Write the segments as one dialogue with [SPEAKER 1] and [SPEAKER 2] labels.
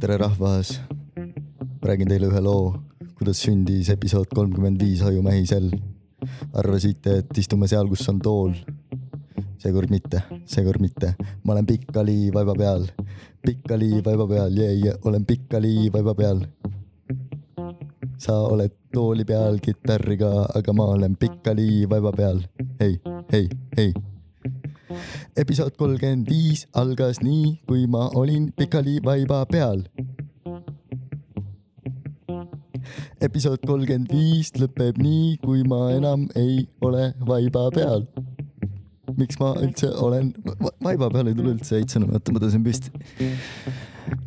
[SPEAKER 1] tere rahvas , räägin teile ühe loo , kuidas sündis episood kolmkümmend viis Hoiu Mähisel . arvasite , et istume seal , kus on tool . seekord mitte , seekord mitte , ma olen pikali vaiba peal , pikali vaiba peal , jee , olen pikali vaiba peal . sa oled tooli peal kitarriga , aga ma olen pikali vaiba peal , ei , ei , ei episood kolmkümmend viis algas nii , kui ma olin pikali vaiba peal . episood kolmkümmend viis lõpeb nii , kui ma enam ei ole vaiba peal . miks ma üldse olen , vaiba peal ei tule üldse heitsena , oota ma tõusen püsti .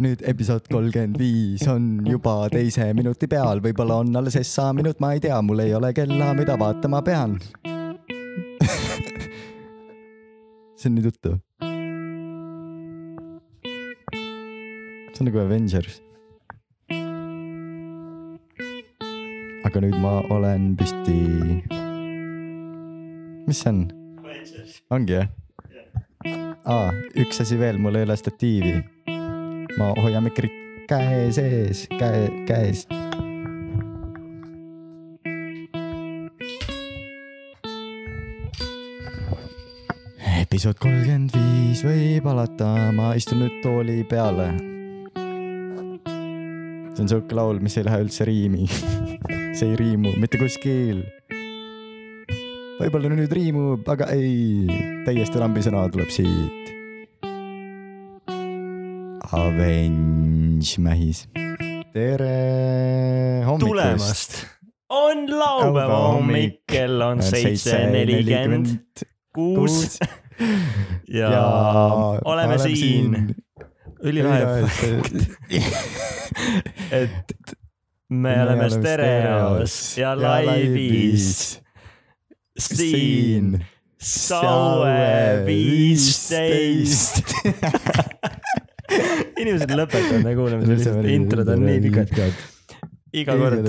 [SPEAKER 1] nüüd episood kolmkümmend viis on juba teise minuti peal , võib-olla on alles SA minut , ma ei tea , mul ei ole kella , mida vaatama pean . see on nii tuttav . see on nagu Avengers . aga nüüd ma olen püsti . mis see on ? ongi jah ? aa , üks asi veel , mul ei ole statiivi . ma hoian mikrit käe sees , käe , käes . episood kolmkümmend viis võib alata , ma istun nüüd tooli peale . see on siuke laul , mis ei lähe üldse riimi . see ei riimu mitte kuskil . võib-olla nüüd riimub , aga ei , täiesti lambisõna tuleb siit . Avenge Mähis , tere hommikust .
[SPEAKER 2] tulemast . on laupäeva hommik , kell on seitse nelikümmend kuus ja, ja oleme siin . ülilahe , et me oleme stereos ja laivis siin . saue viisteist .. inimesed lõpetavad meie kuulamise , introd on nii pikad , iga kord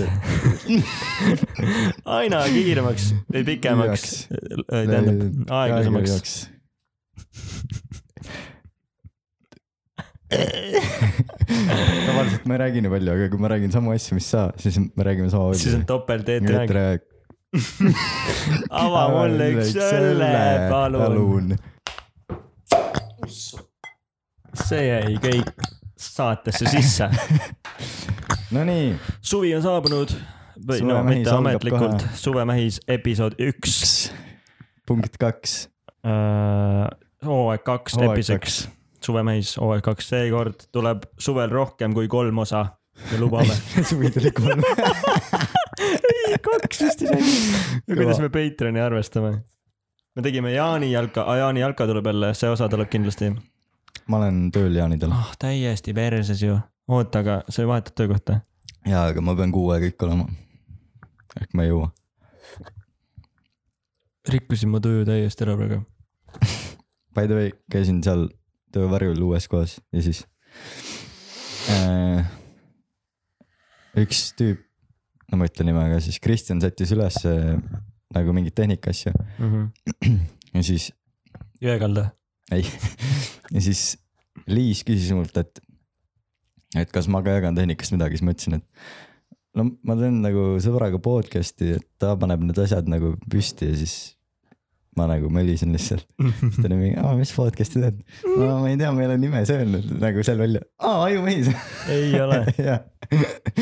[SPEAKER 2] aina kiiremaks või pikemaks , tähendab aeglasemaks .
[SPEAKER 1] tavaliselt ma ei räägi nii palju , aga kui ma räägin samu asju , mis sa , siis me räägime sama
[SPEAKER 2] siis on topelt eetrihäng .
[SPEAKER 1] palju .
[SPEAKER 2] ava mulle üks õlle , palun . see jäi kõik saatesse sisse .
[SPEAKER 1] Nonii ,
[SPEAKER 2] suvi on saabunud või no
[SPEAKER 1] Suvemähis
[SPEAKER 2] mitte
[SPEAKER 1] algab
[SPEAKER 2] ametlikult
[SPEAKER 1] kohe. ,
[SPEAKER 2] Suvemähis episood üks ,
[SPEAKER 1] punkt kaks ,
[SPEAKER 2] hooaeg kaks
[SPEAKER 1] Hooaeg
[SPEAKER 2] lepiseks . suvemähis hooaeg kaks , seekord tuleb suvel rohkem kui kolm osa , me lubame .
[SPEAKER 1] suvidel kolm .
[SPEAKER 2] ei , kaks vist isegi .
[SPEAKER 1] Kõva.
[SPEAKER 2] kuidas me Patreon'i arvestame ? me tegime Jaani jalka , Jaani jalka tuleb jälle , see osa tuleb kindlasti .
[SPEAKER 1] ma olen tööl jaanidel
[SPEAKER 2] ah , täiesti perses ju . oota , aga sa ju vahetad töökohta ?
[SPEAKER 1] ja , aga ma pean kuu aega ikka olema . ehk ma ei jõua .
[SPEAKER 2] rikkusin mu töö täiesti ära praegu .
[SPEAKER 1] By the way , käisin seal töövarjul uues kohas ja siis äh, üks tüüp , no ma ütlen nime ka siis , Kristjan sättis üles äh, nagu mingit tehnikaasja
[SPEAKER 2] Mhm.
[SPEAKER 1] ja siis ,
[SPEAKER 2] Jõekalda .
[SPEAKER 1] ei ja siis Liis küsis mult , et , et kas ma ka jagan tehnikast midagi , siis ma ütlesin , et no ma teen nagu sõbraga podcast'i , et ta paneb need asjad nagu püsti ja siis ma nagu mölisin lihtsalt . siis ta oli mingi , aa , mis podcast'i teed ? no ma ei tea , ma ei ole nime söönud nagu seal välja . aa , Ajumehis .
[SPEAKER 2] ei ole ,
[SPEAKER 1] jah ,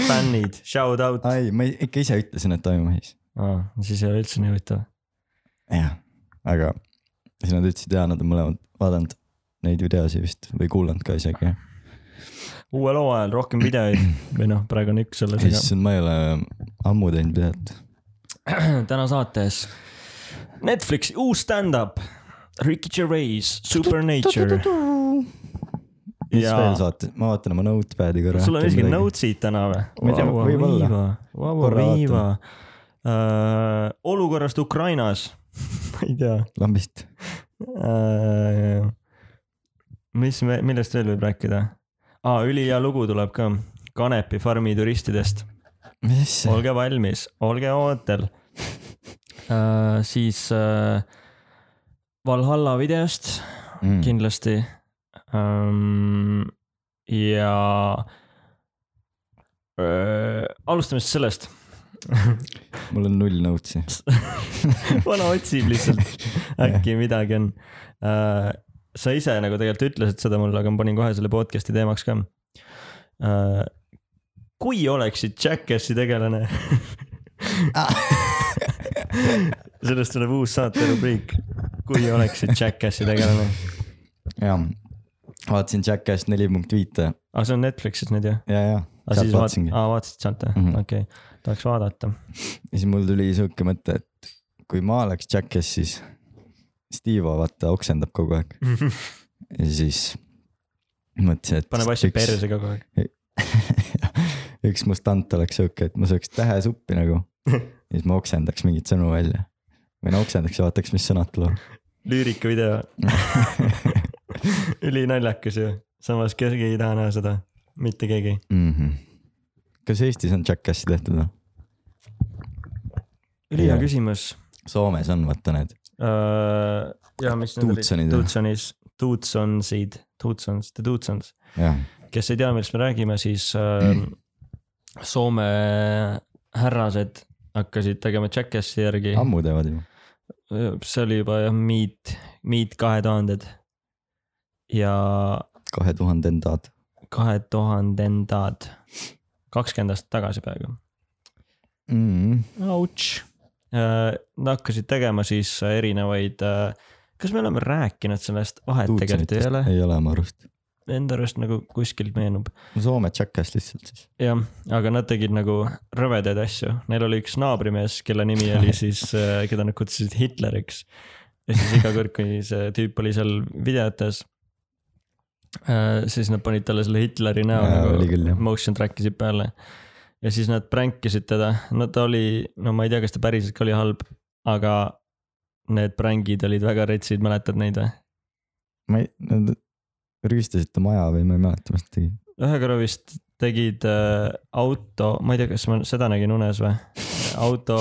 [SPEAKER 2] fännid , shout out .
[SPEAKER 1] ai , ma ei- ikka ise ütlesin , et Ajumehis .
[SPEAKER 2] siis ei ole üldse nii huvitav .
[SPEAKER 1] jah , aga siis nad ütlesid ja nad on mõlemad vaadanud neid videosid vist või kuulanud ka isegi .
[SPEAKER 2] uuel hooajal rohkem videoid või noh , praegu on äh, üks selles , aga
[SPEAKER 1] issand , ma ei ole ammu teinud videot .
[SPEAKER 2] täna saates Netflixi uus stand-up . Ricky Gervais , Supernature .
[SPEAKER 1] mis
[SPEAKER 2] Jaa.
[SPEAKER 1] veel saate , ma vaatan oma notepad'i korra .
[SPEAKER 2] sul on isegi . notes'id täna või ?
[SPEAKER 1] Ma ei tea, võib-olla.
[SPEAKER 2] Vau ,
[SPEAKER 1] Korra vaatan.
[SPEAKER 2] viiva . olukorrast Ukrainas . ma ei tea
[SPEAKER 1] lambist .
[SPEAKER 2] Äh, mis me , millest veel võib rääkida ah, ? ülihea lugu tuleb ka Kanepi farmi turistidest ,
[SPEAKER 1] mis ?
[SPEAKER 2] olge valmis , olge ootel äh, . siis äh,
[SPEAKER 1] Mm.
[SPEAKER 2] Valhalla Hmm. videost kindlasti ähm, . ja äh, alustame siis sellest
[SPEAKER 1] mul on null notes'i
[SPEAKER 2] vana otsib lihtsalt, äkki midagi on uh,. sa ise nagu tegelikult ütlesid seda mulle, aga ma panin kohe selle podcast'i teemaks ka uh,. kui oleksid Jackassi tegelane sellest tuleb uus saaterubriik, kui oleksid Jackassi tegelane.
[SPEAKER 1] jah, vaatasin Jackass neli punkt viite.
[SPEAKER 2] aa, Ah, see on Netflixis nüüd jah?
[SPEAKER 1] ja, ja.
[SPEAKER 2] aa, siis vaat-, aa vaatasid sealt jah mm -hmm., okei okay tahaks vaadata.
[SPEAKER 1] ja siis mul tuli sihuke mõte, et kui ma oleks Jackass, siis Stevo vaata oksendab kogu aeg ja siis mõtlesin, et.
[SPEAKER 2] paneb asju perse kogu aeg
[SPEAKER 1] üks mustant oleks sihuke, et ma sööks tähesuppi nagu ja siis ma oksendaks mingeid sõnu välja. või no oksendaks ja vaataks, mis sõnad tulevad.
[SPEAKER 2] lüürika video ülinaljakas ju, samas keegi ei taha näha seda, mitte keegi
[SPEAKER 1] mm. -hmm kas Eestis on Jackassi tehtud või?
[SPEAKER 2] ülihea küsimus.
[SPEAKER 1] Soomes on vaata need
[SPEAKER 2] uh,. ja mis need
[SPEAKER 1] olid,
[SPEAKER 2] Tuutsonis, Tuutsonsid, Tuutsons, The Tuutsons. kes ei tea, millest me räägime, siis uh, Soome härrased hakkasid tegema Jackassi järgi.
[SPEAKER 1] ammu teevad ju.
[SPEAKER 2] see oli juba jah, Meet, Meet kahe tuhanded ja.
[SPEAKER 1] kahe tuhandendad.
[SPEAKER 2] kahe tuhandendad kakskümmend aastat tagasi peaaegu
[SPEAKER 1] mm..
[SPEAKER 2] Ouch. äh, Nad hakkasid tegema siis erinevaid, äh, kas me oleme rääkinud sellest, vahet tegelikult ei ole?
[SPEAKER 1] ei ole mu arust.
[SPEAKER 2] Enda arust nagu kuskilt meenub.
[SPEAKER 1] Soome tšakas lihtsalt siis.
[SPEAKER 2] jah, aga nad tegid nagu rõvedaid asju, neil oli üks naabrimees, kelle nimi oli siis, äh, keda nad kutsusid Hitleriks. ja siis iga kord, kui see tüüp oli seal videotes Uh, siis nad panid talle selle Hitleri näo ja, nagu
[SPEAKER 1] küll,
[SPEAKER 2] motion track isid peale. ja siis nad prank isid teda, no ta oli, no ma ei tea, kas ta päriselt ka oli halb, aga need prankid olid väga retsid, mäletad neid või?
[SPEAKER 1] ma ei, nad rüüstasid ta maja või ma ei mäleta, mis ta tegi.
[SPEAKER 2] ühe korra vist tegid äh, auto, ma ei tea, kas ma seda nägin unes või auto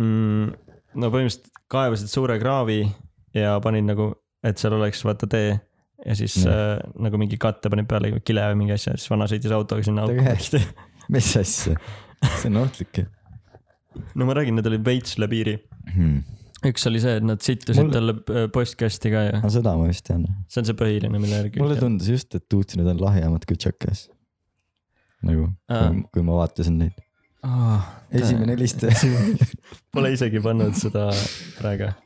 [SPEAKER 2] mm,, no põhimõtteliselt kaevasid suure kraavi ja panid nagu, et seal oleks vaata tee ja siis ja. äh, nagu mingi katte panid peale kile või mingi asja, siis vana sõitis autoga sinna auku.
[SPEAKER 1] mis asja, see on ohtlik ju.
[SPEAKER 2] no ma räägin, nad olid veits üle piiri
[SPEAKER 1] hmm..
[SPEAKER 2] üks oli see, et nad sittusid Mul... talle äh, postkasti ka ja.
[SPEAKER 1] no seda ma vist tean.
[SPEAKER 2] see on see põhiline, mille järgi.
[SPEAKER 1] mulle tundus just, et Uutsinid on lahjemad kui Tšekas. nagu äh., kui ma vaatasin neid
[SPEAKER 2] oh,.
[SPEAKER 1] esimene helistaja
[SPEAKER 2] Pole isegi pannud seda praegu äh,.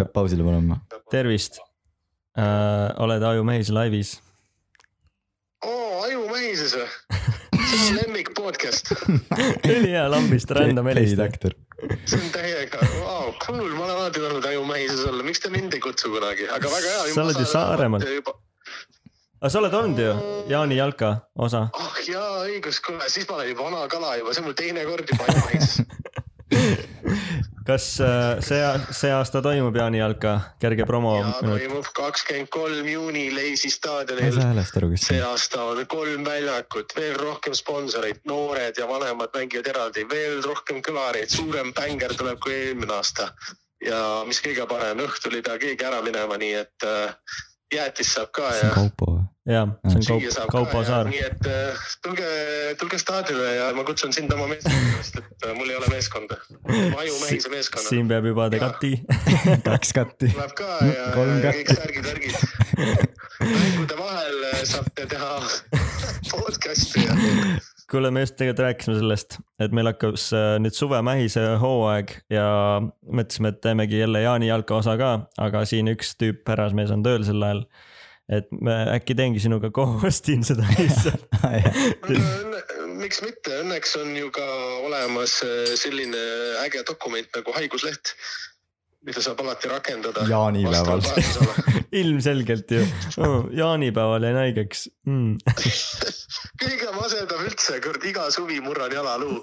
[SPEAKER 1] peab pausile panema.
[SPEAKER 2] tervist äh, oled Aju Mehis laivis.
[SPEAKER 3] oo, Aju Mehises või? see on lemmik podcast
[SPEAKER 2] ülihea lambist random helista.
[SPEAKER 3] see on täiega wow,, cool, ma olen alati tahtnud Aju Mehises olla, miks te mind ei kutsu kunagi, aga väga hea.
[SPEAKER 2] sa oled ju Saaremaal. aga sa oled olnud ju Jaani jalka osa.
[SPEAKER 3] oh jaa, õigus, kuule, siis ma olen juba vana kala juba, see on mul teine kord juba Aju Mehises
[SPEAKER 2] kas äh, see, see aasta toimub Jaani jalka kerge promo?
[SPEAKER 3] jaa, toimub kakskümmend kolm juuni Leisi staadionil.
[SPEAKER 1] ma ei saa häälest aru, kes
[SPEAKER 3] see on. see aasta on kolm väljakut, veel rohkem sponsoreid, noored ja vanemad mängivad eraldi, veel rohkem kõlareid, suurem bänger tuleb kui eelmine aasta. ja mis kõige parem, õhtul ei pea keegi ära minema, nii et äh, jäätist saab ka
[SPEAKER 1] see ja. see on Kaupo või?
[SPEAKER 2] jaa, see on Kaup, Kaupo Saar.
[SPEAKER 3] nii et tulge, tulge staadionile ja ma kutsun sind oma meeskonda, sest et äh, mul ei ole meeskonda. ma aju mehise meeskonna.
[SPEAKER 2] siin peab juba te katti
[SPEAKER 1] kaks katti.
[SPEAKER 3] tuleb ka ja, ja kõik särgid, värgid mängude vahel saab teha podcast'i ja
[SPEAKER 2] kuule, me just tegelikult rääkisime sellest, et meil hakkas äh, nüüd suve mähise hooaeg ja mõtlesime, et teemegi jälle Jaani jalka osa ka, aga siin üks tüüp härrasmees on tööl sel ajal et ma äkki teengi sinuga co-host'in seda lihtsalt
[SPEAKER 1] Ah,
[SPEAKER 3] miks mitte, õnneks on ju ka olemas äh, selline äge dokument nagu haigusleht, mida saab alati rakendada.
[SPEAKER 1] jaanipäeval
[SPEAKER 2] ilmselgelt ju oh,, jaanipäeval jäin haigeks mm.
[SPEAKER 3] kõige masendav üldse, kurat iga suvi murran jalaluu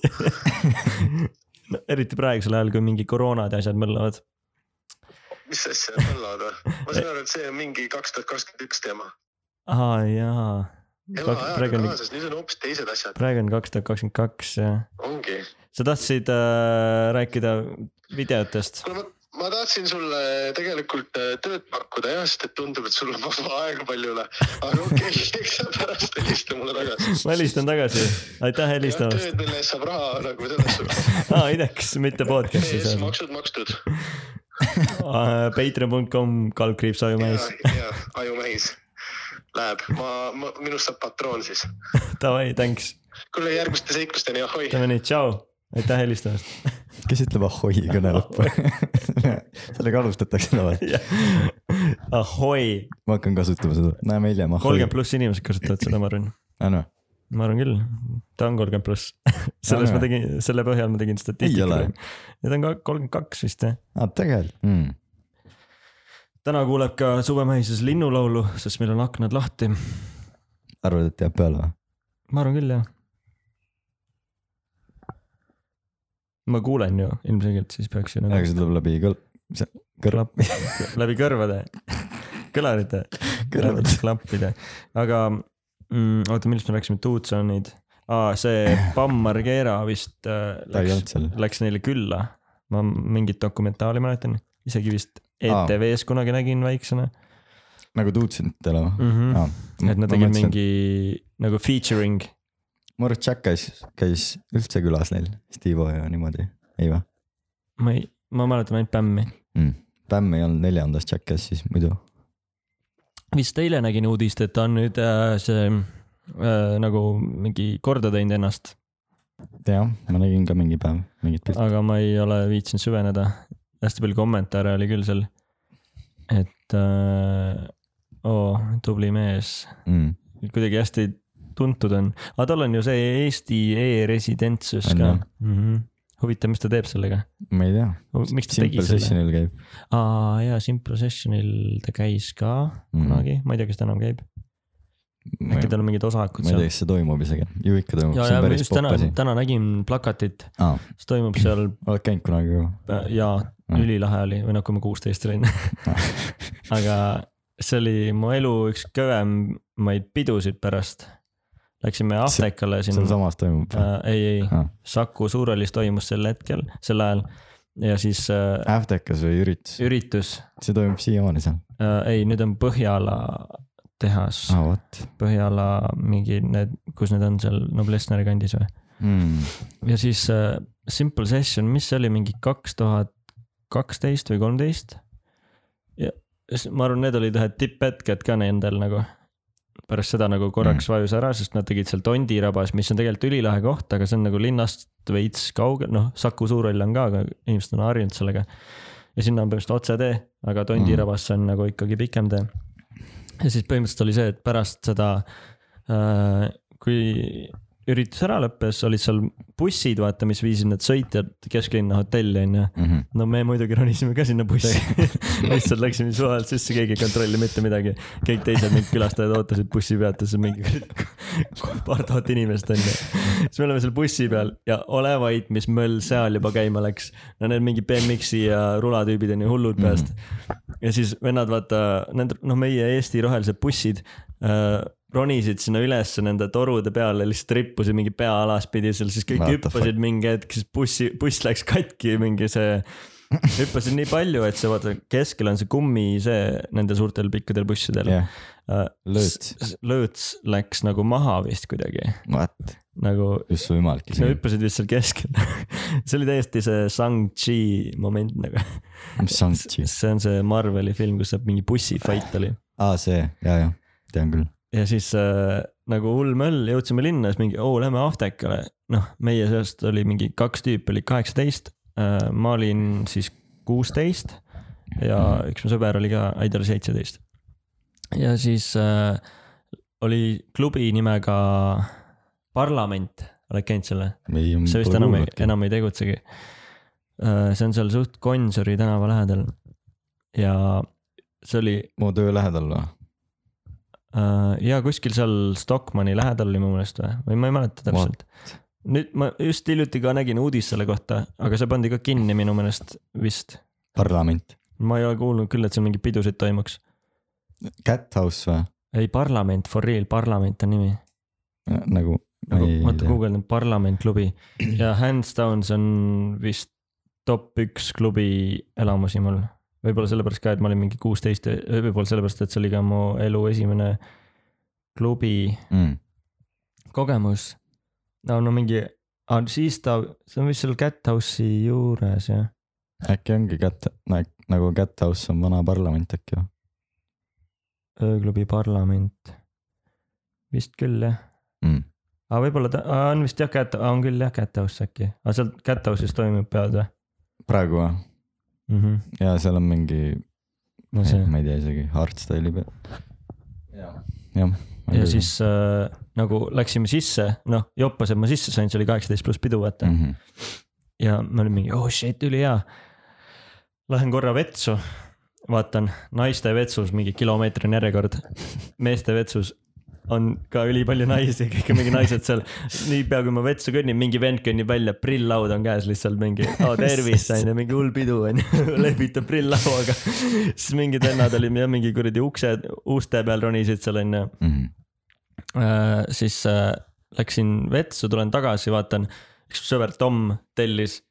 [SPEAKER 2] no, eriti praegusel ajal, kui mingi koroonad ja asjad möllavad
[SPEAKER 3] mis asja need möllavad või? ma saan aru, et see on mingi kaks tuhat kakskümmend üks teema.
[SPEAKER 2] aa jaa.
[SPEAKER 3] elaajaga kaasas, nüüd on hoopis teised asjad.
[SPEAKER 2] praegu on kaks tuhat kakskümmend kaks jah.
[SPEAKER 3] ongi.
[SPEAKER 2] sa tahtsid äh, rääkida videotest?
[SPEAKER 3] kuule, ma tahtsin sulle tegelikult äh, tööd pakkuda jah , sest et tundub , et sul on vaba aega palju üle , aga okei okay, , eks sa pärast helista mulle tagasi .
[SPEAKER 2] ma helistan tagasi , aitäh helistamast .
[SPEAKER 3] tööd , mille eest saab raha nagu selles suhtes .
[SPEAKER 2] aa , ideks , mitte podcast'i
[SPEAKER 3] ees
[SPEAKER 2] seal .
[SPEAKER 3] maksud makstud
[SPEAKER 2] Patreon.com kaldkriips Ajumäes ,
[SPEAKER 3] ja , ja ajumehis läheb , ma, ma , minust saab patroon siis .
[SPEAKER 2] davai , thanks ,
[SPEAKER 3] kuule järgmiste seiklusteni , ahoi .
[SPEAKER 2] teeme nii , tšau , aitäh helistamast .
[SPEAKER 1] kes ütleb ahoi kõne lõppu ? sellega alustatakse tavaliselt ,
[SPEAKER 2] ahoi ,
[SPEAKER 1] ma hakkan kasutama seda , näeme hiljem ahoi noh.
[SPEAKER 2] kolmkümmend . pluss inimesed kasutavad seda , ma arvan ,
[SPEAKER 1] anna ,
[SPEAKER 2] ma arvan küll , ta on kolmkümmend pluss . selles
[SPEAKER 1] Anna.
[SPEAKER 2] ma tegin , selle põhjal ma
[SPEAKER 1] Ei
[SPEAKER 2] tegin
[SPEAKER 1] ole.
[SPEAKER 2] statistikat . ja ta on ka kolmkümmend kaks vist jah .
[SPEAKER 1] aa tegelikult mm. ,
[SPEAKER 2] täna kuuleb ka suvemähises linnulaulu , sest meil on aknad lahti .
[SPEAKER 1] arvad , et jääb peale või ?
[SPEAKER 2] ma arvan küll jah . ma kuulen ju ilmselgelt , siis peaks ju
[SPEAKER 1] aga
[SPEAKER 2] nagu
[SPEAKER 1] see tuleb läbi kõl- , see kõrv ,
[SPEAKER 2] klapp läbi kõrvade , kõlarite ,
[SPEAKER 1] kõrvad .
[SPEAKER 2] klappide , aga mm, oota , millest me rääkisime , Tuutsonid . aa , see Bammar Keera vist äh,
[SPEAKER 1] ta ei
[SPEAKER 2] läks ,
[SPEAKER 1] olnud seal .
[SPEAKER 2] läks neile külla . ma mingit dokumentaali mäletan , isegi vist
[SPEAKER 1] Aa.
[SPEAKER 2] ETV-s kunagi nägin väiksena
[SPEAKER 1] nagu tuutsentele või ?
[SPEAKER 2] mm . -hmm. et nad tegid . mingi nagu featuring ,
[SPEAKER 1] ma arvan , et Jack käis , käis üldse külas neil , Stivo ja niimoodi , ei või
[SPEAKER 2] ma ei , ma mäletan ainult Pämmi .
[SPEAKER 1] mm. ? Bämm ei olnud neljandas Jack käis siis muidu .
[SPEAKER 2] vist eile nägin uudist , et ta on nüüd äh, see äh, nagu mingi korda teinud ennast ,
[SPEAKER 1] jah , ma nägin ka mingi päev mingit pilti .
[SPEAKER 2] aga ma ei ole viitsinud süveneda . hästi palju kommentaare oli küll seal , et äh, oo , tubli mees ,
[SPEAKER 1] Mm.
[SPEAKER 2] kuidagi hästi tuntud on , aga tal on ju see Eesti e-residentsus
[SPEAKER 1] On
[SPEAKER 2] ka
[SPEAKER 1] jah.
[SPEAKER 2] mm . -hmm. huvitav , mis ta teeb sellega ,
[SPEAKER 1] ma ei tea .
[SPEAKER 2] miks ta tegi
[SPEAKER 1] Simple
[SPEAKER 2] selle ?
[SPEAKER 1] Sessionil käib .
[SPEAKER 2] aa jaa , Simple Sessionil ta käis ka
[SPEAKER 1] Mhm.
[SPEAKER 2] kunagi mm. , ma ei tea , kas ta enam käib ,
[SPEAKER 1] ma
[SPEAKER 2] äkki
[SPEAKER 1] ei
[SPEAKER 2] tal on mingid osakud
[SPEAKER 1] ma ei tea ,
[SPEAKER 2] seal .
[SPEAKER 1] kas see toimub isegi . ju ikka toimub ,
[SPEAKER 2] ja ,
[SPEAKER 1] see on
[SPEAKER 2] ja ma
[SPEAKER 1] päris
[SPEAKER 2] just täna
[SPEAKER 1] popp asi ,.
[SPEAKER 2] täna nägin plakatit ,
[SPEAKER 1] aa ,
[SPEAKER 2] mis toimub seal
[SPEAKER 1] oled käinud kunagi ju ?
[SPEAKER 2] äh, ja ülilahe oli või noh , kui ma kuusteist olin , aga see oli mu elu üks kõvemaid pidusid pärast . Läksime Aftekale sinna ,
[SPEAKER 1] sealsamas toimub .
[SPEAKER 2] äh, ei , ei ,
[SPEAKER 1] Ah.
[SPEAKER 2] Saku Suurhallis toimus sel hetkel , sel ajal ja siis äh,
[SPEAKER 1] Äftekas või üritus ?
[SPEAKER 2] üritus
[SPEAKER 1] see toimub siiamaani seal .
[SPEAKER 2] äh, , ei , nüüd on Põhjala tehas
[SPEAKER 1] aa , vot
[SPEAKER 2] Põhjala mingi need , kus need on seal Noblessneri kandis või ?
[SPEAKER 1] mm. .
[SPEAKER 2] ja siis äh, Simple Session , mis see oli mingi kaks tuhat kaksteist või kolmteist . ja s- ma arvan , need olid ühed tipphetked ka nendel nagu . pärast seda nagu korraks vajus ära , sest nad tegid seal Tondirabas , mis on tegelikult ülilahe koht , aga see on nagu linnast veits kaugel , noh , Saku Suurhall on ka , aga inimesed on harjunud sellega . ja sinna on põhimõtteliselt otsetee , aga Tondirabasse on nagu ikkagi pikem tee . ja siis põhimõtteliselt oli see , et pärast seda äh, , kui üritus ära lõppes , olid seal bussid , vaata , mis viisid need sõitjad kesklinna hotelli , onju .
[SPEAKER 1] Mm -hmm.
[SPEAKER 2] no me muidugi ronisime ka sinna bussi , lihtsalt läksime suvalt sisse , keegi ei kontrolli mitte midagi . kõik teised mingid külastajad ootasid bussipeatuses mingi paar tuhat inimest onju . siis me oleme seal bussi peal ja ole vait , mis möll seal juba käima läks . no need mingi BMX-i ja rulatüübid on ju
[SPEAKER 1] Mhm.
[SPEAKER 2] hullud peast . ja siis vennad vaata , need noh , meie Eesti rohelised bussid äh, ronisid sinna ülesse nende torude peale , lihtsalt rippusid mingi pea alaspidi seal , siis kõik
[SPEAKER 1] What the
[SPEAKER 2] hüppasid mingi hetk , siis bussi , buss läks katki , mingi see . hüppasid nii palju , et see vaata keskel on see kummi , see nende suurtel pikkadel bussidel
[SPEAKER 1] jah ,
[SPEAKER 2] yeah. .
[SPEAKER 1] Lõõts. .
[SPEAKER 2] lõõts läks nagu maha vist kuidagi ,
[SPEAKER 1] vot ,
[SPEAKER 2] nagu
[SPEAKER 1] just võimalik
[SPEAKER 2] sa
[SPEAKER 1] isegi .
[SPEAKER 2] hüppasid vist seal keskel . see oli täiesti see Shang-Chi moment nagu .
[SPEAKER 1] mis Shang-Chi ?
[SPEAKER 2] see on see Marveli film , kus see mingi bussifight oli
[SPEAKER 1] aa , see , ja , ja , tean küll .
[SPEAKER 2] ja siis äh, nagu hull möll , jõudsime linna , siis mingi oo , lähme Aftekale . noh , meie seast oli mingi kaks tüüpi , oli kaheksateist äh, , ma olin siis kuusteist ja üks mu sõber oli ka , ei ta oli seitseteist . ja siis äh, oli klubi nimega Parlament , oled käinud selle ?
[SPEAKER 1] Mm,
[SPEAKER 2] see vist enam ei , enam ei tegutsegi . see on seal suht Gonsiori tänava lähedal ja see oli
[SPEAKER 1] mu töö lähedal või ?
[SPEAKER 2] Äh, ja kuskil seal Stockmanni lähedal oli mu meelest või , või ma ei mäleta täpselt . nüüd ma just hiljuti ka nägin uudist selle kohta , aga see pandi ka kinni minu meelest vist .
[SPEAKER 1] parlament .
[SPEAKER 2] ma ei ole kuulnud küll , et seal mingeid pidusid toimuks .
[SPEAKER 1] Cat House või ?
[SPEAKER 2] ei , parlament , for real , parlament on nimi .
[SPEAKER 1] nagu .
[SPEAKER 2] oota , guugeldan parlament klubi ja Hands Downs on vist top üks klubi elamusi mul . võib-olla sellepärast ka , et ma olin mingi kuusteist , võib-olla sellepärast , et see oli ka mu elu esimene klubi
[SPEAKER 4] mm. .
[SPEAKER 2] kogemus . no no mingi , siis ta , see on vist seal Cat House'i juures jah .
[SPEAKER 1] äkki ongi Cat , nagu Cat House on vana parlament äkki või ?
[SPEAKER 2] ööklubi Parlament . vist küll jah
[SPEAKER 4] Mm. .
[SPEAKER 2] aga võib-olla ta aa, on vist jah , Cat , on küll jah , Cat House äkki , aga seal Cat House'is toimub pead või
[SPEAKER 1] praegu või ?
[SPEAKER 2] mm ? -hmm.
[SPEAKER 1] jaa , seal on mingi ,
[SPEAKER 2] no see
[SPEAKER 1] ma ei tea isegi , hardstyle'i peal . jah .
[SPEAKER 2] ja siis äh, nagu läksime sisse , noh joppas , et ma sisse sain , see oli kaheksateist pluss pidu vaata mm.
[SPEAKER 1] -hmm.
[SPEAKER 2] ja me olime mingi oh shit , ülihea . Lähen korra vetsu , vaatan naiste vetsus mingi kilomeetrine järjekord , meeste vetsus on ka ülipalju naisi , kõik on mingi naised seal . niipea kui ma vetsu kõnnin , mingi vend kõnnib välja , prilllaud on käes lihtsalt mingi , aa Oh, tervist on ju , mingi hull pidu on ju , lehvitab prilllauaga . siis mingid vennad olime jah , mingi kuradi ukse , uste peal ronisid seal on ju
[SPEAKER 1] Mhm.
[SPEAKER 4] Mm.
[SPEAKER 2] Äh, siis äh, läksin vetsu , tulen tagasi , vaatan , üks sõber Tom tellis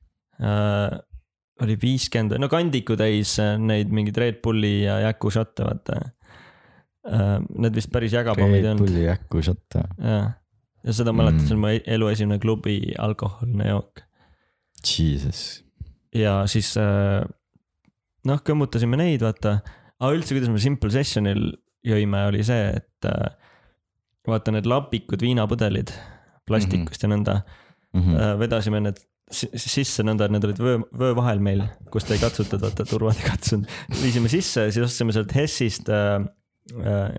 [SPEAKER 2] äh, . oli viiskümmend , no kandiku täis äh, neid mingeid Red Bulli ja Jaku šotte , vaata äh, . Need vist päris jagapommid ei
[SPEAKER 1] Red
[SPEAKER 2] olnud ,
[SPEAKER 1] Bulli Jaku šott või ?
[SPEAKER 2] jah . ja seda mäletan
[SPEAKER 4] Mm.
[SPEAKER 2] mm. , see on mu e- elu esimene klubi alkoholne jook .
[SPEAKER 1] Jesus .
[SPEAKER 2] ja siis äh, noh , kõmmutasime neid , vaata . aga üldse , kuidas me Simple Sessionil jõime , oli see , et äh, vaata need lapikud viinapudelid plastikust mm -hmm. ja nõnda
[SPEAKER 1] Mhm.
[SPEAKER 2] äh, vedasime need si- sisse nõnda , et need olid vöö , vöö vahel meil , kust ei katsutud , vaata turvad ei katsunud . viisime sisse ja siis ostsime sealt Hessist äh, äh,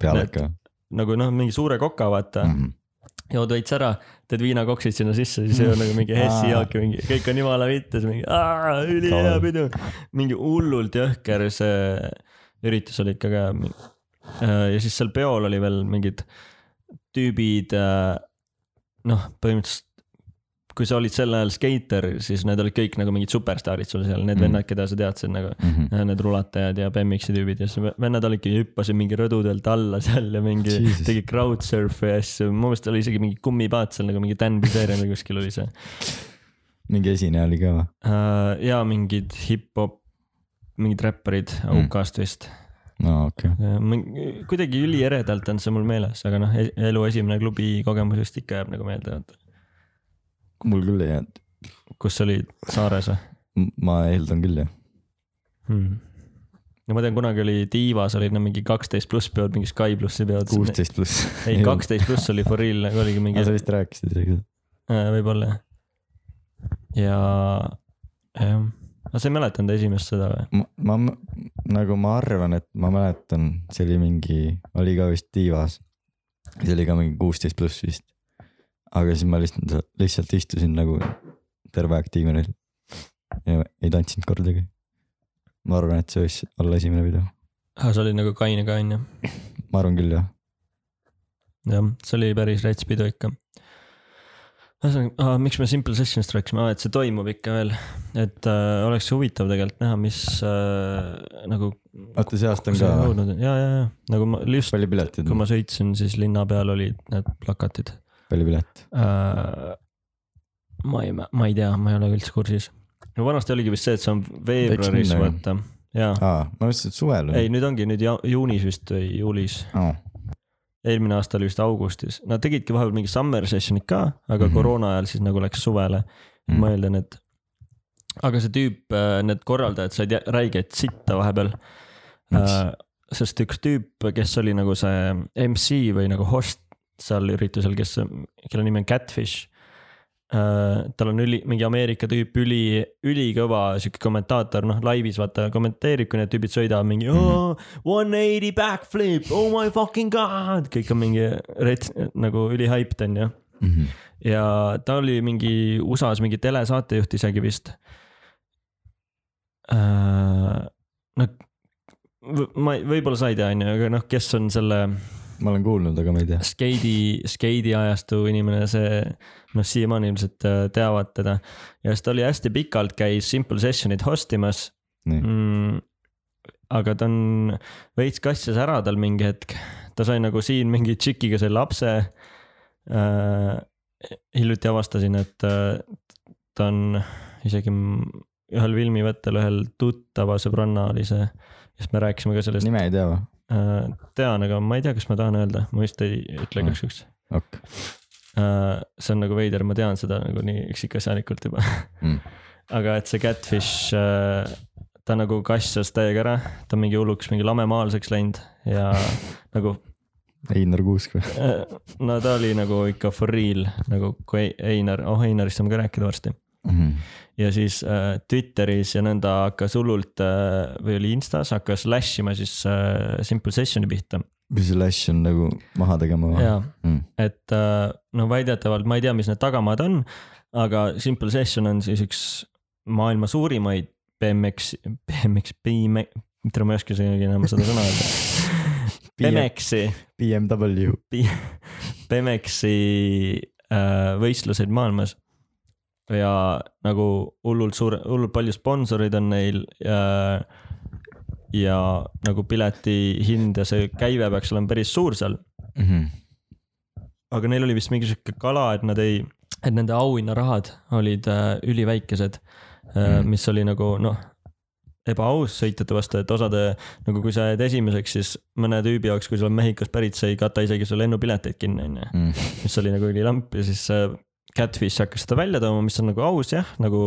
[SPEAKER 1] peale
[SPEAKER 2] Need-
[SPEAKER 1] ikka või ? Mhm.
[SPEAKER 2] nagu noh , mingi suure koka , vaata mm . -hmm jood veits ära , teed viinakoksid sinna sisse , siis ei ole nagu mingi
[SPEAKER 1] Aa.
[SPEAKER 2] Hessi jaoki mingi , kõik on jumala vittes mingi , ülihea
[SPEAKER 1] Kaval.
[SPEAKER 2] pidu . mingi hullult jõhker see üritus oli ikka ka . ja siis seal peol oli veel mingid tüübid . noh , põhimõtteliselt kui sa olid sel ajal skeiter , siis need olid kõik nagu mingid superstaarid sul seal , need
[SPEAKER 4] Mm.
[SPEAKER 2] vennad , keda sa teadsid nagu .
[SPEAKER 1] Mhm.
[SPEAKER 2] Ja need rulatajad ja BMX-i tüübid ja siis vennad olidki , hüppasid mingi rõdudelt alla seal ja mingi
[SPEAKER 1] Jesus.
[SPEAKER 2] tegid crowdsurf'i ja asju , mu meelest oli isegi mingi kummipaat seal nagu mingi Dan Bilzerian või kuskil oli see .
[SPEAKER 1] mingi esineja oli ka või ?
[SPEAKER 2] ja mingid hip-hop , mingid räpparid
[SPEAKER 4] Mm.
[SPEAKER 2] UK-st vist .
[SPEAKER 1] no okei okay. ,
[SPEAKER 2] kuidagi ülieredalt on see mul meeles , aga noh , elu esimene klubi kogemus just ikka jääb nagu meelde ,
[SPEAKER 1] mul küll ei jäänud .
[SPEAKER 2] kus sa olid Saares või
[SPEAKER 1] ma eeldan küll jah .
[SPEAKER 2] hmm. ? no ma tean , kunagi oli Tiivas olid no mingi kaksteist pluss peod , mingi Sky plussi peod .
[SPEAKER 1] kuusteist pluss .
[SPEAKER 2] ei , kaksteist pluss oli for real , nagu oligi mingi
[SPEAKER 1] aga sa Ah, vist rääkisid isegi seda .
[SPEAKER 2] Äh, võib-olla jah . ja , jah , aga sa ei mäletanud esimest seda või ?
[SPEAKER 1] ma , ma nagu ma arvan , et ma mäletan , see oli mingi , oli ka vist tiivas . see oli ka mingi kuusteist pluss vist . aga siis ma lihtsalt , lihtsalt istusin nagu terve aeg diivanil . ja ei tantsinud kordagi . ma arvan , et see võis olla esimene video ,
[SPEAKER 2] aa , sa olid nagu kaine ka onju .
[SPEAKER 1] ma arvan küll jah .
[SPEAKER 2] jah , see oli päris rets pidu ikka . ühesõnaga , miks me Simple Sessionist rääkisime , et see toimub ikka veel , et äh, oleks huvitav tegelikult näha , mis äh, nagu .
[SPEAKER 1] oota , see aasta on ka või ?
[SPEAKER 2] ja , ja , ja nagu ma just ,
[SPEAKER 1] palju pileteid
[SPEAKER 2] kui
[SPEAKER 1] on ?
[SPEAKER 2] ma sõitsin , siis linna peal olid need plakatid
[SPEAKER 1] palju pilet ?
[SPEAKER 2] Äh, ma ei , ma ei tea , ma ei ole üldse kursis . no vanasti oligi vist see , et see on
[SPEAKER 1] minna, ,
[SPEAKER 2] veebruaris
[SPEAKER 1] jah.
[SPEAKER 2] vaata , jaa .
[SPEAKER 4] Ah,
[SPEAKER 1] aa , ma mõtlesin , et suvel
[SPEAKER 2] ei ,
[SPEAKER 1] on .
[SPEAKER 2] nüüd ongi nüüd ja- juunis vist või juulis ,
[SPEAKER 1] aa ,
[SPEAKER 2] eelmine aasta oli vist augustis , nad tegidki vahepeal mingi summer session'id ka , aga mm
[SPEAKER 4] Mhm.
[SPEAKER 2] -hmm. koroona ajal siis nagu läks suvele mm ,
[SPEAKER 4] Mhm.
[SPEAKER 2] -hmm. ma eeldan , et . aga see tüüp , need korraldajad said jä- räiget sitta vahepeal .
[SPEAKER 4] Miks?
[SPEAKER 1] Äh,
[SPEAKER 2] Äh, sest üks tüüp , kes oli nagu see MC või nagu host seal üritusel , kes , kelle nimi on Catfish . tal on üli , mingi Ameerika tüüp , üli , ülikõva sihuke kommentaator , noh laivis vaata kommenteerib , kui need tüübid sõidavad mingi oh, . One eighty backflip , oh my fucking god , kõik on mingi rets- , nagu ülihyped on ju
[SPEAKER 1] Mhm.
[SPEAKER 2] ja ta oli mingi USA-s mingi telesaatejuht isegi vist . no võ- noh, ma ei- võib-olla sa ei tea , onju , aga noh , kes on selle
[SPEAKER 1] ma olen kuulnud , aga ma ei tea .
[SPEAKER 2] skeidi , skeidi ajastu inimene , see noh , siiamaani ilmselt äh, teavad teda . ja siis ta oli hästi pikalt , käis Simple Sessionit host imas
[SPEAKER 1] nii ,
[SPEAKER 2] mm, . aga ta on veits kassis ära tal mingi hetk , ta sai nagu siin mingi tšikiga selle lapse äh, . hiljuti avastasin , et äh, ta on isegi m- ühel filmivõttel ühel tuttava sõbranna oli see , kes me rääkisime ka sellest .
[SPEAKER 1] nime ei tea või ?
[SPEAKER 2] Äh, tean , aga ma ei tea , kas ma tahan öelda , ma vist ei ütle
[SPEAKER 1] Mm.
[SPEAKER 2] igaks juhuks .
[SPEAKER 1] okei ,
[SPEAKER 2] see on nagu veider , ma tean seda nagu nii üksikasjalikult juba
[SPEAKER 1] Mm.
[SPEAKER 2] aga et see catfish , ta nagu kassas täiega ära , ta on mingi hulluks mingi lamemaalaseks läinud ja nagu
[SPEAKER 1] Einar Kuusk või ?
[SPEAKER 2] äh, no ta oli nagu ikka for real nagu kui Einar , oh Einarist saame ka rääkida varsti .
[SPEAKER 1] Mm.
[SPEAKER 2] ja siis äh, Twitteris ja nõnda hakkas hullult äh, või oli Instas hakkas lash ima siis äh, simple session'i pihta
[SPEAKER 1] mis see lash on nagu maha tegema või ? Mm.
[SPEAKER 2] ja et äh, no väidetavalt ma ei tea , mis need tagamaad on , aga Simple Session on siis üks maailma suurimaid BMX , BMX , BMX , mitte ma ei oska isegi enam seda sõna öelda . BMX-i ,
[SPEAKER 1] BMW .
[SPEAKER 2] BMX-i äh, võistluseid maailmas . ja nagu hullult suur , hullult palju sponsoreid on neil äh, ja nagu pileti hind ja see käive peaks olema päris suur seal Mhm. aga neil oli vist mingi sihuke kala , et nad ei , et nende auhinnarahad olid äh, üliväikesed äh, ,
[SPEAKER 1] Mm.
[SPEAKER 2] mis oli nagu noh , ebaaus sõitjate vastu , et osade nagu kui sa jääd esimeseks , siis mõne tüübi jaoks , kui sa oled Mehhikost pärit , see ei kata isegi su lennupileteid kinni , onju . mis oli nagu ülilamp ja siis äh, Catfish hakkas seda välja tooma , mis on nagu aus jah , nagu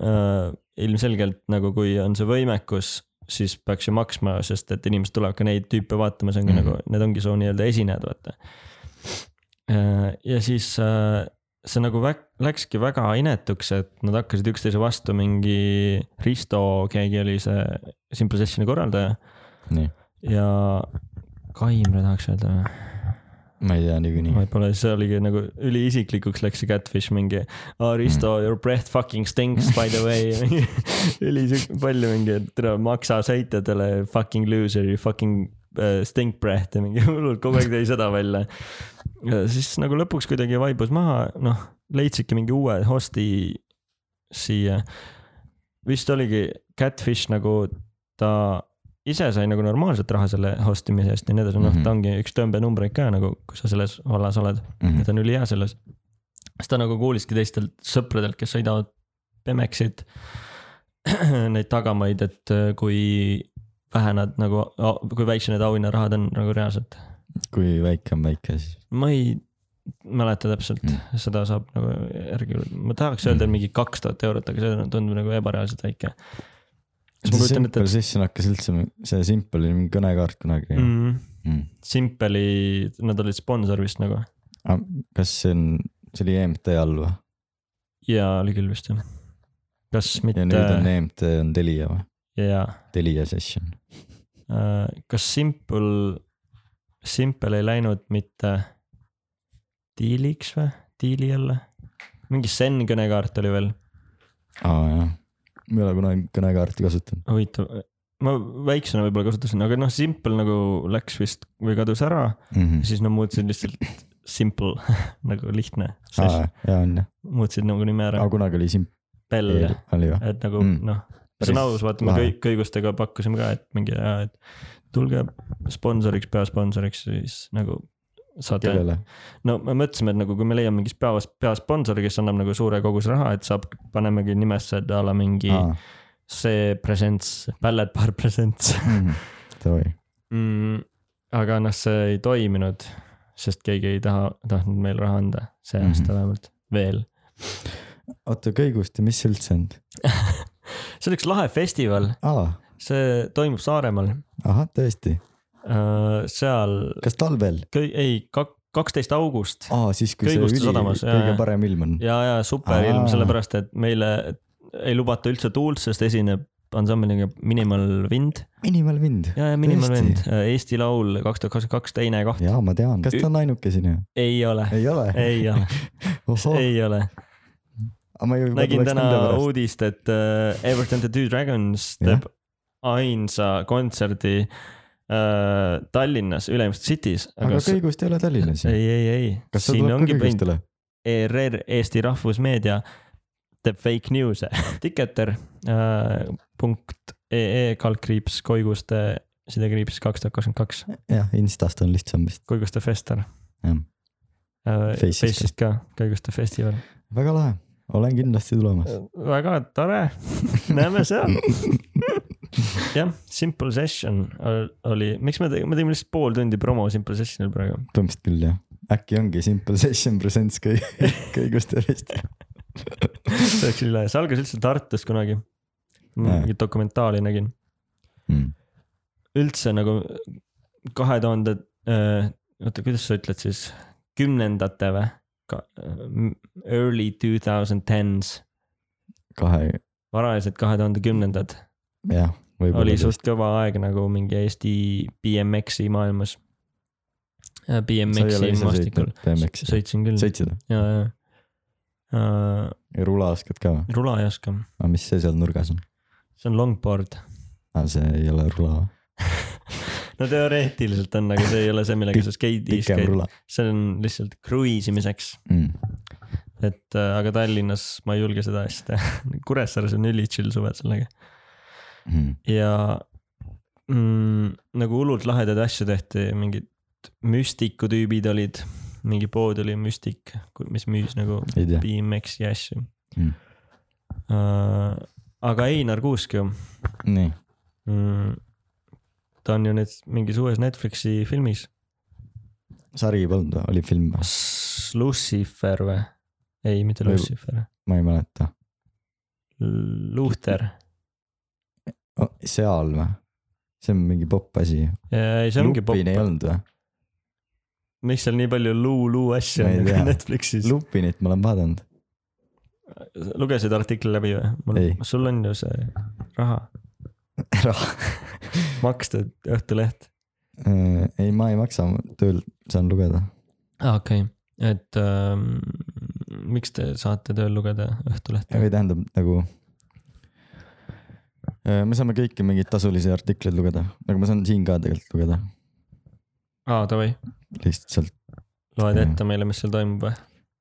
[SPEAKER 2] äh, ilmselgelt nagu kui on see võimekus , siis peaks ju maksma , sest et inimesed tulevad ka neid tüüpe vaatama , see ongi mm
[SPEAKER 1] Mhm.
[SPEAKER 2] -hmm. nagu , need ongi su nii-öelda esinejad , vaata äh, . ja siis äh, see nagu väk, läkski väga inetuks , et nad hakkasid üksteise vastu mingi Risto , keegi oli see Simple Sessioni korraldaja
[SPEAKER 1] nii ,
[SPEAKER 2] ja Kaimre tahaks öelda või ?
[SPEAKER 1] ma ei tea niikuinii .
[SPEAKER 2] võib-olla see oligi nagu üliisiklikuks läks see catfish mingi . Aristo mm. , your breath fucking stinks by the way . üli siuk- palju mingi , et tere maksa sõitjatele , fucking loser , you fucking äh, stink breath ja mingi hullult kogu aeg tõi seda välja . siis nagu lõpuks kuidagi vaibus maha , noh leidsidki mingi uue host'i siia . vist oligi catfish nagu ta ise sai nagu normaalset raha selle host imise eest ja nii edasi , noh ,
[SPEAKER 1] Mhm.
[SPEAKER 2] ta ongi üks tõmbenumbreid ka nagu , kui sa selles vallas oled
[SPEAKER 1] Mhm.
[SPEAKER 2] ja ta on ülihea selles . siis ta nagu kuuliski teistelt sõpradelt , kes sõidavad Pemexit , neid tagamaid , et äh, kui vähe nad nagu , kui väikse need auhinnarahad on nagu reaalselt .
[SPEAKER 1] kui väike on väike , siis
[SPEAKER 2] ma ei mäleta täpselt
[SPEAKER 1] Mm.
[SPEAKER 2] mm. , seda saab nagu järgi , ma tahaks öelda mingi kaks tuhat eurot , aga see tundub nagu ebareaalselt väike . siis ma
[SPEAKER 1] see
[SPEAKER 2] kujutan ette ,
[SPEAKER 1] Simple Session hakkas üldse , see Simple oli mingi kõnekaart kunagi
[SPEAKER 2] et
[SPEAKER 1] mm. .
[SPEAKER 2] mm,
[SPEAKER 1] Mm.
[SPEAKER 2] Simpeli , nad olid sponsor vist nagu
[SPEAKER 1] Ah, kas see on , see oli EMT all või ?
[SPEAKER 2] ja oli küll vist jah . kas
[SPEAKER 1] ja nüüd on
[SPEAKER 2] mitte ,
[SPEAKER 1] EMT on Telia või ?
[SPEAKER 2] jaa
[SPEAKER 1] Telia Session .
[SPEAKER 2] Äh, kas Simple , Simple ei läinud mitte diiliks või , diili alla ? mingi Zen kõnekaart oli veel ,
[SPEAKER 1] aa jah , ma ei ole kunagi kõnekaarti kasutanud .
[SPEAKER 2] huvitav , ma väiksena võib-olla kasutasin , aga noh , Simple nagu läks vist või kadus ära , siis nad muutsid lihtsalt Simple nagu lihtne ,
[SPEAKER 1] aa jaa on jah ,
[SPEAKER 2] muutsid nagu nime ära
[SPEAKER 1] aga , kunagi oli Simple
[SPEAKER 2] Bell ,
[SPEAKER 1] oli või ?
[SPEAKER 2] et nagu
[SPEAKER 1] Mm.
[SPEAKER 2] noh , see on
[SPEAKER 1] Päris
[SPEAKER 2] aus , vaata me
[SPEAKER 1] lahe.
[SPEAKER 2] kõik kõigustega pakkusime ka , et mingi , et tulge sponsoriks , peasponsoriks , siis nagu saate
[SPEAKER 1] kellele ?
[SPEAKER 2] no me mõtlesime , et nagu kui me leiame mingist päevast peasponsori , kes annab nagu suure koguse raha , et saab , panemegi nimesse et a la mingi ah.
[SPEAKER 1] aa ,
[SPEAKER 2] see presents , Ballet Bar Presents
[SPEAKER 1] davai .
[SPEAKER 2] mm, . aga noh , see ei toiminud , sest keegi ei taha , tahtnud meile raha anda , see
[SPEAKER 1] Mhm.
[SPEAKER 2] aasta mm -hmm. vähemalt , veel .
[SPEAKER 1] oota , kõiguste , mis see üldse on ?
[SPEAKER 2] see on üks lahe festival ,
[SPEAKER 1] aa ,
[SPEAKER 2] see toimub Saaremaal ,
[SPEAKER 1] ahah , tõesti ,
[SPEAKER 2] seal
[SPEAKER 1] kas talvel ?
[SPEAKER 2] kõi- , ei , kaksteist august
[SPEAKER 1] aa , siis kui see
[SPEAKER 2] Kõiguste
[SPEAKER 1] üli ,
[SPEAKER 2] sadamas, jaa,
[SPEAKER 1] kõige
[SPEAKER 2] jaa.
[SPEAKER 1] parem ilm on .
[SPEAKER 2] ja , ja super ilm
[SPEAKER 1] Aa. ,
[SPEAKER 2] sellepärast et meile ei lubata üldse tuult , sest esineb ansambeliga Minimal Wind
[SPEAKER 1] Minimal Wind .
[SPEAKER 2] ja , ja Minimal
[SPEAKER 1] Tõesti?
[SPEAKER 2] Wind , Eesti Laul kaks tuhat kakskümmend kaks , teine koht ,
[SPEAKER 1] jaa , ma tean , kas ta on ainukesine ?
[SPEAKER 2] ei ole ,
[SPEAKER 1] ei ole ?
[SPEAKER 2] ei ole ,
[SPEAKER 1] ohoh ,
[SPEAKER 2] ei ole .
[SPEAKER 1] aga ma ju .
[SPEAKER 2] nägin täna uudist , et uh, Everton the Two Dragons
[SPEAKER 1] Jah.
[SPEAKER 2] teeb ainsa kontserdi uh, Tallinnas , Ülemiste City's .
[SPEAKER 1] aga kõigust ei ole Tallinnas ju .
[SPEAKER 2] ei , ei , ei ,
[SPEAKER 1] kas see
[SPEAKER 2] siin
[SPEAKER 1] tuleb ka
[SPEAKER 2] ongi point ,
[SPEAKER 1] kõigustele ?
[SPEAKER 2] ERR , Eesti Rahvusmeedia teeb fake news'e , Ticketer uh, punkt ee kaldkriips koiguste sidekriips kaks tuhat kakskümmend kaks .
[SPEAKER 1] jah , Instast on lihtsam vist .
[SPEAKER 2] Koiguste Fester Äh,
[SPEAKER 1] Jah. .
[SPEAKER 2] Face'ist
[SPEAKER 1] Face'ist
[SPEAKER 2] ka , Koiguste festival .
[SPEAKER 1] väga lahe , olen kindlasti tulemas .
[SPEAKER 2] väga tore , näeme seal . jah , Simple Session ol- oli , miks me tegime , me tegime lihtsalt pool tundi promo Simple Sessionil praegu .
[SPEAKER 1] põhimõtteliselt küll jah , äkki ongi Simple Session Presents kõik , kõigust tervist .
[SPEAKER 2] see oleks üle , see algas üldse Tartust kunagi . mingit dokumentaali nägin ,
[SPEAKER 1] Hmm.
[SPEAKER 2] üldse nagu kahe tuhande , oota , kuidas sa ütled siis , kümnendate või ? Early two thousand tens ,
[SPEAKER 1] kahe ,
[SPEAKER 2] varajased kahe tuhande kümnendad
[SPEAKER 1] jah ,
[SPEAKER 2] oli
[SPEAKER 1] võib-olla .
[SPEAKER 2] suht kõva aeg nagu mingi Eesti BMX-i maailmas . Äh, BMX-i maastikul ,
[SPEAKER 1] BMX-i ,
[SPEAKER 2] sõitsin küll ,
[SPEAKER 1] sõitsid või ?
[SPEAKER 2] ja , ja .
[SPEAKER 1] ja rula oskad ka või ?
[SPEAKER 2] rula ei oska ,
[SPEAKER 1] aga mis see seal nurgas on ?
[SPEAKER 2] see on longboard .
[SPEAKER 1] aa , see ei ole rula või ?
[SPEAKER 2] no teoreetiliselt on , aga see ei ole see , millega sa skeidi ,
[SPEAKER 1] pikem rula
[SPEAKER 2] see on lihtsalt kruiisimiseks ,
[SPEAKER 1] mm. .
[SPEAKER 2] et äh, aga Tallinnas ma ei julge seda asja teha . Kuressaares on üli chill suvel sellega
[SPEAKER 1] Mm.
[SPEAKER 2] ja mm, nagu hullult lahedaid asju tehti , mingid müstiku tüübid olid , mingi pood oli müstik , mis müüs nagu
[SPEAKER 1] ei tea ,
[SPEAKER 2] BMX-i asju
[SPEAKER 1] Mm.
[SPEAKER 2] uh, . aga Einar Kuusk ju
[SPEAKER 1] nii ,
[SPEAKER 2] mm, , ta on ju nüüd mingis uues Netflixi filmis ,
[SPEAKER 1] sari polnud või , oli film või ?
[SPEAKER 2] Lucifer või ? ei , mitte
[SPEAKER 1] Või-
[SPEAKER 2] Lucifer ,
[SPEAKER 1] ma ei mäleta .
[SPEAKER 2] Luhter .
[SPEAKER 1] Oh, seal või ? see on mingi popp asi .
[SPEAKER 2] ei , see ongi
[SPEAKER 1] Lupin ei
[SPEAKER 2] popp ,
[SPEAKER 1] olnud või ?
[SPEAKER 2] miks seal nii palju luu-luu asju
[SPEAKER 1] Ma ei
[SPEAKER 2] on
[SPEAKER 1] tea.
[SPEAKER 2] nagu Netflixis ?
[SPEAKER 1] Lupinit ma olen vaadanud .
[SPEAKER 2] lugesid artikli läbi või ? mul
[SPEAKER 1] Ei. ,
[SPEAKER 2] sul on ju see raha makstud Õhtuleht .
[SPEAKER 1] Äh, ei , ma ei maksa , tööl saan lugeda .
[SPEAKER 2] aa , okei okay. , et ähm, miks te saate tööl lugeda Õhtulehte ?
[SPEAKER 1] või tähendab nagu . me saame kõiki mingeid tasulisi artikleid lugeda , aga ma saan siin ka tegelikult lugeda ,
[SPEAKER 2] aa , davai ,
[SPEAKER 1] lihtsalt sealt
[SPEAKER 2] loed
[SPEAKER 1] Jah.
[SPEAKER 2] ette meile , mis seal toimub või ?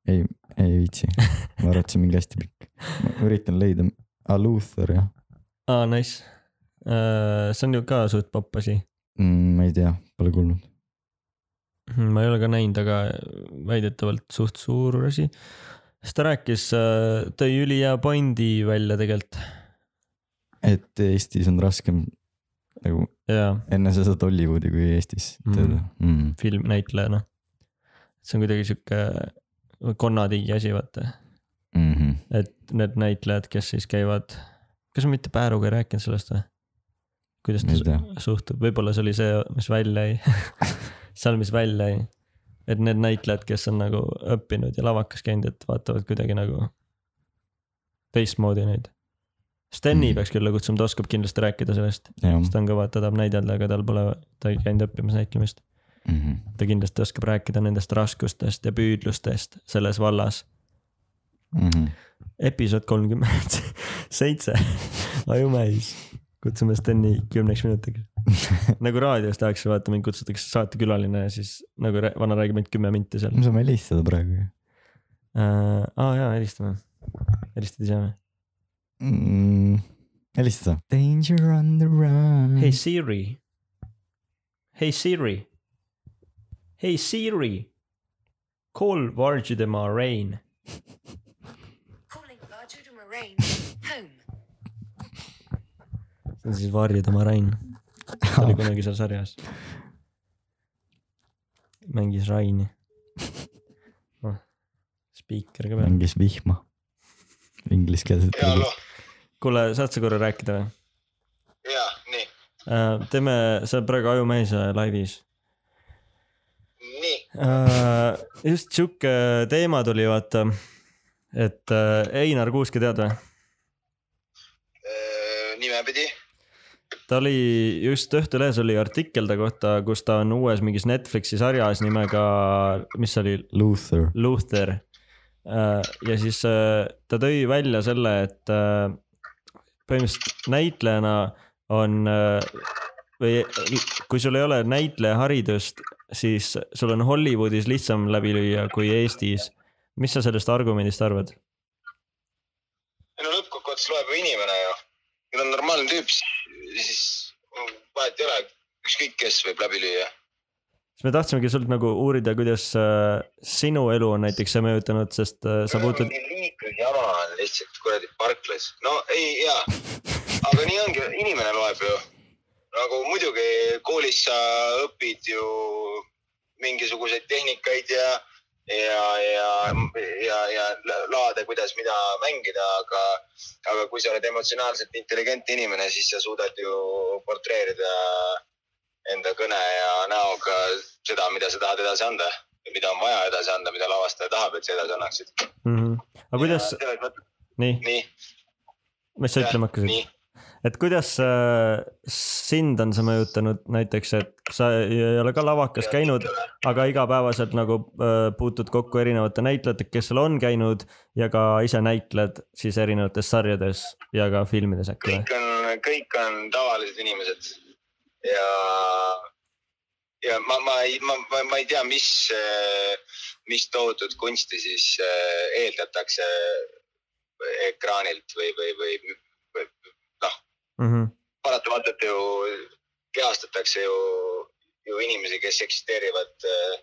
[SPEAKER 1] ei viitsi . ma arvan , et see on mingi hästi pikk . ma üritan leida , aa Luther jah
[SPEAKER 2] aa , nice . see on ju ka suht popp asi .
[SPEAKER 1] mm, , ma ei tea , pole kuulnud .
[SPEAKER 2] Mhm, ma ei ole ka näinud , aga väidetavalt suht suur asi . siis ta rääkis , tõi ülihea pointi välja tegelikult
[SPEAKER 1] et Eestis on raskem nagu
[SPEAKER 2] jaa
[SPEAKER 1] enne sa saad Hollywoodi kui Eestis
[SPEAKER 2] Mm.
[SPEAKER 1] tööle mm. .
[SPEAKER 2] filmnäitlejana . noh. see on kuidagi sihuke konnatiigi asi , vaata ,
[SPEAKER 1] Mm -hmm.
[SPEAKER 2] et need näitlejad , kes siis käivad , kas ma mitte Pääruga ei rääkinud sellest või ? kuidas ta
[SPEAKER 1] Ei tea.
[SPEAKER 2] su- suhtub , võib-olla see oli see , mis välja jäi , seal , mis välja jäi . et need näitlejad , kes on nagu õppinud ja lavakas käinud , et vaatavad kuidagi nagu teistmoodi neid . Steni
[SPEAKER 1] Mhm.
[SPEAKER 2] peaks külla kutsuma , ta oskab kindlasti rääkida sellest ,
[SPEAKER 1] jah
[SPEAKER 2] sest ta on kõva , ta tahab näidelda , aga tal pole , ta ei käinud õppimas näitlemist .
[SPEAKER 1] mm -hmm. ,
[SPEAKER 2] ta kindlasti oskab rääkida nendest raskustest ja püüdlustest selles vallas .
[SPEAKER 1] mm -hmm.
[SPEAKER 2] episood kolmkümmend seitse , Ajumäis . kutsume Steni kümneks minutiks . nagu raadios tehakse , vaata mind kutsutakse saatekülaline ja siis nagu rää- vana räägib ainult kümme minti seal Äh,
[SPEAKER 1] me . saame helistada praegu ju
[SPEAKER 2] aa jaa , helistame . helistada ei saa või ?
[SPEAKER 1] mm. . helista . Danger on the run
[SPEAKER 2] Hey . Siri . Hey Siri . Hey Siri . Call Varjudemaa Rain .
[SPEAKER 4] Calling Barjuda Moraine home.
[SPEAKER 2] see on siis Varjudemaa Rain ta oli kunagi seal sarjas . mängis Raini . noh , spiiker ka peal .
[SPEAKER 1] mängis vihma . Ingliskeelset .
[SPEAKER 3] ja hallo ,
[SPEAKER 2] kuule , saad sa korra rääkida või
[SPEAKER 3] ja nii ,
[SPEAKER 2] äh, ? teeme , sa oled praegu Ajumehes äh, laivis
[SPEAKER 3] nii ,
[SPEAKER 2] äh, . just sihuke teema tuli , vaata . et äh, Einar Kuuske tead või ?
[SPEAKER 3] nimepidi ,
[SPEAKER 2] ta oli just Õhtulehes oli artikkel ta kohta , kus ta on uues mingis Netflixi sarjas nimega , mis see oli ,
[SPEAKER 1] Luther .
[SPEAKER 2] Luther . ja siis äh, ta tõi välja selle , et äh, põhimõtteliselt näitlejana on äh, või kui sul ei ole näitlejaharidust , siis sul on Hollywoodis lihtsam läbi lüüa kui Eestis . mis sa sellest argumendist arvad ?
[SPEAKER 3] ei no lõppkokkuvõttes loeb ju inimene ju , kui ta on normaalne tüüp , siis vahet ei ole , ükskõik kes võib läbi lüüa .
[SPEAKER 2] siis me tahtsimegi sult nagu uurida , kuidas äh, sinu elu on näiteks see mõjutanud , sest äh, sa puutud ,
[SPEAKER 5] liiklusi jama on lihtsalt kuradi parklas , no ei jaa , aga nii ongi , inimene loeb ju . nagu muidugi koolis sa õpid ju mingisuguseid tehnikaid ja , ja , ja , ja , ja la- laade , kuidas mida mängida , aga , aga kui sa oled emotsionaalselt intelligentne inimene , siis sa suudad ju portreerida enda kõne ja näoga seda , mida sa tahad edasi anda ja mida on vaja edasi anda , mida lavastaja tahab , et sa edasi annaksid .
[SPEAKER 2] mm -hmm. aga kuidas , nii ,
[SPEAKER 5] nii ,
[SPEAKER 2] mis sa ütlema hakkasid ?
[SPEAKER 5] nii ,
[SPEAKER 2] et kuidas äh, sind on see mõjutanud näiteks , et sa ei ei ole ka lavakas käinud , aga igapäevaselt nagu äh, puutud kokku erinevate näitlejatega , kes sul on käinud ja ka ise näitled siis erinevates sarjades ja ka filmides äkki või ?
[SPEAKER 5] kõik on , kõik on tavalised inimesed ja , ja ma , ma ei , ma, ma , ma ei tea , mis , mis tohutut kunsti siis eh, eeldatakse eh, ekraanilt või , või , või , või noh, paratamatult ju kehastatakse ju , ju inimesi , kes eksisteerivad eh,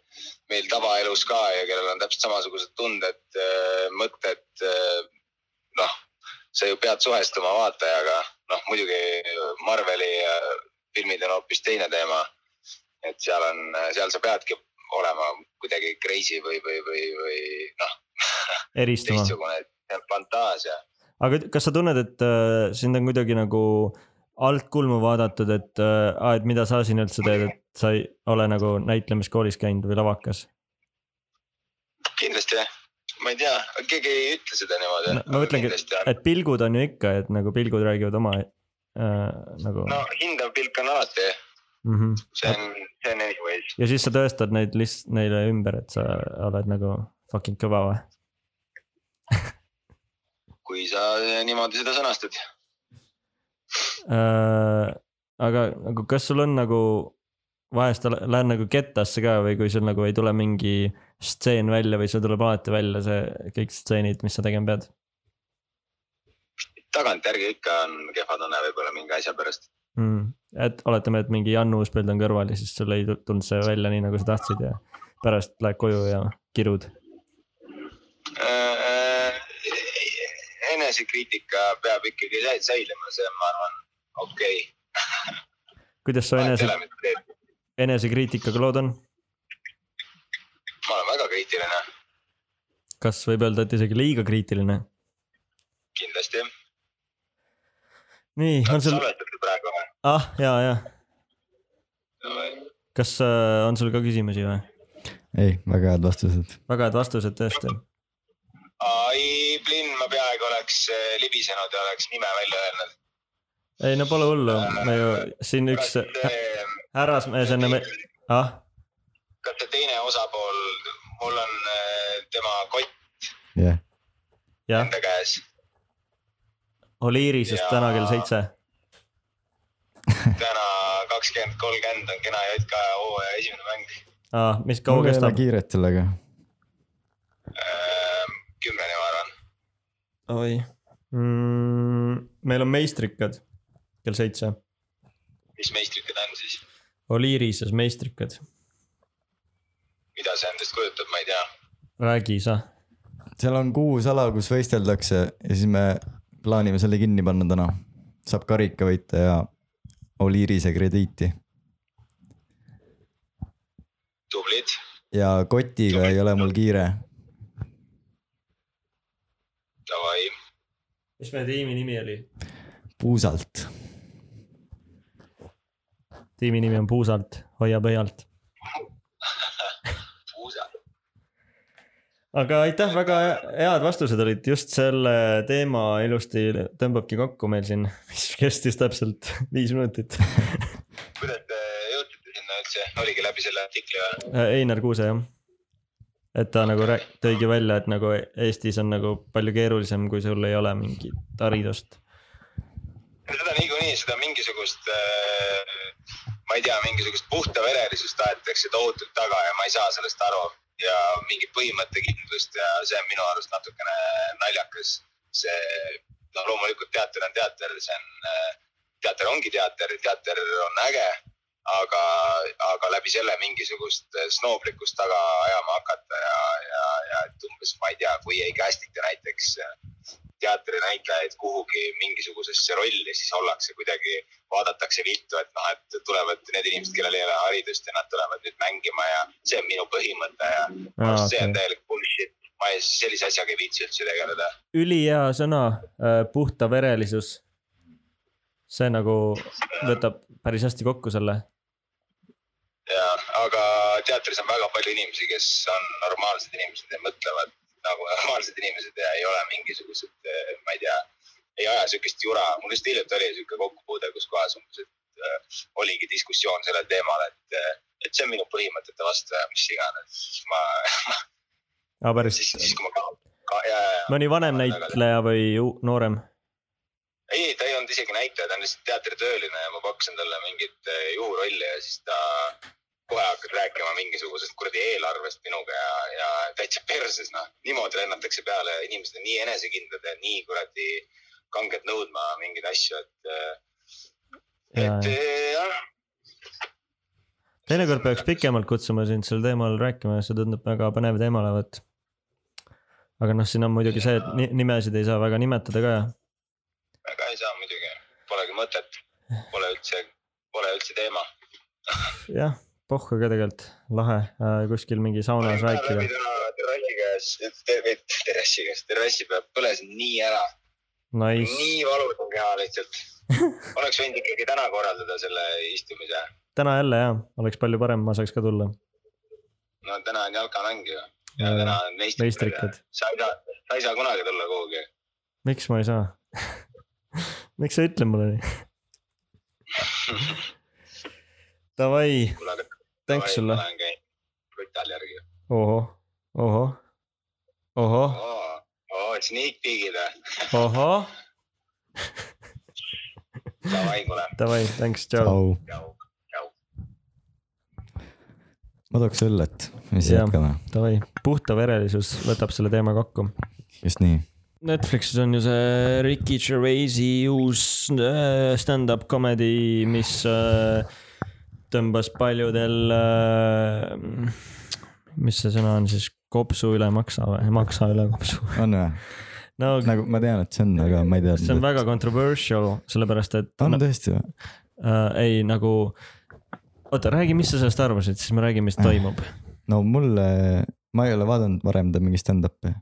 [SPEAKER 5] meil tavaelus ka ja kellel on täpselt samasugused tunded , mõtted . noh , sa ju pead suhestuma vaatajaga , noh muidugi Marveli eh, filmid on hoopis teine teema . et seal on , seal sa peadki olema kuidagi crazy või , või , või , või noh ,
[SPEAKER 2] eristuma .
[SPEAKER 5] teistsugune fantaasia .
[SPEAKER 2] aga kas sa tunned , et äh, sind on kuidagi nagu altkulmu vaadatud , et äh, , et mida sa siin üldse teed , et sa ei ole nagu näitlemiskoolis käinud või lavakas ?
[SPEAKER 5] kindlasti jah , ma ei tea , keegi ei ütle seda niimoodi
[SPEAKER 2] No, . ma mõtlengi,
[SPEAKER 5] et .
[SPEAKER 2] et pilgud on ju ikka , et nagu pilgud räägivad oma äh, nagu
[SPEAKER 5] no hindav pilk on alati ,
[SPEAKER 2] mm . -hmm.
[SPEAKER 5] see on , see on anyways .
[SPEAKER 2] ja siis sa tõestad neid list- , neile ümber , et sa oled nagu fucking kõva või ?
[SPEAKER 5] kui sa niimoodi seda sõnastad .
[SPEAKER 2] Äh, aga nagu , kas sul on nagu , vahest ole- lähen nagu kettasse ka või kui sul nagu ei tule mingi stseen välja või sul tuleb alati välja see kõik stseenid , mis sa tegema pead
[SPEAKER 5] tagantjärgi ikka on kehva tunne võib-olla mingi asja pärast .
[SPEAKER 2] mm. ? et oletame , et mingi Jan Uuspild on kõrval ja siis sul ei tul- tulnud see välja nii , nagu sa tahtsid ja pärast lähed koju ja kirud .
[SPEAKER 5] Äh, enesekriitika peab ikkagi sä- säilima , see on , ma arvan , okei
[SPEAKER 2] kuidas su enese ,
[SPEAKER 5] okay. .
[SPEAKER 2] enesekriitikaga lood on ?
[SPEAKER 5] ma olen väga kriitiline ,
[SPEAKER 2] kas võib öelda , et isegi liiga kriitiline ?
[SPEAKER 5] kindlasti .
[SPEAKER 2] nii , on sul ,
[SPEAKER 5] salvestati praegu või ?
[SPEAKER 2] ah ja , ja , kas äh, on sul ka küsimusi või ?
[SPEAKER 1] ei , väga head vastused .
[SPEAKER 2] väga head vastused tõesti .
[SPEAKER 5] ai , Blinn , ma peaaegu oleks eh, libisenud ja oleks nime välja öelnud .
[SPEAKER 2] ei no pole hullu , me ju siin üks hä- härrasmees enne me- , ah ,
[SPEAKER 5] kas see teine osapool , mul on äh, tema kott
[SPEAKER 1] jah ,
[SPEAKER 2] jah ,
[SPEAKER 5] enda käes ,
[SPEAKER 2] Oliirisest
[SPEAKER 5] Jaa.
[SPEAKER 2] täna kell seitse .
[SPEAKER 5] täna kakskümmend kolmkümmend on kena JK hooaja esimene mäng
[SPEAKER 2] Ah, mis kaua
[SPEAKER 1] mul ei ole
[SPEAKER 2] kestab ?
[SPEAKER 1] kiiret sellega .
[SPEAKER 5] äh, , kümneni ma arvan .
[SPEAKER 2] oi mm, . meil on meistrikad kell seitse ,
[SPEAKER 5] mis meistrikud on siis ,
[SPEAKER 2] Oliirises meistrikad ,
[SPEAKER 5] mida see endast kujutab , ma ei tea .
[SPEAKER 2] räägi sa .
[SPEAKER 1] seal on kuus ala , kus võisteldakse ja siis me plaanime selle kinni panna täna . saab karika võita ja Oliirise krediiti
[SPEAKER 5] tublid ,
[SPEAKER 1] ja kotiga ei ole mul kiire .
[SPEAKER 5] davai ,
[SPEAKER 2] mis meie tiimi nimi oli ?
[SPEAKER 1] puusalt ,
[SPEAKER 2] tiimi nimi on Puusalt , hoia pöialt .
[SPEAKER 5] puusa .
[SPEAKER 2] aga aitäh , väga head vastused olid , just selle teema ilusti tõmbabki kokku meil siin , mis kestis täpselt viis minutit .
[SPEAKER 5] kuidas te jõudsite sinna üldse , oligi läbi selle artikli või ?
[SPEAKER 2] Einar Kuuse jah . et ta nagu rääk- tõigi välja , et nagu Eestis on nagu palju keerulisem , kui sul ei ole mingit haridust .
[SPEAKER 5] seda niikuinii , seda mingisugust , ma ei tea , mingisugust puhta verelisust aetakse tohutult taga ja ma ei saa sellest aru ja mingi põhimõttekindlust ja see on minu arust natukene naljakas . see , no loomulikult teater on äh, teater , see on , teater ongi teater , teater on äge , aga , aga läbi läbi selle mingisugust äh, snooblikkust taga ajama hakata ja , ja , ja et umbes ma ei tea , kui ei cast ita näiteks äh, teatrinäitlejaid kuhugi mingisugusesse rolli , siis ollakse kuidagi , vaadatakse viltu , et noh , et tulevad need inimesed , kellel ei ole haridust ja nad tulevad nüüd mängima ja see on minu põhimõte ja minu arust see on täielik bullshit . ma ei , sellise asjaga ei viitsi üldse tegeleda .
[SPEAKER 2] ülihea sõna , puhtaverelisus . see nagu võtab päris hästi kokku selle .
[SPEAKER 5] ja , aga teatris on väga palju inimesi , kes on normaalsed inimesed ja mõtlevad nagu normaalsed inimesed ja ei ole mingisugused , ma ei tea , ei aja sihukest jura . mul just hiljuti oli sihuke kokkupuude , kus kohas umbes , et äh, oligi diskussioon sellel teemal , et , et see on minu põhimõtete vastu ja mis iganes . ma
[SPEAKER 2] aa , päris .
[SPEAKER 5] siis , siis kui ma ka, ka , ja , ja , ja .
[SPEAKER 2] mõni vanem näitleja või ju- noorem ?
[SPEAKER 5] ei , ta ei olnud isegi näitleja , ta on lihtsalt teatritööline ja ma pakkusin talle mingit eh, juhurolli ja siis ta kohe hakkas rääkima mingisugusest kuradi eelarvest minuga ja , ja täitsa perses , noh . niimoodi lennatakse peale , inimesed on nii enesekindlad ja nii kuradi kanged nõudma mingeid asju , et , et
[SPEAKER 2] teinekord
[SPEAKER 5] eh, jah .
[SPEAKER 2] peaks . pikemalt kutsuma sind sel teemal rääkima , see tundub väga põnev teema olevat . aga noh , siin on muidugi see , et ni- nimesid ei saa väga nimetada ka .
[SPEAKER 5] väga ei saa muidugi , polegi mõtet , pole üldse , pole üldse teema .
[SPEAKER 2] jah , pohhu ka tegelikult , lahe , kuskil mingi saunas rääkida .
[SPEAKER 5] terrassi käes , terrassi käes , terrassi peal põlesin nii ära
[SPEAKER 2] Nice ,
[SPEAKER 5] nii valus on keha lihtsalt . oleks võinud ikkagi täna korraldada selle istumise .
[SPEAKER 2] täna jälle jah , oleks palju parem , ma saaks ka tulla .
[SPEAKER 5] no täna on jalkamäng ju . ja
[SPEAKER 2] Äh,
[SPEAKER 5] täna on meistrikud
[SPEAKER 2] meistrikud .,
[SPEAKER 5] sa ei saa , sa ei saa kunagi tulla kuhugi .
[SPEAKER 2] miks ma ei saa ? miks sa ütled mulle nii ? Davai ,
[SPEAKER 5] kuule , aga .
[SPEAKER 2] thanks sulle .
[SPEAKER 5] rutal järgi .
[SPEAKER 2] ohoh , ohoh , ohoh ,
[SPEAKER 5] oo , oo , sneak peek'id või ?
[SPEAKER 2] ohoh ,
[SPEAKER 5] Davai , kuule .
[SPEAKER 2] davai , thanks , tšau .
[SPEAKER 1] au .
[SPEAKER 5] tšau .
[SPEAKER 1] ma tahaks õllet , mis
[SPEAKER 2] Jah.
[SPEAKER 1] jätkame ,
[SPEAKER 2] Davai , puhtaverelisus võtab selle teema kokku .
[SPEAKER 1] just nii .
[SPEAKER 2] Netflixis on ju see Ricky Gervaisi uus äh, stand-up comedy , mis äh, tõmbas paljudel , mis see sõna on siis , kopsu üle maksa või , maksa üle kopsu .
[SPEAKER 1] on või ?
[SPEAKER 2] no
[SPEAKER 1] nagu ma tean , et see on , aga ma ei tea .
[SPEAKER 2] see on väga controversial , sellepärast et
[SPEAKER 1] on
[SPEAKER 2] no,
[SPEAKER 1] tõesti või ?
[SPEAKER 2] äh, ei nagu , oota , räägi , mis sa sellest arvasid , siis ma räägin , mis
[SPEAKER 1] Äh.
[SPEAKER 2] toimub .
[SPEAKER 1] no mulle , ma ei ole vaadanud varem ta mingi stand-up'i .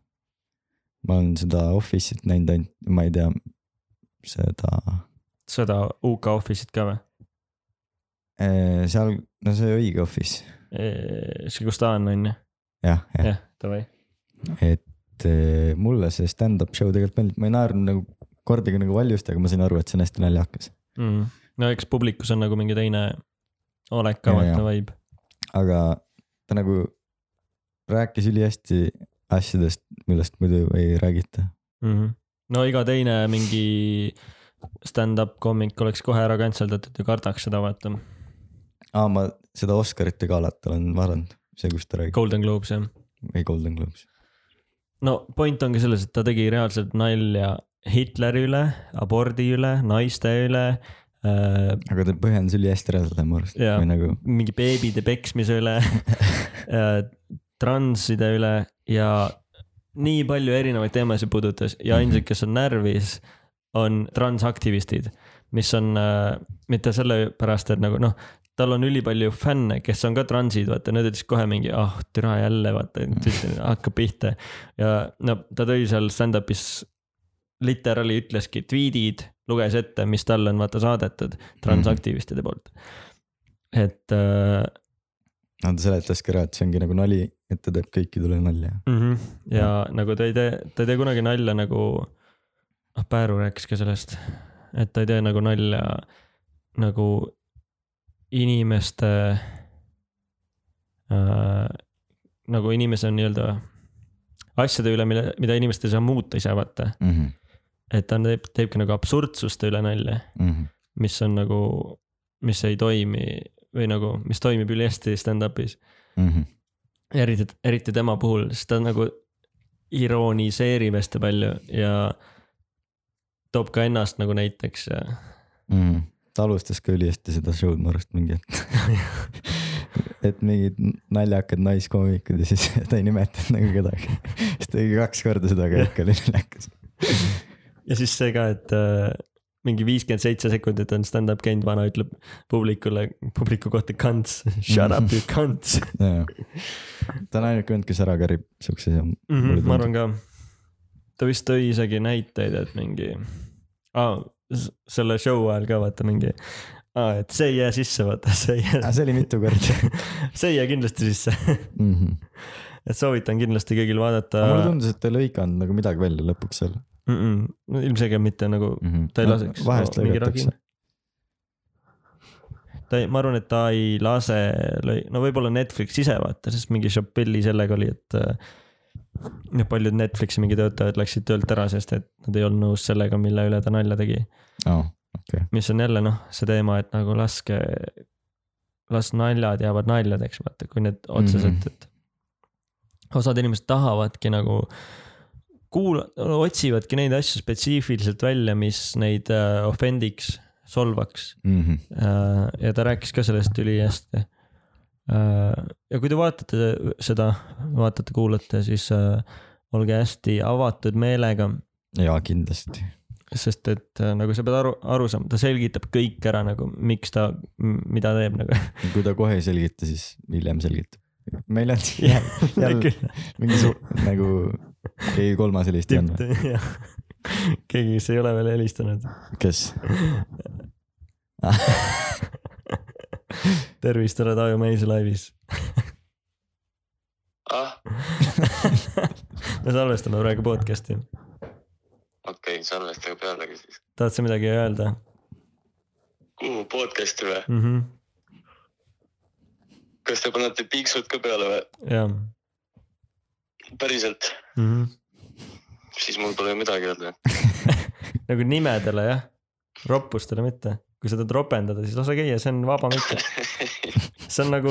[SPEAKER 1] ma olen seda Office'it näinud ainult , ma ei tea , seda ,
[SPEAKER 2] seda UK Office'it ka või ?
[SPEAKER 1] Eh, seal , no see õige Office ,
[SPEAKER 2] Äh, see , kus ta on , on ju ?
[SPEAKER 1] jah , jah .
[SPEAKER 2] jah , davai .
[SPEAKER 1] et eh, mulle see stand-up show tegelikult meeldib , ma ei naernud nagu kordagi nagu valjust , aga ma sain aru , et see on hästi naljakas .
[SPEAKER 2] mm. . no eks publikus on nagu mingi teine olek ka
[SPEAKER 1] Ja,
[SPEAKER 2] vaata
[SPEAKER 1] ja.
[SPEAKER 2] vibe .
[SPEAKER 1] aga ta nagu rääkis ülihästi asjadest , millest muidu ei räägita .
[SPEAKER 2] Mhm. no iga teine mingi stand-up komik oleks kohe ära cancel datud ja kardaks seda vaata .
[SPEAKER 1] aa , ma seda Oscarite galat olen vaadanud , see , kus ta räägib ,
[SPEAKER 2] Golden Globes jah .
[SPEAKER 1] või Golden Globes .
[SPEAKER 2] no point ongi selles , et ta tegi reaalselt nalja Hitleri üle , abordi üle , naiste üle äh, ,
[SPEAKER 1] aga ta põhjendas ülihästi ära seda mu arust ,
[SPEAKER 2] Jaa.
[SPEAKER 1] või nagu
[SPEAKER 2] mingi beebide peksmise üle äh, , transide üle ja nii palju erinevaid teemasid puudutas ja ainsad , kes on närvis , on transaktivistid , mis on äh, mitte sellepärast , et nagu noh , tal on ülipalju fänne , kes on ka transid , vaata , need ütlesid kohe mingi , ah oh, türa jälle , vaata , hakkab pihta . ja no ta tõi seal stand-up'is , literaali ütleski tweet'id , luges ette , mis talle on vaata saadetud transaktivistide poolt . et äh,
[SPEAKER 1] no noh, ta seletas ka ära , et see ongi nagu nali , et ta teeb kõikidele nalja .
[SPEAKER 2] mm . -hmm. ja nagu ta ei tee , ta ei tee kunagi nalja nagu , noh Pääru rääkis ka sellest , et ta ei tee nagu nalja nagu inimeste äh, , nagu inimese nii-öelda asjade üle , mille , mida inimesed ei saa muuta ise vaata ,
[SPEAKER 1] Mm -hmm.
[SPEAKER 2] et ta teeb , teebki nagu absurdsuste üle nalja ,
[SPEAKER 1] mm -hmm.
[SPEAKER 2] mis on nagu , mis ei toimi või nagu , mis toimib ülihästi stand-up'is .
[SPEAKER 1] mm -hmm.
[SPEAKER 2] Ja eriti , eriti tema puhul , sest ta nagu ironiseerib hästi palju ja toob ka ennast nagu näiteks ja
[SPEAKER 1] mm. . ta alustas ka ülihästi seda show'd mu arust mingi hetk . et mingid naljakad naiskoomikud ja siis ta ei nimetanud nagu kedagi . siis tegi kaks korda seda , aga ikka oli naljakas .
[SPEAKER 2] ja siis see ka , et äh, mingi viiskümmend seitse sekundit on stand-up käinud , vana ütleb publikule , publiku kohta kants , shut up you kants
[SPEAKER 1] ta on ainuke vend , kes ära kärib siukse asja .
[SPEAKER 2] mm . -hmm, ma arvan . ka . ta vist tõi isegi näiteid , et mingi ah, , selle show ajal ka vaata mingi ah, , et see ei jää sisse , vaata see ei jää ,
[SPEAKER 1] see oli mitu korda
[SPEAKER 2] see ei jää kindlasti sisse .
[SPEAKER 1] mm . -hmm.
[SPEAKER 2] et soovitan kindlasti kõigil vaadata
[SPEAKER 1] mulle tundus , et ta ei lõiganud nagu midagi välja lõpuks seal
[SPEAKER 2] mm -mm, no ilmselgelt mitte nagu
[SPEAKER 1] mm . -hmm.
[SPEAKER 2] Ta ei laseks.
[SPEAKER 1] vahest
[SPEAKER 2] No, mingi
[SPEAKER 1] lõigatakse .
[SPEAKER 2] ta ei , ma arvan , et ta ei lase , no võib-olla Netflix ise vaata , sest mingi Chappelli sellega oli , et äh, noh , paljud Netflixi mingi töötajad läksid töölt ära , sest et nad ei olnud nõus sellega , mille üle ta nalja tegi .
[SPEAKER 1] aa , okei .
[SPEAKER 2] mis on jälle noh , see teema , et nagu laske , las naljad jäävad naljadeks , vaata , kui need otseselt mm , -hmm. et osad inimesed tahavadki nagu kuula- , otsivadki neid asju spetsiifiliselt välja , mis neid äh, offendiks , solvaks
[SPEAKER 1] mhm.
[SPEAKER 2] Äh, ja ta rääkis ka sellest ülihästi . ja kui te vaatate seda , vaatate , kuulate , siis äh, olge hästi avatud meelega ,
[SPEAKER 1] jaa , kindlasti .
[SPEAKER 2] sest et äh, nagu sa pead aru , aru saama , ta selgitab kõik ära nagu , miks ta , mida teeb nagu .
[SPEAKER 1] kui ta kohe ei selgita , siis hiljem selgitab . meil on siin jälle mingi su- , nagu keegi kolmas helistaja on või ?
[SPEAKER 2] keegi , kes ei ole veel helistanud ,
[SPEAKER 1] kes ?
[SPEAKER 2] tervist , oled Aju Meis laivis .
[SPEAKER 3] ah ,
[SPEAKER 2] me salvestame praegu podcast'i ,
[SPEAKER 3] okei okay, , salvestage pealegi siis .
[SPEAKER 2] tahad sa midagi öelda
[SPEAKER 3] kuhu podcast'i või ?
[SPEAKER 2] mm ?
[SPEAKER 1] Mhm.
[SPEAKER 2] -hmm.
[SPEAKER 3] kas te panete piiksud ka peale või ?
[SPEAKER 2] jah
[SPEAKER 3] päriselt ,
[SPEAKER 2] mm -hmm. .
[SPEAKER 3] siis mul pole midagi öelda .
[SPEAKER 2] nagu nimedele jah , roppustele mitte . kui sa tahad ropendada , siis lase käia , see on vaba mitte . see on nagu ,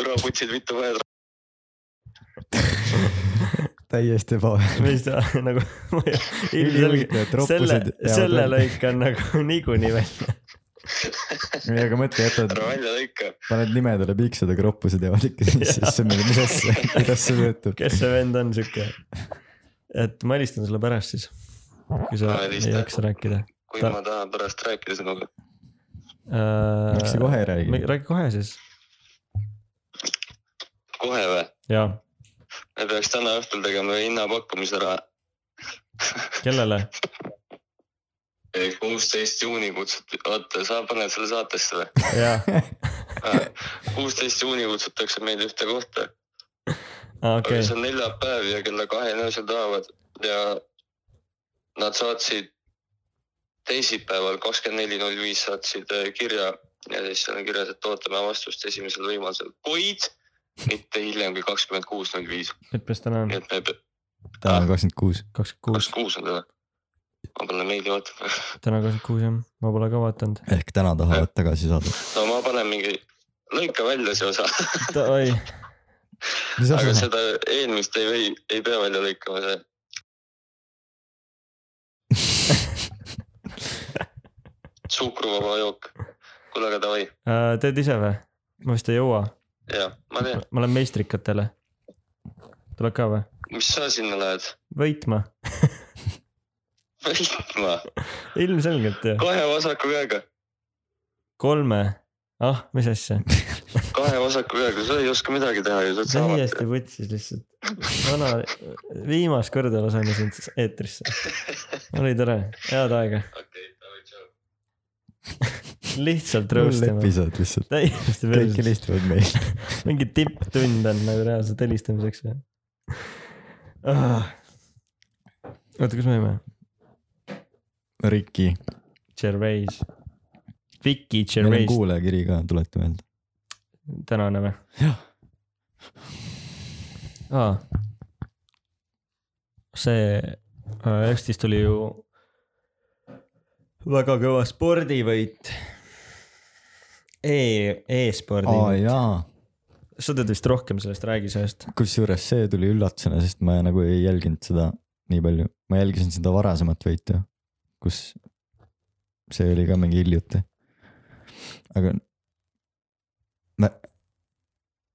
[SPEAKER 3] türa putsid vittu vaja .
[SPEAKER 1] täiesti ebaväärne .
[SPEAKER 2] mis ta nagu , ilmselge ,
[SPEAKER 1] ülihuvitav , et
[SPEAKER 2] selle
[SPEAKER 1] roppusid ,.
[SPEAKER 2] selle . lõik on nagu niikuinii välja .
[SPEAKER 1] ei , aga mõtle , jätad ,
[SPEAKER 3] ära välja lõika .
[SPEAKER 1] paned nimedele piiksud , aga roppused jäävad ikka sisse , siis see on meil , mis asja , kuidas see töötab ?
[SPEAKER 2] kes see vend on sihuke ? et ma helistan sulle pärast siis , kui sa
[SPEAKER 3] Ära
[SPEAKER 2] ei
[SPEAKER 3] helista.
[SPEAKER 2] jaksa rääkida .
[SPEAKER 3] kui
[SPEAKER 2] Ta-
[SPEAKER 3] ta... ma tahan pärast rääkida sinuga .
[SPEAKER 1] miks sa kohe ei räägi ?
[SPEAKER 2] Äh, räägi kohe siis .
[SPEAKER 3] kohe või ?
[SPEAKER 2] jaa ,
[SPEAKER 3] me peaks täna õhtul tegema hinnapakkumise ära .
[SPEAKER 2] kellele ?
[SPEAKER 3] kuusteist juuni kutsuti , oota , sa paned selle saatesse või ?
[SPEAKER 2] jaa ,
[SPEAKER 3] kuusteist juuni kutsutakse meid ühte kohta okay. , aga
[SPEAKER 2] okei ,
[SPEAKER 3] see on neljapäev ja kella kaheni öösel tahavad ja nad saatsid teisipäeval kakskümmend neli null viis saatsid eh, kirja ja siis seal on kirjas , et ootame vastust esimesel võimalusel , kuid mitte hiljem kui kakskümmend kuus null viis ,
[SPEAKER 2] mitmes täna on
[SPEAKER 3] nii ? et me pe- ,
[SPEAKER 1] täna on kakskümmend kuus .
[SPEAKER 2] kakskümmend kuus ,
[SPEAKER 3] kakskümmend kuus on täna . ma panen meili vaatama .
[SPEAKER 2] täna kakskümmend kuus jah , ma pole ka vaadanud .
[SPEAKER 1] ehk täna tahavad tagasi saada .
[SPEAKER 3] no ma panen mingi , lõika välja see osa ,
[SPEAKER 2] oi
[SPEAKER 1] mis
[SPEAKER 3] aga
[SPEAKER 1] asi ?
[SPEAKER 3] seda eelmist ei või , ei pea välja lõikama , see suhkruvaba jook . kuule , aga davai ,
[SPEAKER 2] Äh, teed ise või ? ma vist ei jõua ,
[SPEAKER 3] jah , ma tean ,
[SPEAKER 2] ma lähen meistrikatele . tuleb ka või ?
[SPEAKER 3] mis sa sinna lähed ?
[SPEAKER 2] võitma ,
[SPEAKER 3] võitma ,
[SPEAKER 2] ilmselgelt ju ,
[SPEAKER 3] kahe vasaku käega ,
[SPEAKER 2] kolme , ah , mis asja ,
[SPEAKER 3] kahe vasaku käega , sa ei oska midagi teha ju , sa oled saamatu .
[SPEAKER 2] täiesti vutsis lihtsalt . vana , viimast korda laseme sind eetrisse . oli tore , head aega ,
[SPEAKER 3] okei , davai , tšau .
[SPEAKER 2] lihtsalt
[SPEAKER 1] null
[SPEAKER 2] rõõmustame .
[SPEAKER 1] episood lihtsalt .
[SPEAKER 2] täiesti
[SPEAKER 1] kõik
[SPEAKER 2] päris ,
[SPEAKER 1] helistavad meile .
[SPEAKER 2] mingi tipptund on nagu reaalselt helistamiseks või ah. ? oota , kus me olime ?
[SPEAKER 1] Riki ,
[SPEAKER 2] Gervais , Vicky
[SPEAKER 1] meil on
[SPEAKER 2] Gervais
[SPEAKER 1] kuulajakiri ka , tuleta meelde .
[SPEAKER 2] tänane või ?
[SPEAKER 1] Jah. .
[SPEAKER 2] aa . see , Eestis tuli ju väga kõva spordivõit e . E-spordi
[SPEAKER 1] aa . jaa ,
[SPEAKER 2] sa tead vist rohkem sellest , räägi sellest .
[SPEAKER 1] kusjuures see tuli üllatusena , sest ma nagu ei jälginud seda nii palju , ma jälgisin seda varasemat võitu , kus see oli ka mingi hiljuti . aga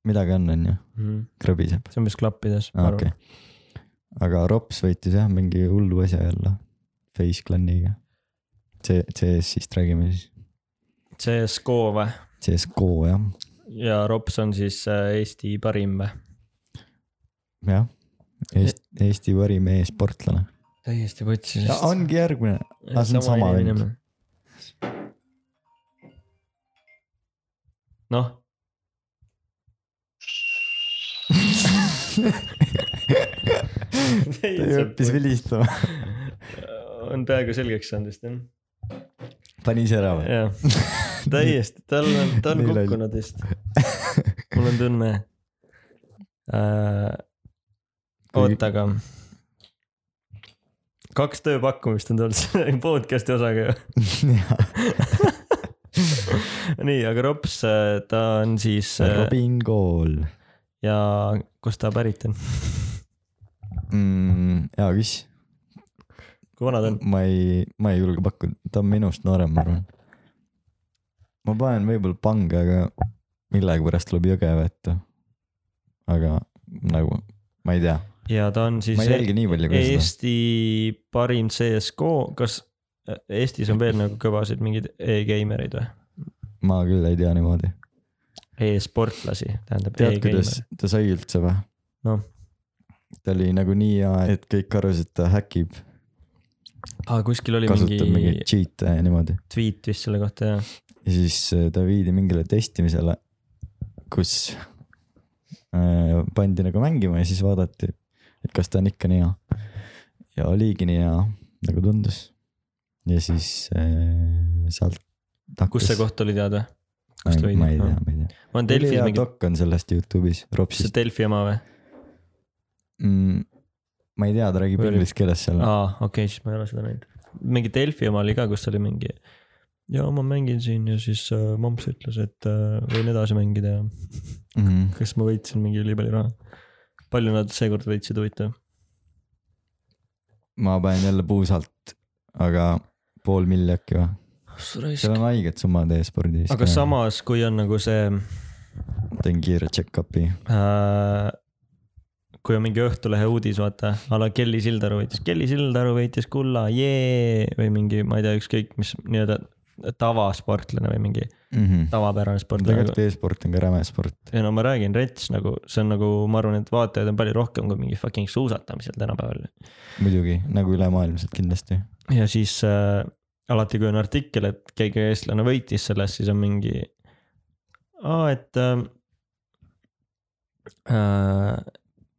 [SPEAKER 1] midagi on , onju ,
[SPEAKER 2] mm. .
[SPEAKER 1] krõbiseb .
[SPEAKER 2] see on vist klappides , ma
[SPEAKER 1] Mhm. aa ,
[SPEAKER 2] arvan
[SPEAKER 1] okei . aga Rops võitis jah mingi hullu asja jälle Face Clan'iga . C , CS-ist räägime siis ,
[SPEAKER 2] okay. . CSGO või ?
[SPEAKER 1] CSGO jah ,
[SPEAKER 2] ja Rops on siis äh, Eesti parim või ?
[SPEAKER 1] jah . Eesti , Eesti parim e-sportlane .
[SPEAKER 2] täiesti võtsin .
[SPEAKER 1] ongi järgmine , aa, see on sama vend. .
[SPEAKER 2] noh ,
[SPEAKER 1] ta ju õppis vilistama ,
[SPEAKER 2] on peaaegu selgeks saanud vist jah .
[SPEAKER 1] pani ise ära või ?
[SPEAKER 2] jah , täiesti , tal on , ta on
[SPEAKER 1] Nii loll.
[SPEAKER 2] kukkunud vist . mul on tunne äh, . oota , aga . kaks tööpakkumist on tulnud selle podcast'i osaga ju . nii , aga Rops , ta on siis äh,
[SPEAKER 1] Robin Kool
[SPEAKER 2] ja kust ta pärit on ,
[SPEAKER 1] mm, , hea küss ,
[SPEAKER 2] kui vana ta on ?
[SPEAKER 1] ma ei , ma ei julge pakkuda , ta on minust noorem , ma arvan . ma panen võib-olla pange , aga millegipärast tuleb Jõgeva ette . aga nagu , ma ei tea ,
[SPEAKER 2] ja ta on siis e-
[SPEAKER 1] ma ei jälgi nii palju kui seda .
[SPEAKER 2] Eesti parim CSGO , kas äh, Eestis on veel nagu kõvasid mingeid e-geimereid või ?
[SPEAKER 1] ma küll ei tea niimoodi .
[SPEAKER 2] e-sportlasi , tähendab
[SPEAKER 1] tead , kuidas
[SPEAKER 2] e-geimer .
[SPEAKER 1] ta sai üldse või ?
[SPEAKER 2] Noh.
[SPEAKER 1] ta oli nagu nii hea , et kõik arvasid , et ta häkib ,
[SPEAKER 2] aa , kuskil oli
[SPEAKER 1] kasutab
[SPEAKER 2] mingi,
[SPEAKER 1] mingeid
[SPEAKER 2] mingi
[SPEAKER 1] cheat'e ja niimoodi .
[SPEAKER 2] tweet vist selle kohta jah .
[SPEAKER 1] ja siis äh, ta viidi mingile testimisele , kus äh, pandi nagu mängima ja siis vaadati , et kas ta on ikka nii hea . ja oligi nii hea , nagu tundus . ja siis äh, sealt .
[SPEAKER 2] kus see ? koht oli teada ?
[SPEAKER 1] ma
[SPEAKER 2] kus ta
[SPEAKER 1] ei
[SPEAKER 2] viidi?
[SPEAKER 1] ma ei
[SPEAKER 2] Aa.
[SPEAKER 1] tea , ma ei tea .
[SPEAKER 2] on
[SPEAKER 1] Delfi
[SPEAKER 2] Delfis
[SPEAKER 1] hea
[SPEAKER 2] mingi ,
[SPEAKER 1] dok on sellest Youtube'is ,
[SPEAKER 2] kas see
[SPEAKER 1] Ropsist .
[SPEAKER 2] Delfi oma või ?
[SPEAKER 1] Mm, ma ei tea , ta räägib
[SPEAKER 2] Või oli-
[SPEAKER 1] inglise keeles seal .
[SPEAKER 2] aa , okei okay, , siis ma ei ole seda näinud . mingi Delfi oma oli ka , kus oli mingi ja ma mängin siin ja siis äh, mamps ütles , et äh, võin edasi mängida ja
[SPEAKER 1] Mhm.
[SPEAKER 2] kas ma võitsin mingi ülipalju raha . palju nad seekord võitsid , huvitav .
[SPEAKER 1] ma panen jälle puusalt , aga pool milli äkki või ? seal on haiged summad e-spordis .
[SPEAKER 2] aga . samas , kui on nagu see
[SPEAKER 1] teen kiire check-up'i .
[SPEAKER 2] Äh, kui on mingi Õhtulehe uudis , vaata , a la Kelly Sildaru võitis , Kelly Sildaru võitis kulla , jee , või mingi , ma ei tea , ükskõik mis nii-öelda tavasportlane või mingi
[SPEAKER 1] mm . -hmm.
[SPEAKER 2] tavapärane sportlane .
[SPEAKER 1] tegelikult e-sport on ka räme sport .
[SPEAKER 2] ei no ma räägin , rets nagu , see on nagu , ma arvan , et vaatajaid on palju rohkem kui mingi fucking suusatamisel tänapäeval .
[SPEAKER 1] muidugi , nagu ülemaailmselt kindlasti .
[SPEAKER 2] ja siis äh, alati , kui on artikkel , et keegi eestlane võitis sellest , siis on mingi , aa , et äh, . Äh,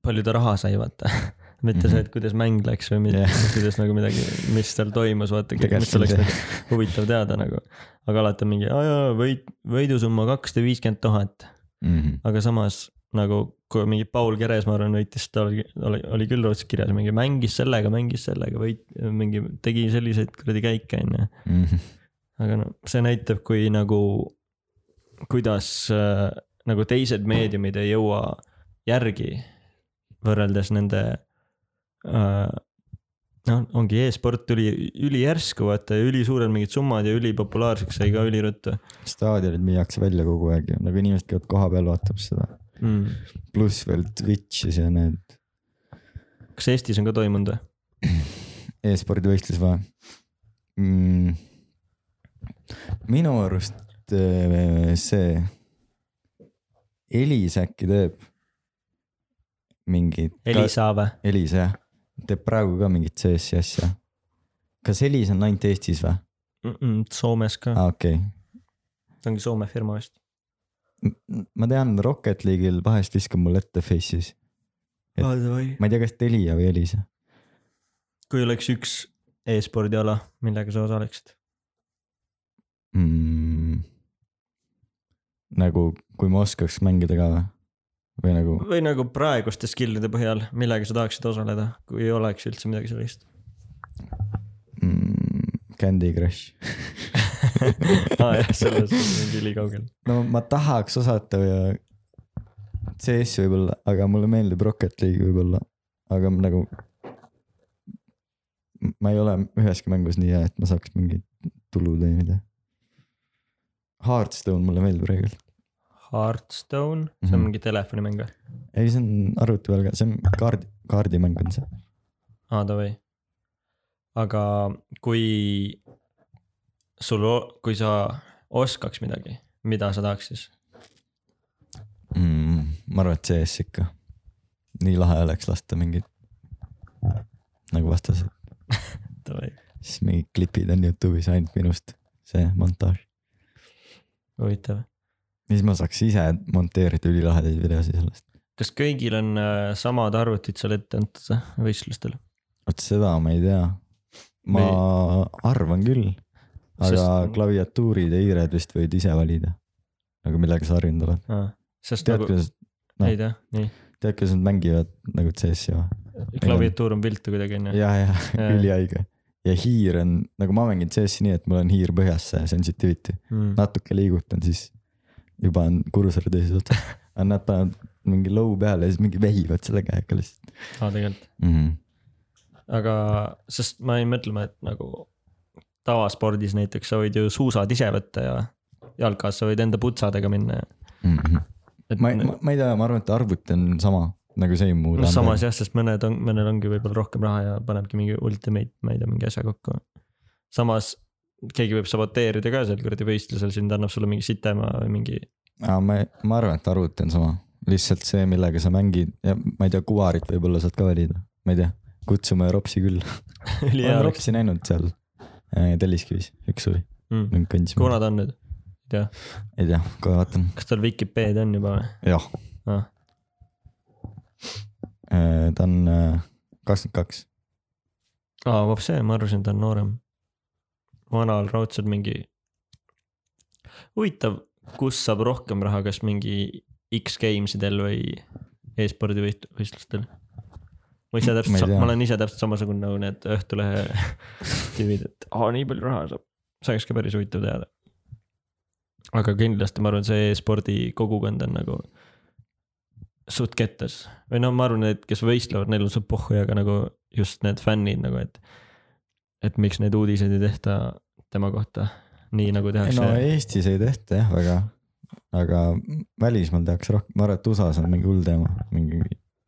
[SPEAKER 2] palju ta raha sai , vaata . mitte see , et kuidas mäng läks või mida
[SPEAKER 1] Mhm. Jah.
[SPEAKER 2] yeah. , kuidas nagu midagi , mis seal toimus , vaata , mis
[SPEAKER 1] Tegelikult
[SPEAKER 2] oleks
[SPEAKER 1] see-
[SPEAKER 2] nagu huvitav teada nagu . aga alati on mingi , aa jaa , võit , võidusumma kakssada viiskümmend tuhat ,
[SPEAKER 1] Mhm,
[SPEAKER 2] aga samas nagu kui mingi Paul Keres , ma arvan , võitis , ta oli, oli , oli küll Rootsis kirjas , mingi mängis sellega , mängis sellega , võit- , mingi tegi selliseid kuradi käike , onju .
[SPEAKER 1] mhm.
[SPEAKER 2] aga noh , see näitab , kui nagu , kuidas äh, nagu teised meediumid ei jõua järgi võrreldes nende äh, . noh , ongi e-sport tuli ülijärsku , vaata , ülisuured mingid summad ja ülipopulaarseks sai ka üliruttu
[SPEAKER 1] staadionid müüakse välja kogu aeg ju , nagu inimesed käivad kohapeal , vaatab seda .
[SPEAKER 2] mm. .
[SPEAKER 1] pluss veel Twitch'is ja need
[SPEAKER 2] kas Eestis on ka toimunud või ?
[SPEAKER 1] e-spordi võistlus või mm. ? minu arust äh, see Elis äkki teeb mingit .
[SPEAKER 2] Elisa või ?
[SPEAKER 1] Elis jah , teeb praegu ka mingit CS-i asja . kas Elis on ainult Eestis või ?
[SPEAKER 2] Mm -mm, Soomes ka ah. ,
[SPEAKER 1] aa okei okay. .
[SPEAKER 2] ta ongi Soome firma vist .
[SPEAKER 1] ma tean , Rocket League'il vahest viskab mul ette face'is , Et- ma ei tea , kas Telia või Elisa .
[SPEAKER 2] kui oleks üks e-spordiala , millega sa osaleksid ?
[SPEAKER 1] mm. . nagu , kui ma oskaks mängida ka või ? või nagu ,
[SPEAKER 2] või nagu praeguste skill'ide põhjal , millega sa tahaksid osaleda , kui ei oleks üldse midagi sellist ?
[SPEAKER 1] mm, Candy Crush .
[SPEAKER 2] aa Ah, jah , selles on mingi ülikaugel .
[SPEAKER 1] no ma tahaks osata ja CS võib-olla , aga mulle meeldib Rocket League võib-olla , aga nagu . ma ei ole üheski mängus nii hea , et ma saaks mingit tulu teenida . Hearthstone mulle meeldib praegu .
[SPEAKER 2] Hearthstone , see on
[SPEAKER 1] Mhm.
[SPEAKER 2] mingi telefonimäng või ?
[SPEAKER 1] ei , see on arvuti peal ka , see on kaardi , kaardimäng on see .
[SPEAKER 2] aa , Ah, davai . aga kui sul , kui sa oskaks midagi , mida sa tahaks siis ?
[SPEAKER 1] mm, . ma arvan , et CS ikka . nii lahe oleks lasta mingid nagu vastased ,
[SPEAKER 2] davai ,
[SPEAKER 1] siis mingid klipid on Youtube'is ainult minust , see montaaž .
[SPEAKER 2] huvitav .
[SPEAKER 1] ja siis ma saaks ise monteerida ülilahedaid videosid sellest .
[SPEAKER 2] kas kõigil on äh, samad arvutid seal ette antud või võistlustel ?
[SPEAKER 1] vot seda ma ei tea . ma arvan küll , aga
[SPEAKER 2] Sest-
[SPEAKER 1] klaviatuurid ja hiired vist võid ise valida . nagu millega sa harjunud oled .
[SPEAKER 2] sest
[SPEAKER 1] tead , noh.
[SPEAKER 2] nagu ,
[SPEAKER 1] kuidas , no.
[SPEAKER 2] ei tea , nii ,
[SPEAKER 1] tead , kuidas nad mängivad nagu CS-i või ?
[SPEAKER 2] klaviatuur on viltu kuidagi onju .
[SPEAKER 1] ja , ja
[SPEAKER 2] Jaa.
[SPEAKER 1] ülihaige . ja hiir on , nagu ma mängin CS-i nii , et mul on hiir põhjas see sensitivity ,
[SPEAKER 2] Mm.
[SPEAKER 1] natuke liigutan , siis juba on kursor teises otsas . aga nad panevad mingi low peale ja siis mingi vehivad selle käega lihtsalt
[SPEAKER 2] aa , tegelikult .
[SPEAKER 1] mm . -hmm.
[SPEAKER 2] aga , sest ma jäin mõtlema , et nagu tavaspordis näiteks sa võid ju suusad ise võtta ja jalkas sa võid enda putsadega minna ja .
[SPEAKER 1] Mm
[SPEAKER 2] Mhm.
[SPEAKER 1] -hmm.
[SPEAKER 2] et
[SPEAKER 1] ma ,
[SPEAKER 2] no
[SPEAKER 1] ma , ma ei tea , ma arvan , et arvuti on sama nagu see ei muuda .
[SPEAKER 2] noh, samas jah , sest mõned on , mõnel ongi võib-olla rohkem raha ja panebki mingi ultimate , ma ei tea , mingi asja kokku . samas keegi võib saboteerida ka seal kuradi võistlusel sind , annab sulle mingi sitema või mingi ,
[SPEAKER 1] aga ma , ma arvan , et arvuti on sama , lihtsalt see , millega sa mängid ja ma ei tea , kuvarit võib-olla saad ka valida , ma ei tea , kutsume Ropsi küll .
[SPEAKER 2] ülihea
[SPEAKER 1] olen
[SPEAKER 2] oleks .
[SPEAKER 1] Ropsi näinud seal äh, Telliskivis , üks suvi , kõndisime .
[SPEAKER 2] kuna ta Mm. on nüüd ? ei tea ,
[SPEAKER 1] ei tea , kohe vaatan ,
[SPEAKER 2] kas tal Vikipeedia on juba või ?
[SPEAKER 1] jah
[SPEAKER 2] Ah. .
[SPEAKER 1] Äh, ta on kakskümmend kaks ,
[SPEAKER 2] aa , vot see , ma arvasin , et ta on noorem . vanal raudselt mingi . huvitav , kus saab rohkem raha , kas mingi X-Games idel või e-spordi võist- võistlustel ? ma ise
[SPEAKER 1] Ma ei
[SPEAKER 2] täpselt ,
[SPEAKER 1] tea.
[SPEAKER 2] ma olen ise täpselt samasugune nagu need Õhtulehe tüübid , et aa , nii palju raha saab . see oleks ka päris huvitav teada . aga kindlasti ma arvan , see e-spordi kogukond on nagu suht kettas või noh , ma arvan , et kes võistlevad , neil on suht pohhu , aga nagu just need fännid nagu , et . et miks neid uudiseid ei tehta tema kohta nii nagu
[SPEAKER 1] ei
[SPEAKER 2] tehakse
[SPEAKER 1] no . Eestis ei tehta jah väga , aga välismaal tehakse rohkem , ma arvan , et USA-s on mingi hull teema , mingi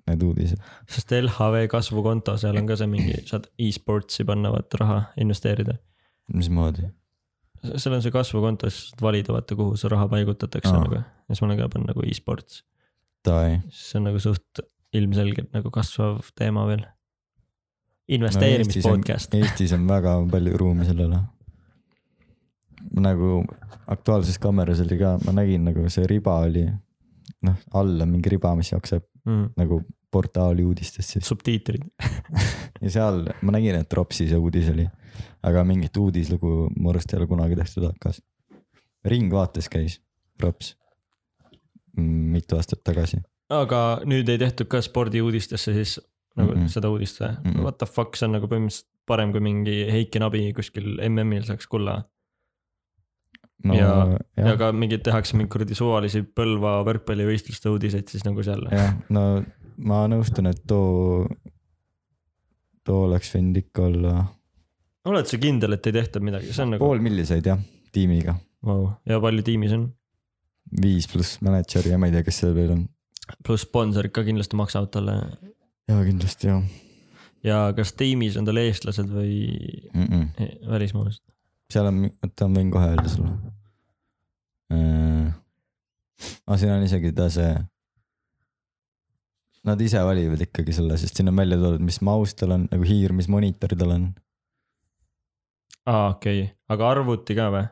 [SPEAKER 1] need uudised .
[SPEAKER 2] sest LHV kasvukonto , seal on ka see mingi , saad e-sportsi panna vaata raha investeerida .
[SPEAKER 1] mismoodi ?
[SPEAKER 2] seal on see kasvukonto , siis saad valida vaata , kuhu see raha paigutatakse
[SPEAKER 1] Aa.
[SPEAKER 2] nagu ja siis ma olen ka pannud nagu e-sports ,
[SPEAKER 1] Davai ,
[SPEAKER 2] siis see on nagu suht ilmselgelt nagu kasvav teema veel .
[SPEAKER 1] Eestis on-
[SPEAKER 2] investeerimispodcast ,
[SPEAKER 1] Eestis on väga palju ruumi sellele . nagu Aktuaalses Kaameras oli ka , ma nägin nagu see riba oli , noh , all on mingi riba , mis jookseb
[SPEAKER 2] mm.
[SPEAKER 1] nagu portaali uudistest siis .
[SPEAKER 2] subtiitrid ,
[SPEAKER 1] ja seal ma nägin , et Ropsi see uudis oli , aga mingit uudislugu mu arust ei ole kunagi tehtud AK-s . Ringvaates käis Rops Mm, mitu aastat tagasi ,
[SPEAKER 2] aga nüüd ei tehtud ka spordiuudistesse siis nagu mm
[SPEAKER 1] Mhm.
[SPEAKER 2] -mm. seda uudist või mm
[SPEAKER 1] Mhm.
[SPEAKER 2] -mm. ? What the fuck , see on nagu põhimõtteliselt parem kui mingi Heiki Nabi kuskil MM-il saaks kulla
[SPEAKER 1] no ja,
[SPEAKER 2] Ja- ja, ja
[SPEAKER 1] jah ,
[SPEAKER 2] ka mingeid tehakse mingeid kuradi suvalisi Põlva võrkpallivõistluste uudiseid siis nagu seal .
[SPEAKER 1] jah , no ma nõustun , et too , too oleks võinud ikka olla
[SPEAKER 2] oled sa kindel , et ei tehta midagi , see on nagu ,
[SPEAKER 1] pool milli said jah , tiimiga ,
[SPEAKER 2] vau , ja palju tiimis on ,
[SPEAKER 1] viis pluss mänedžer ja ma ei tea , kes seal veel on .
[SPEAKER 2] pluss sponsorid ka kindlasti maksavad talle
[SPEAKER 1] ja kindlasti jah
[SPEAKER 2] ja kas tiimis on tal eestlased või e,
[SPEAKER 1] mm , -mm.
[SPEAKER 2] välismaalased ?
[SPEAKER 1] seal on , oota ma võin kohe öelda sulle . aga siin on isegi ta see . Nad ise valivad ikkagi selle , sest siin on välja toodud , mis maus tal on nagu hiir , mis monitor tal on .
[SPEAKER 2] aa , okei okay. , aga arvuti ka või ?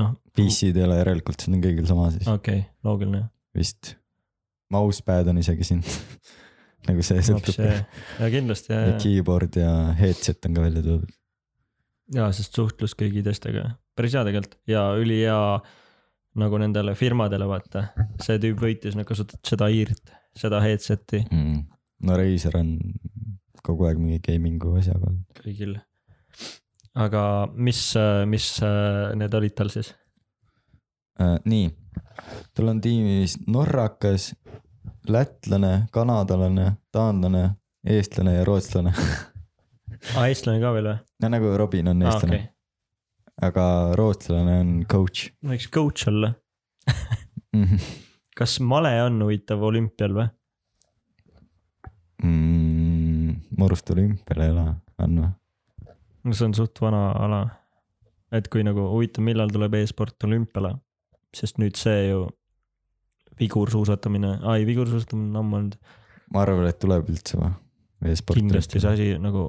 [SPEAKER 2] noh , okei
[SPEAKER 1] PC-d ei ole järelikult , see on kõigil sama siis ah.
[SPEAKER 2] okay, , loogiline ,
[SPEAKER 1] vist . Mousepad on isegi siin nagu see sõltub .
[SPEAKER 2] hoopis see ja kindlasti ja ,
[SPEAKER 1] ja
[SPEAKER 2] ja ,
[SPEAKER 1] keyboard ja headset on ka välja toodud .
[SPEAKER 2] ja sest suhtlus kõigi teistega , päris hea tegelikult ja ülihea nagu nendele firmadele vaata , see tüüp võitis , nad kasutavad seda hiirt , seda headset'i
[SPEAKER 1] mm. . no Razer on kogu aeg mingi gaming'u asjaga olnud .
[SPEAKER 2] kõigil . aga mis , mis äh, need olid tal siis ?
[SPEAKER 1] Äh, nii , tal on tiimis norrakas , lätlane , kanadalane , taanlane , eestlane ja rootslane .
[SPEAKER 2] aa , Ah, eestlane ka veel või ? Ah,
[SPEAKER 1] no nagu Robin on
[SPEAKER 2] aa ,
[SPEAKER 1] eestlane
[SPEAKER 2] okei
[SPEAKER 1] okay. , aga rootslane on coach . Mhm.
[SPEAKER 2] võiks coach olla . kas male on huvitav olümpial või ?
[SPEAKER 1] ma arust olümpial ei ole , on või ?
[SPEAKER 2] no see on suht vana ala . et kui nagu huvitav , millal tuleb e-sport olümpiale , sest nüüd see ju vigursuusatamine , ei vigursuusatamine on ammu olnud ,
[SPEAKER 1] ma arvan , et tuleb üldse või ?
[SPEAKER 2] kindlasti see . asi nagu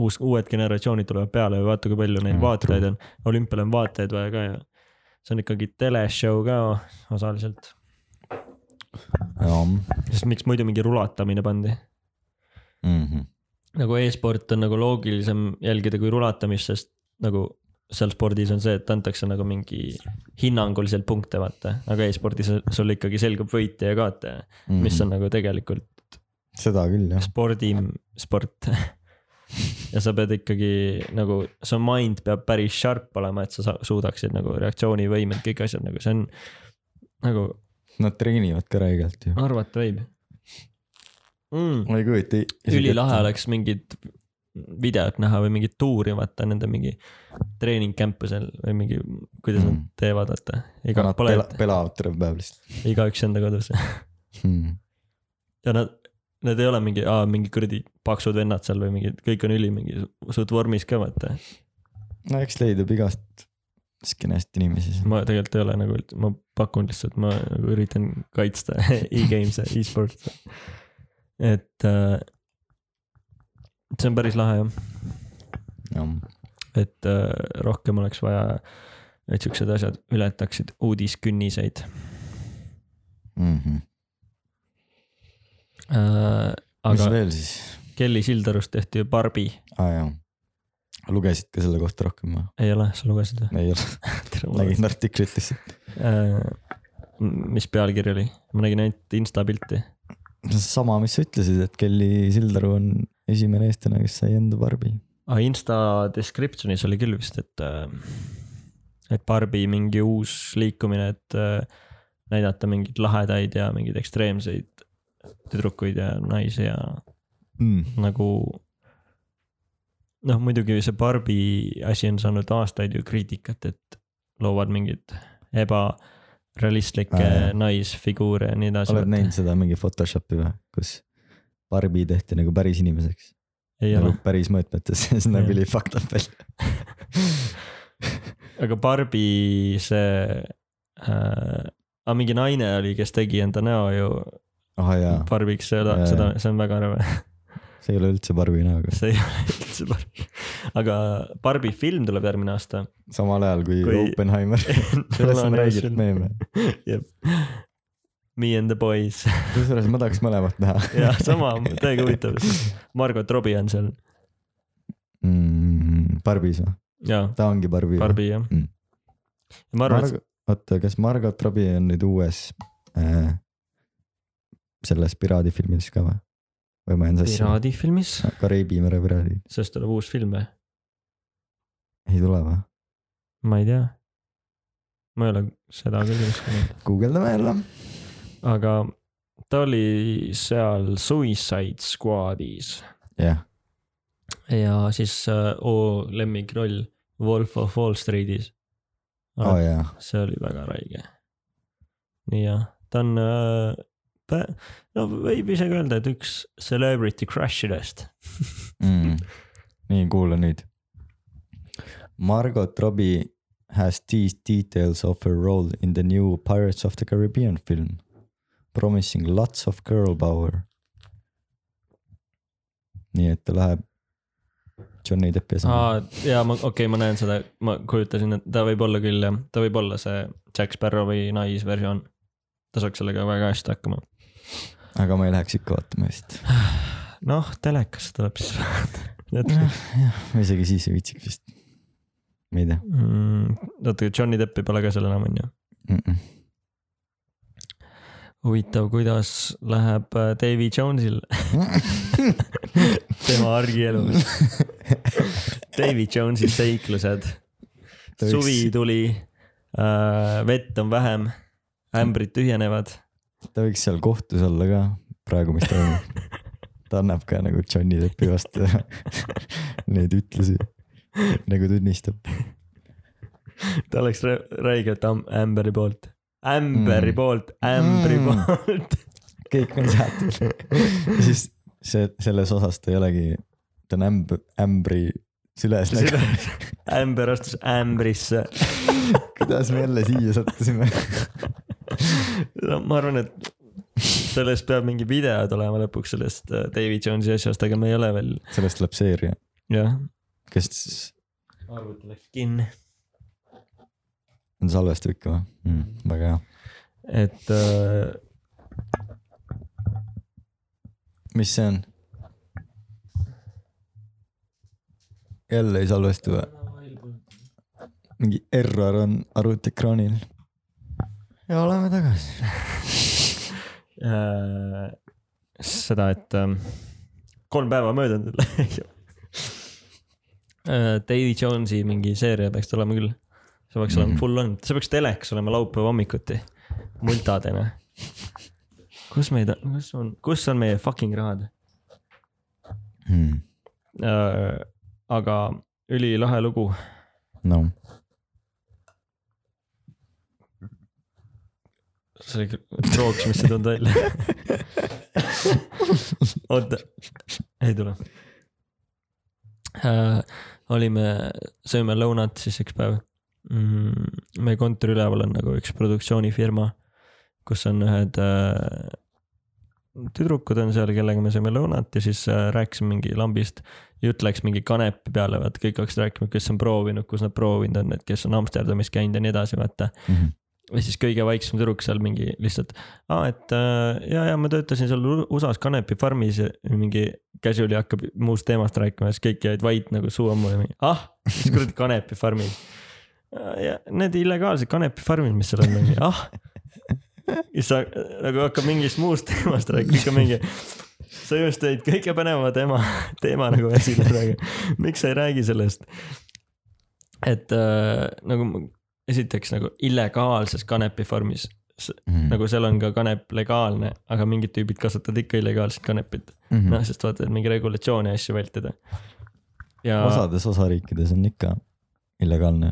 [SPEAKER 2] uus , uued generatsioonid tulevad peale ja vaata , kui palju neid
[SPEAKER 1] Mm,
[SPEAKER 2] vaatajaid on , olümpiale on vaatajaid vaja ka ja see on ikkagi teleshow ka osaliselt ,
[SPEAKER 1] jah
[SPEAKER 2] sest miks muidu mingi rulatamine pandi
[SPEAKER 1] mm -hmm. .
[SPEAKER 2] nagu e-sport on nagu loogilisem jälgida kui rulatamist , sest nagu seal spordis on see , et antakse nagu mingi hinnanguliselt punkte , vaata , aga e-spordis sul ikkagi selgub võitja ja kaotaja ,
[SPEAKER 1] Mhm.
[SPEAKER 2] mis on nagu tegelikult
[SPEAKER 1] seda küll jah .
[SPEAKER 2] spordi , sport . ja sa pead ikkagi nagu , su mind peab päris sharp olema , et sa sa- suudaksid nagu reaktsioonivõimed , kõik asjad nagu see on nagu
[SPEAKER 1] Nad treenivad ka räigelt ju .
[SPEAKER 2] arvata võib mm. .
[SPEAKER 1] ma ei kujuta .
[SPEAKER 2] ülilahe . oleks mingit videot näha või mingit tuuri vaata nende mingi treening campusel või mingi , kuidas mm.
[SPEAKER 1] Mm.
[SPEAKER 2] nad teevad , vaata . iga ,
[SPEAKER 1] Nad
[SPEAKER 2] pole
[SPEAKER 1] pela- , pelavad terve päev lihtsalt
[SPEAKER 2] igaüks enda kodus
[SPEAKER 1] mm. .
[SPEAKER 2] ja nad , nad ei ole mingi , mingi kuradi paksud vennad seal või mingid , kõik on üli mingi suht vormis ka vaata .
[SPEAKER 1] no eks leidub igast skeenest inimesi .
[SPEAKER 2] ma tegelikult ei ole nagu , ma pakun lihtsalt , ma nagu üritan kaitsta e-games'e , e-sport'e . et äh, see on päris lahe jah
[SPEAKER 1] jah ,
[SPEAKER 2] et äh, rohkem oleks vaja , et siuksed asjad ületaksid uudiskünniseid
[SPEAKER 1] Mhm.
[SPEAKER 2] äh, .
[SPEAKER 1] mis
[SPEAKER 2] aga
[SPEAKER 1] veel siis ?
[SPEAKER 2] Kelly Sildarust tehti ju Barbi ,
[SPEAKER 1] aa jaa , lugesid ka selle kohta rohkem või ?
[SPEAKER 2] ei ole , sa lugesid või ?
[SPEAKER 1] ei ole , nägin artiklit lihtsalt .
[SPEAKER 2] Äh, mis pealkiri oli , ma nägin ainult insta pilti .
[SPEAKER 1] sama , mis sa ütlesid , et Kelly Sildaru on esimene eestlane , kes sai enda barbi .
[SPEAKER 2] aga Ah, insta description'is oli küll vist , et äh, , et Barbi mingi uus liikumine , et äh, näidata mingeid lahedaid ja mingeid ekstreemseid tüdrukuid ja naisi ja
[SPEAKER 1] Mm.
[SPEAKER 2] nagu . noh , muidugi see Barbi asi on saanud aastaid ju kriitikat , et loovad mingeid ebarealistlikke
[SPEAKER 1] Aa, jah.
[SPEAKER 2] naisfiguure ja nii edasi .
[SPEAKER 1] oled näinud ? seda mingi Photoshopi või , kus barbi tehti nagu päris inimeseks ?
[SPEAKER 2] ei
[SPEAKER 1] nagu
[SPEAKER 2] ole ,
[SPEAKER 1] päris mõõtmetes , see näeb
[SPEAKER 2] Jah.
[SPEAKER 1] üli fucked up välja .
[SPEAKER 2] aga Barbi see äh, , aga mingi naine oli , kes tegi enda näo ju
[SPEAKER 1] ahah Ah, jaa ,
[SPEAKER 2] Barbiks , seda
[SPEAKER 1] Jaa, ,
[SPEAKER 2] seda
[SPEAKER 1] jaa. ,
[SPEAKER 2] see on väga rõve ,
[SPEAKER 1] see ei ole üldse barbi näoga .
[SPEAKER 2] see ei ole üldse Barbi . aga Barbi film tuleb järgmine aasta .
[SPEAKER 1] samal ajal kui, kui...
[SPEAKER 2] Kui-
[SPEAKER 1] Oppenheimer , sellest on räigelt meeme .
[SPEAKER 2] jah . Me and the boys
[SPEAKER 1] kusjuures ma tahaks mõlemat näha .
[SPEAKER 2] jah , sama , täiega huvitav . Margot Robbie on seal
[SPEAKER 1] mm, . Barbis või ?
[SPEAKER 2] ja
[SPEAKER 1] ta ongi Barbi .
[SPEAKER 2] Barbi jah
[SPEAKER 1] Mm.
[SPEAKER 2] mm. . ma arvan Marg... ,
[SPEAKER 1] Marg... oota , kas Margot Robbie on nüüd uues äh, selles piraadifilmis ka või ? või ma jään
[SPEAKER 2] et
[SPEAKER 1] sassi ?
[SPEAKER 2] piraadifilmis ,
[SPEAKER 1] Kariibi mere piraadid ,
[SPEAKER 2] sellest tuleb uus film või ?
[SPEAKER 1] ei tule või ?
[SPEAKER 2] ma ei tea . ma ei ole seda küll kuulnud ,
[SPEAKER 1] guugeldame jälle .
[SPEAKER 2] aga ta oli seal Suicide Squadis
[SPEAKER 1] jah ,
[SPEAKER 2] ja siis äh, O lemmikroll Wolf of Wall Streetis .
[SPEAKER 1] oo Oh, jaa ,
[SPEAKER 2] see oli väga räige . nii jah , ta on äh, , no võib isegi öelda , et üks celebrity crush idest .
[SPEAKER 1] Mm. nii kuula nüüd . Margot Robbie has these details of her role in the new Pirates of the Caribbean film . Promising lots of girl power . nii et ta läheb Johnny Deppi asemele .
[SPEAKER 2] aa , ja ma , okei okay, , ma näen seda , ma kujutasin , et ta võib olla küll jah , ta võib olla see Jack Sparrowi naisversioon . ta saaks sellega väga hästi hakkama .
[SPEAKER 1] aga ma ei läheks ikka vaatama vist .
[SPEAKER 2] noh , telekas tuleb siis vaadata .
[SPEAKER 1] ma isegi siis ei viitsiks vist . ma ei tea
[SPEAKER 2] Mm, oota , Johnny Deppi pole ka seal enam , on ju ?
[SPEAKER 1] mm . -mm.
[SPEAKER 2] huvitav , kuidas läheb äh, Davy Jones'il tema argielus . Davy Jones'i seiklused .
[SPEAKER 1] Ta võiks-
[SPEAKER 2] suvi tuli äh, , vett on vähem , ämbrid tühjenevad .
[SPEAKER 1] ta võiks seal kohtus olla ka praegu , mis toimub . ta annab ka nagu Johnny Deppi vastu neid ütlusi , nagu tunnistab .
[SPEAKER 2] ta oleks rä- räigelt am- Ämberi poolt , Ämberi
[SPEAKER 1] Mm.
[SPEAKER 2] poolt , Ämbri
[SPEAKER 1] Mm.
[SPEAKER 2] poolt .
[SPEAKER 1] kõik on seatud . ja siis see , selles osas ta ei olegi , ta on ämb- , ämbri süles . nagu
[SPEAKER 2] Ämber astus Ämbrisse .
[SPEAKER 1] kuidas me jälle siia sattusime ?
[SPEAKER 2] no ma arvan , et sellest peab mingi video tulema lõpuks sellest äh, Davy Jones'i asjast , aga me ei ole veel ,
[SPEAKER 1] sellest tuleb seeria ,
[SPEAKER 2] jah .
[SPEAKER 1] kes siis
[SPEAKER 2] arvuti läks kinni .
[SPEAKER 1] on salvestav ikka või mm, ? väga hea .
[SPEAKER 2] et äh,
[SPEAKER 1] mis see on ? jälle ei salvesta või ? mingi error on arvutiekraanil . ja oleme tagasi .
[SPEAKER 2] äh, seda , et äh, kolm päeva möödunud äh, . Davy Jones'i mingi seeria peaks tulema küll . see peaks olema
[SPEAKER 1] Mhm.
[SPEAKER 2] full on , see peaks telekas olema laupäeva hommikuti , multadena . kus meid , kus on , kus on meie fucking rahad
[SPEAKER 1] Hmm.
[SPEAKER 2] äh, ? aga ülilahe lugu ,
[SPEAKER 1] no
[SPEAKER 2] see oli krooks , mis see tundub välja . oota , ei tule äh, . olime , sõime lõunat siis üks päev mm, . meie kontori üleval on nagu üks produktsioonifirma , kus on ühed äh, tüdrukud on seal , kellega me sõime lõunat ja siis äh, rääkisime mingi lambist . jutt läks mingi kanepi peale , vaat kõik hakkasid rääkima , kes on proovinud , kus nad proovinud on , et kes on Amsterdamis käinud ja nii edasi , vaata .
[SPEAKER 1] Mhm.
[SPEAKER 2] ja siis kõige vaiksem tüdruk seal mingi lihtsalt , aa , et äh, ja , ja ma töötasin seal U- USA-s kanepi farmis ja mingi casual'i hakkab muust teemast rääkima ja siis kõik jäid vait nagu suu ammu ja mingi ah , mis kuradi kanepi farmis . ja need illegaalsed kanepi farmid , mis seal on , ah . ja siis ta nagu hakkab mingist muust teemast rääkima , ikka mingi , sa just tõid kõige põneva teema , teema nagu esile praegu , miks sa ei räägi sellest ? et äh, nagu ma- esiteks nagu illegaalses kanepi farmis
[SPEAKER 1] mm.
[SPEAKER 2] nagu seal on ka kanep legaalne , aga mingid tüübid kasvatavad ikka illegaalset kanepit .
[SPEAKER 1] mm
[SPEAKER 2] noh , sest vaata , et mingi regulatsiooni ja asju vältida . ja
[SPEAKER 1] osades osariikides on ikka illegaalne ,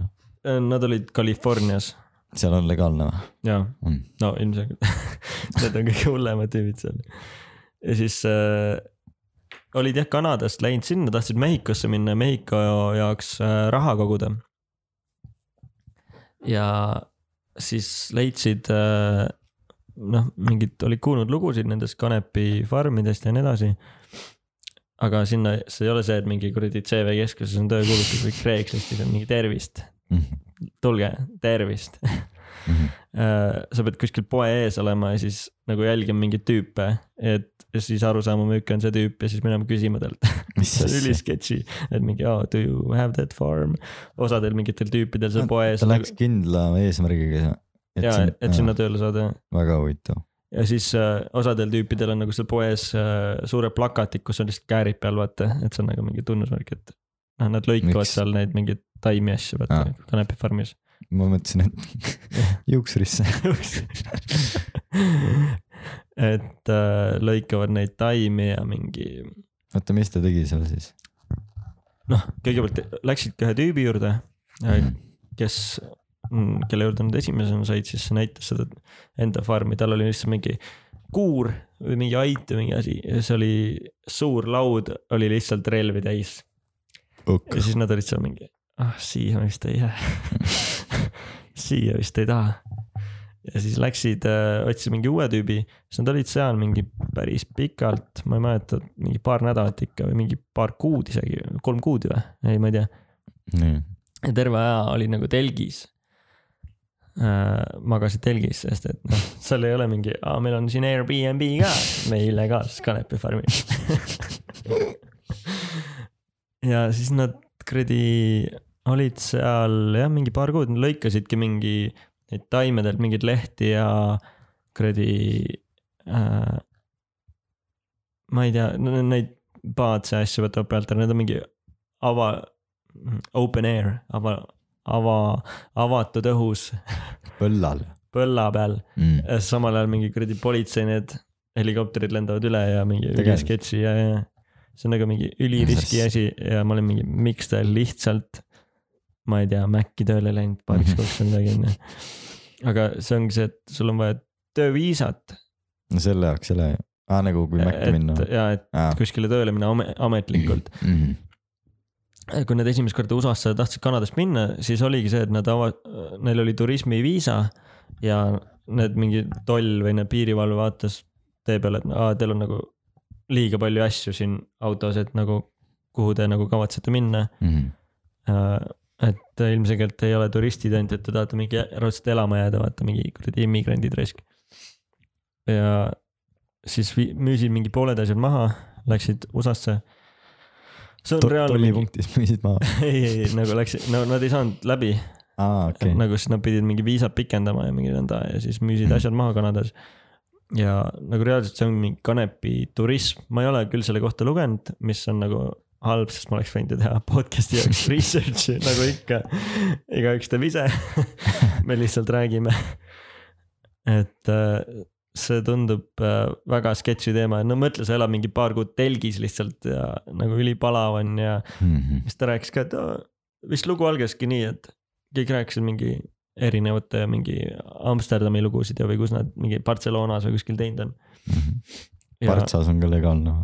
[SPEAKER 2] äh, nad olid Californias
[SPEAKER 1] seal on legaalne või
[SPEAKER 2] ja
[SPEAKER 1] mm. ?
[SPEAKER 2] no ilmselgelt need on kõige hullemad tüübid seal . ja siis äh, olid jah Kanadast läinud sinna , tahtsid Mehhikosse minna , Mehhiko jaoks äh, raha koguda . ja siis leidsid äh, noh , mingid olid kuulnud lugusid nendest kanepi farmidest ja nii edasi . aga sinna , see ei ole see , et mingi kuradi CV keskuses on töökuulutus või Craigslistid on mingi tervist ,
[SPEAKER 1] Mm
[SPEAKER 2] tulge , tervist
[SPEAKER 1] -hmm.
[SPEAKER 2] äh, sa pead kuskil poe ees olema ja siis nagu jälgima mingeid tüüpe , et ja siis aru saama , müük on see tüüp ja siis minema küsima talt .
[SPEAKER 1] mis
[SPEAKER 2] see on
[SPEAKER 1] asja ?
[SPEAKER 2] ülisketši , et mingi oh, do you have that farm , osadel mingitel tüüpidel seal
[SPEAKER 1] No,
[SPEAKER 2] poe ees
[SPEAKER 1] ta . läks kindla eesmärgiga .
[SPEAKER 2] ja , et sinna . tööle saada
[SPEAKER 1] väga huvitav .
[SPEAKER 2] ja siis äh, osadel tüüpidel on nagu seal poes äh, suured plakatid , kus on lihtsalt käärid peal , vaata , et see on nagu mingi tunnusmärk , et noh , nad lõikavad
[SPEAKER 1] Miks?
[SPEAKER 2] seal neid mingeid taimi asju , vaata
[SPEAKER 1] Aa.
[SPEAKER 2] ah. , kanepi farmis .
[SPEAKER 1] ma mõtlesin , et juuksurisse .
[SPEAKER 2] et äh, lõikavad neid taimi ja mingi
[SPEAKER 1] oota , mis ta tegi seal siis ?
[SPEAKER 2] noh , kõigepealt läksidki ühe tüübi juurde ,
[SPEAKER 1] Mhm. Hmm,
[SPEAKER 2] kes , kelle juurde nad esimesena said , siis see näitas seda enda farmi , tal oli lihtsalt mingi kuur või mingi ait või mingi asi ja see oli suur laud oli lihtsalt relvi täis ja siis nad olid seal mingi , ah siia me vist ei jää . siia vist ei taha . ja siis läksid , otsisid mingi uue tüübi , siis nad olid seal mingi päris pikalt , ma ei mäleta , mingi paar nädalat ikka või mingi paar kuud isegi , kolm kuud või , ei ma ei tea .
[SPEAKER 1] nii ,
[SPEAKER 2] ja terve aja oli nagu telgis . magasid telgis , sest et noh , seal ei ole mingi , aa meil on siin Airbnb ka , me illegaalses kanepifarmis . ja siis nad kuradi olid seal jah , mingi paar kuud , lõikasidki mingi neid taimedelt mingeid lehti ja kuradi äh, . ma ei tea , neid paatse asju võtavad pealt ära , need on mingi ava , open air , ava , ava , avatud õhus
[SPEAKER 1] põllal
[SPEAKER 2] põlla peal .
[SPEAKER 1] mm. .
[SPEAKER 2] samal ajal mingi kuradi politsei need helikopterid lendavad üle ja mingi üli
[SPEAKER 1] Tegelikult.
[SPEAKER 2] sketši ja , ja . see on nagu mingi üliriski asi ja ma olin mingi , miks ta lihtsalt , ma ei tea , Maci tööle läinud paariks
[SPEAKER 1] Mhm.
[SPEAKER 2] kuuks või midagi onju . aga see ongi see , et sul on vaja tööviisat .
[SPEAKER 1] no selle jaoks , selle , aa nagu kui Maci minna . Ah.
[SPEAKER 2] ja , et kuskile tööle minna ame- ametlikult . Äh, kui nad esimest korda USA-sse tahtsid Kanadast minna , siis oligi see , et nad ava- , neil oli turismiviisa ja need mingi toll või need piirivalve vaatas tee peale , et aa , teil on nagu liiga palju asju siin autos , et nagu kuhu te nagu kavatsete minna . et ilmselgelt ei ole turistid ainult , et te tahate mingi raudselt elama jääda , vaata mingi kuradi immigrandid raisk . ja siis vi- müüsid mingi pooled asjad maha , läksid USA-sse . see on reaalne mingi ,
[SPEAKER 1] tollipunktis müüsid maha .
[SPEAKER 2] ei , ei nagu läksid , no nad ei saanud läbi
[SPEAKER 1] aa , Ah, okei
[SPEAKER 2] okay. ,. nagu siis nad pidid mingi viisat pikendama ja mingi nõnda ja siis müüsid asjad maha Kanadas . ja nagu reaalselt see on mingi kanepi turism , ma ei ole küll selle kohta lugenud , mis on nagu halb , sest ma oleks võinud ju teha podcast'i jaoks research'i nagu ikka . igaüks teeb ise , me lihtsalt räägime . et äh, see tundub äh, väga sketši teema , no mõtle , sa elad mingi paar kuud telgis lihtsalt ja nagu ülipalav on ja
[SPEAKER 1] Nagu-
[SPEAKER 2] siis ta rääkis ka , et aa, vist lugu algaski nii , et kõik rääkisid mingi erinevate mingi Amsterdami lugusid ja , või kus nad mingi Barcelonas või kuskil teinud on . ja
[SPEAKER 1] Partsas on ka legaalne .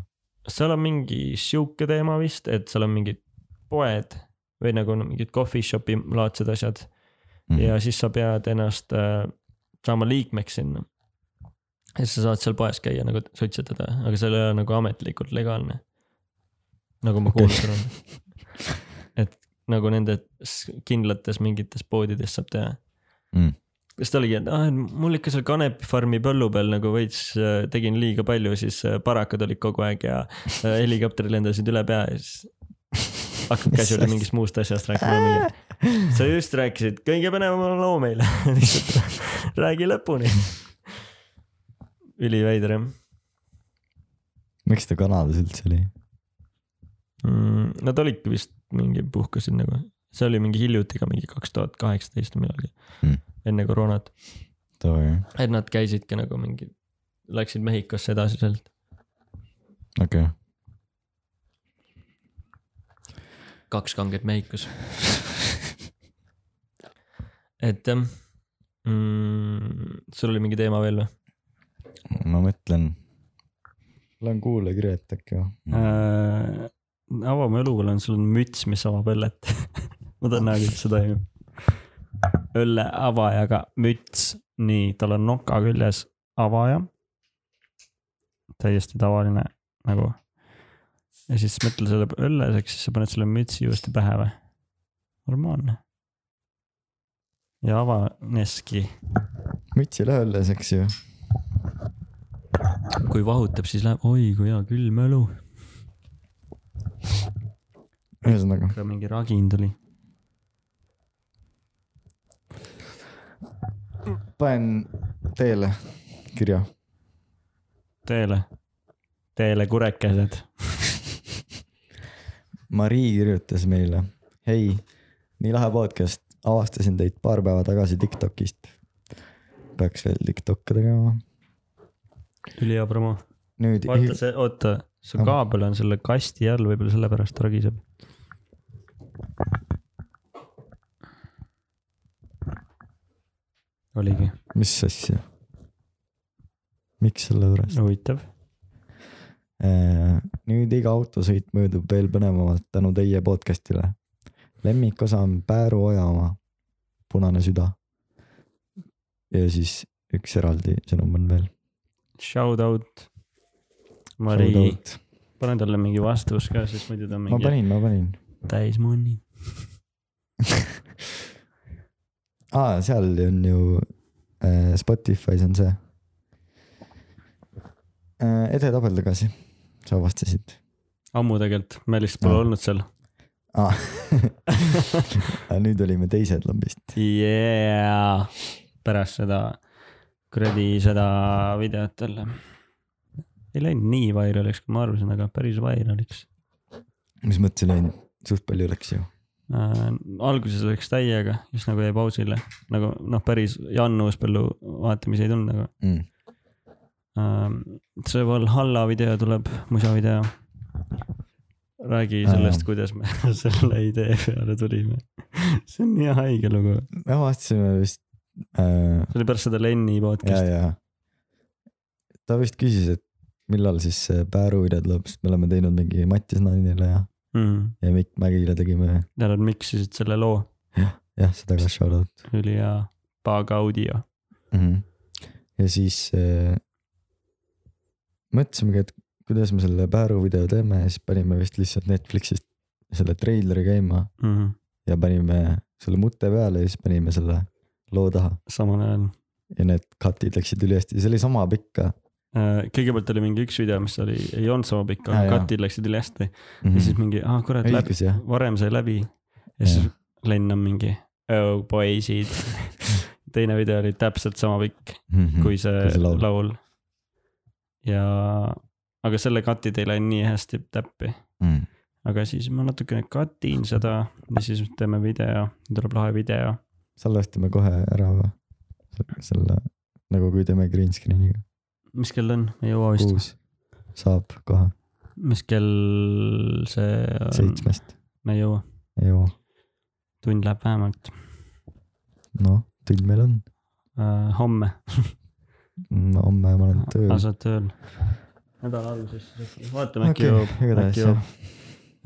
[SPEAKER 2] seal on mingi sihuke teema vist , et seal on mingid poed või nagu no mingid coffee shop'i laadsed asjad
[SPEAKER 1] Mhm.
[SPEAKER 2] ja siis sa pead ennast äh, saama liikmeks sinna . ja siis sa saad seal poes käia nagu suitsetada , aga seal ei ole nagu ametlikult legaalne . nagu ma
[SPEAKER 1] Okei.
[SPEAKER 2] kuulnud olen . et nagu nende s- kindlates mingites poodides saab teha
[SPEAKER 1] Mm. .
[SPEAKER 2] siis ta oligi , et ah, et mul ikka seal Kanepi farmi põllu peal nagu veits äh, tegin liiga palju , siis äh, parakad olid kogu aeg ja äh, helikopterid lendasid üle pea ja siis hakkad casual'i mingist muust asjast rääkima mingi . sa just rääkisid kõige põnevama loo meile , lihtsalt räägi lõpuni . üliveider jah
[SPEAKER 1] miks ta Kanadas üldse oli ?
[SPEAKER 2] mm, . Nad olidki vist mingi puhkasid nagu , see oli mingi hiljuti ka mingi kaks tuhat kaheksateist või millalgi
[SPEAKER 1] Mm.
[SPEAKER 2] mm. , enne koroonat ,
[SPEAKER 1] okei
[SPEAKER 2] et nad käisidki nagu mingi , läksid Mehhikosse edasi sealt .
[SPEAKER 1] okay. ,
[SPEAKER 2] kaks kanget Mehhikos . et jah mm, , sul oli mingi teema veel või ?
[SPEAKER 1] ma mõtlen . mul on kuulajakirjad äkki või ?
[SPEAKER 2] äh, . avame õluõlle , sul on müts , mis avab õllet . ma tahan näha , kuidas see toimub . õlle avajaga müts , nii , tal on noka küljes avaja . täiesti tavaline nagu . ja siis mõtle selle õlleseks , siis sa paned selle mütsi juurde pähe või ? normaalne . ja avaneski .
[SPEAKER 1] müts ei lähe õlles , eks ju .
[SPEAKER 2] kui vahutab , siis läheb , oi kui hea külm õlu .
[SPEAKER 1] ühesõnaga ,
[SPEAKER 2] ka mingi ragin tuli .
[SPEAKER 1] panen teele kirja .
[SPEAKER 2] teele , teele kurekesed .
[SPEAKER 1] Marii kirjutas meile . hei , nii lahe podcast , avastasin teid paar päeva tagasi Tiktokist . peaks veel Tiktok'e tegema .
[SPEAKER 2] ülihea promo .
[SPEAKER 1] nüüd .
[SPEAKER 2] vaata see , oota , see
[SPEAKER 1] Ah.
[SPEAKER 2] kaabel on selle kasti all , võib-olla sellepärast ta ragiseb . oligi ,
[SPEAKER 1] mis asja ? miks sellepärast ?
[SPEAKER 2] huvitav .
[SPEAKER 1] nüüd iga autosõit möödub veel põnevamalt tänu teie podcast'ile . lemmikosa on Pääru oja oma , Punane süda . ja siis üks eraldi sõnum on veel .
[SPEAKER 2] Shout out . Mari ,
[SPEAKER 1] ma
[SPEAKER 2] pane talle mingi vastus ka , siis muidu ta on mingi
[SPEAKER 1] panin , ma panin .
[SPEAKER 2] täis munni .
[SPEAKER 1] aa , seal on ju äh, Spotify's on see äh, . edetabel tagasi , sa avastasid .
[SPEAKER 2] ammu tegelikult , me lihtsalt pole
[SPEAKER 1] Ah.
[SPEAKER 2] olnud seal .
[SPEAKER 1] aa , nüüd olime teised lambist .
[SPEAKER 2] yeah. . pärast seda kuradi seda videot jälle . ei läinud nii vairaliks , kui ma arvasin , aga päris vairaliks
[SPEAKER 1] mis mõttes ei läinud , suht palju läks ju .
[SPEAKER 2] äh, . alguses läks täiega , siis nagu jäi pausile , nagu noh , päris Jan Uuspõllu vaatamisi ei tulnud , aga
[SPEAKER 1] Mm.
[SPEAKER 2] ähm, see Valhalla video tuleb , musavideo . räägi
[SPEAKER 1] Aa,
[SPEAKER 2] sellest , kuidas me selle idee peale tulime . see on nii haige lugu .
[SPEAKER 1] me avastasime vist äh, .
[SPEAKER 2] see oli pärast seda Lenni
[SPEAKER 1] ja ,
[SPEAKER 2] podcast'i .
[SPEAKER 1] ja . ta vist küsis , et millal siis see Pääruide tuleb , sest me oleme teinud mingi Mattias Nainile ja ,
[SPEAKER 2] Nad
[SPEAKER 1] ja Mikk Mägile tegime
[SPEAKER 2] Mm. miksisid selle loo ,
[SPEAKER 1] jah , seda ka shout out
[SPEAKER 2] ülihea Paga audio .
[SPEAKER 1] mm . -hmm. ja siis äh, mõtlesimegi , et kuidas me selle Pääru video teeme ja siis panime vist lihtsalt Netflixist selle treileri käima
[SPEAKER 2] Mhm.
[SPEAKER 1] ja panime selle mute peale ja siis panime selle loo taha
[SPEAKER 2] samal ajal .
[SPEAKER 1] ja need cut'id läksid ülihästi , see oli sama pikk ka
[SPEAKER 2] Äh, kõigepealt oli mingi üks video , mis oli , ei olnud sama pikk ,
[SPEAKER 1] Jaa,
[SPEAKER 2] aga
[SPEAKER 1] jaa.
[SPEAKER 2] cut'id läksid üle hästi
[SPEAKER 1] mm
[SPEAKER 2] ja siis mingi , ah kurat , läbi ,
[SPEAKER 1] õigus jah ,
[SPEAKER 2] varem sai läbi . ja siis Len on mingi , oh poisid . teine video oli täpselt sama pikk kui see
[SPEAKER 1] Mhm. see laul.
[SPEAKER 2] laul, laul. . ja , aga selle cut'id ei läinud nii hästi täppi ,
[SPEAKER 1] mm. .
[SPEAKER 2] aga siis ma natukene cut in seda ja siis teeme video , tuleb lahe video .
[SPEAKER 1] salvestame kohe ära või ? selle , nagu kui teeme green screen'iga ,
[SPEAKER 2] mis kell on , ei jõua vist ,
[SPEAKER 1] kuus saab kohe
[SPEAKER 2] mis kell see on ,
[SPEAKER 1] seitsmest ,
[SPEAKER 2] me ei jõua ,
[SPEAKER 1] ei jõua ,
[SPEAKER 2] tund läheb vähemalt
[SPEAKER 1] noh tund meil on ,
[SPEAKER 2] uh, , homme .
[SPEAKER 1] homme ma olen tööl
[SPEAKER 2] aa ,. Ah, sa oled tööl . nädala alguses , vaatame äkki
[SPEAKER 1] okei
[SPEAKER 2] jõuab ,,
[SPEAKER 1] igatahes
[SPEAKER 2] äkki
[SPEAKER 1] jah
[SPEAKER 2] jõuab .,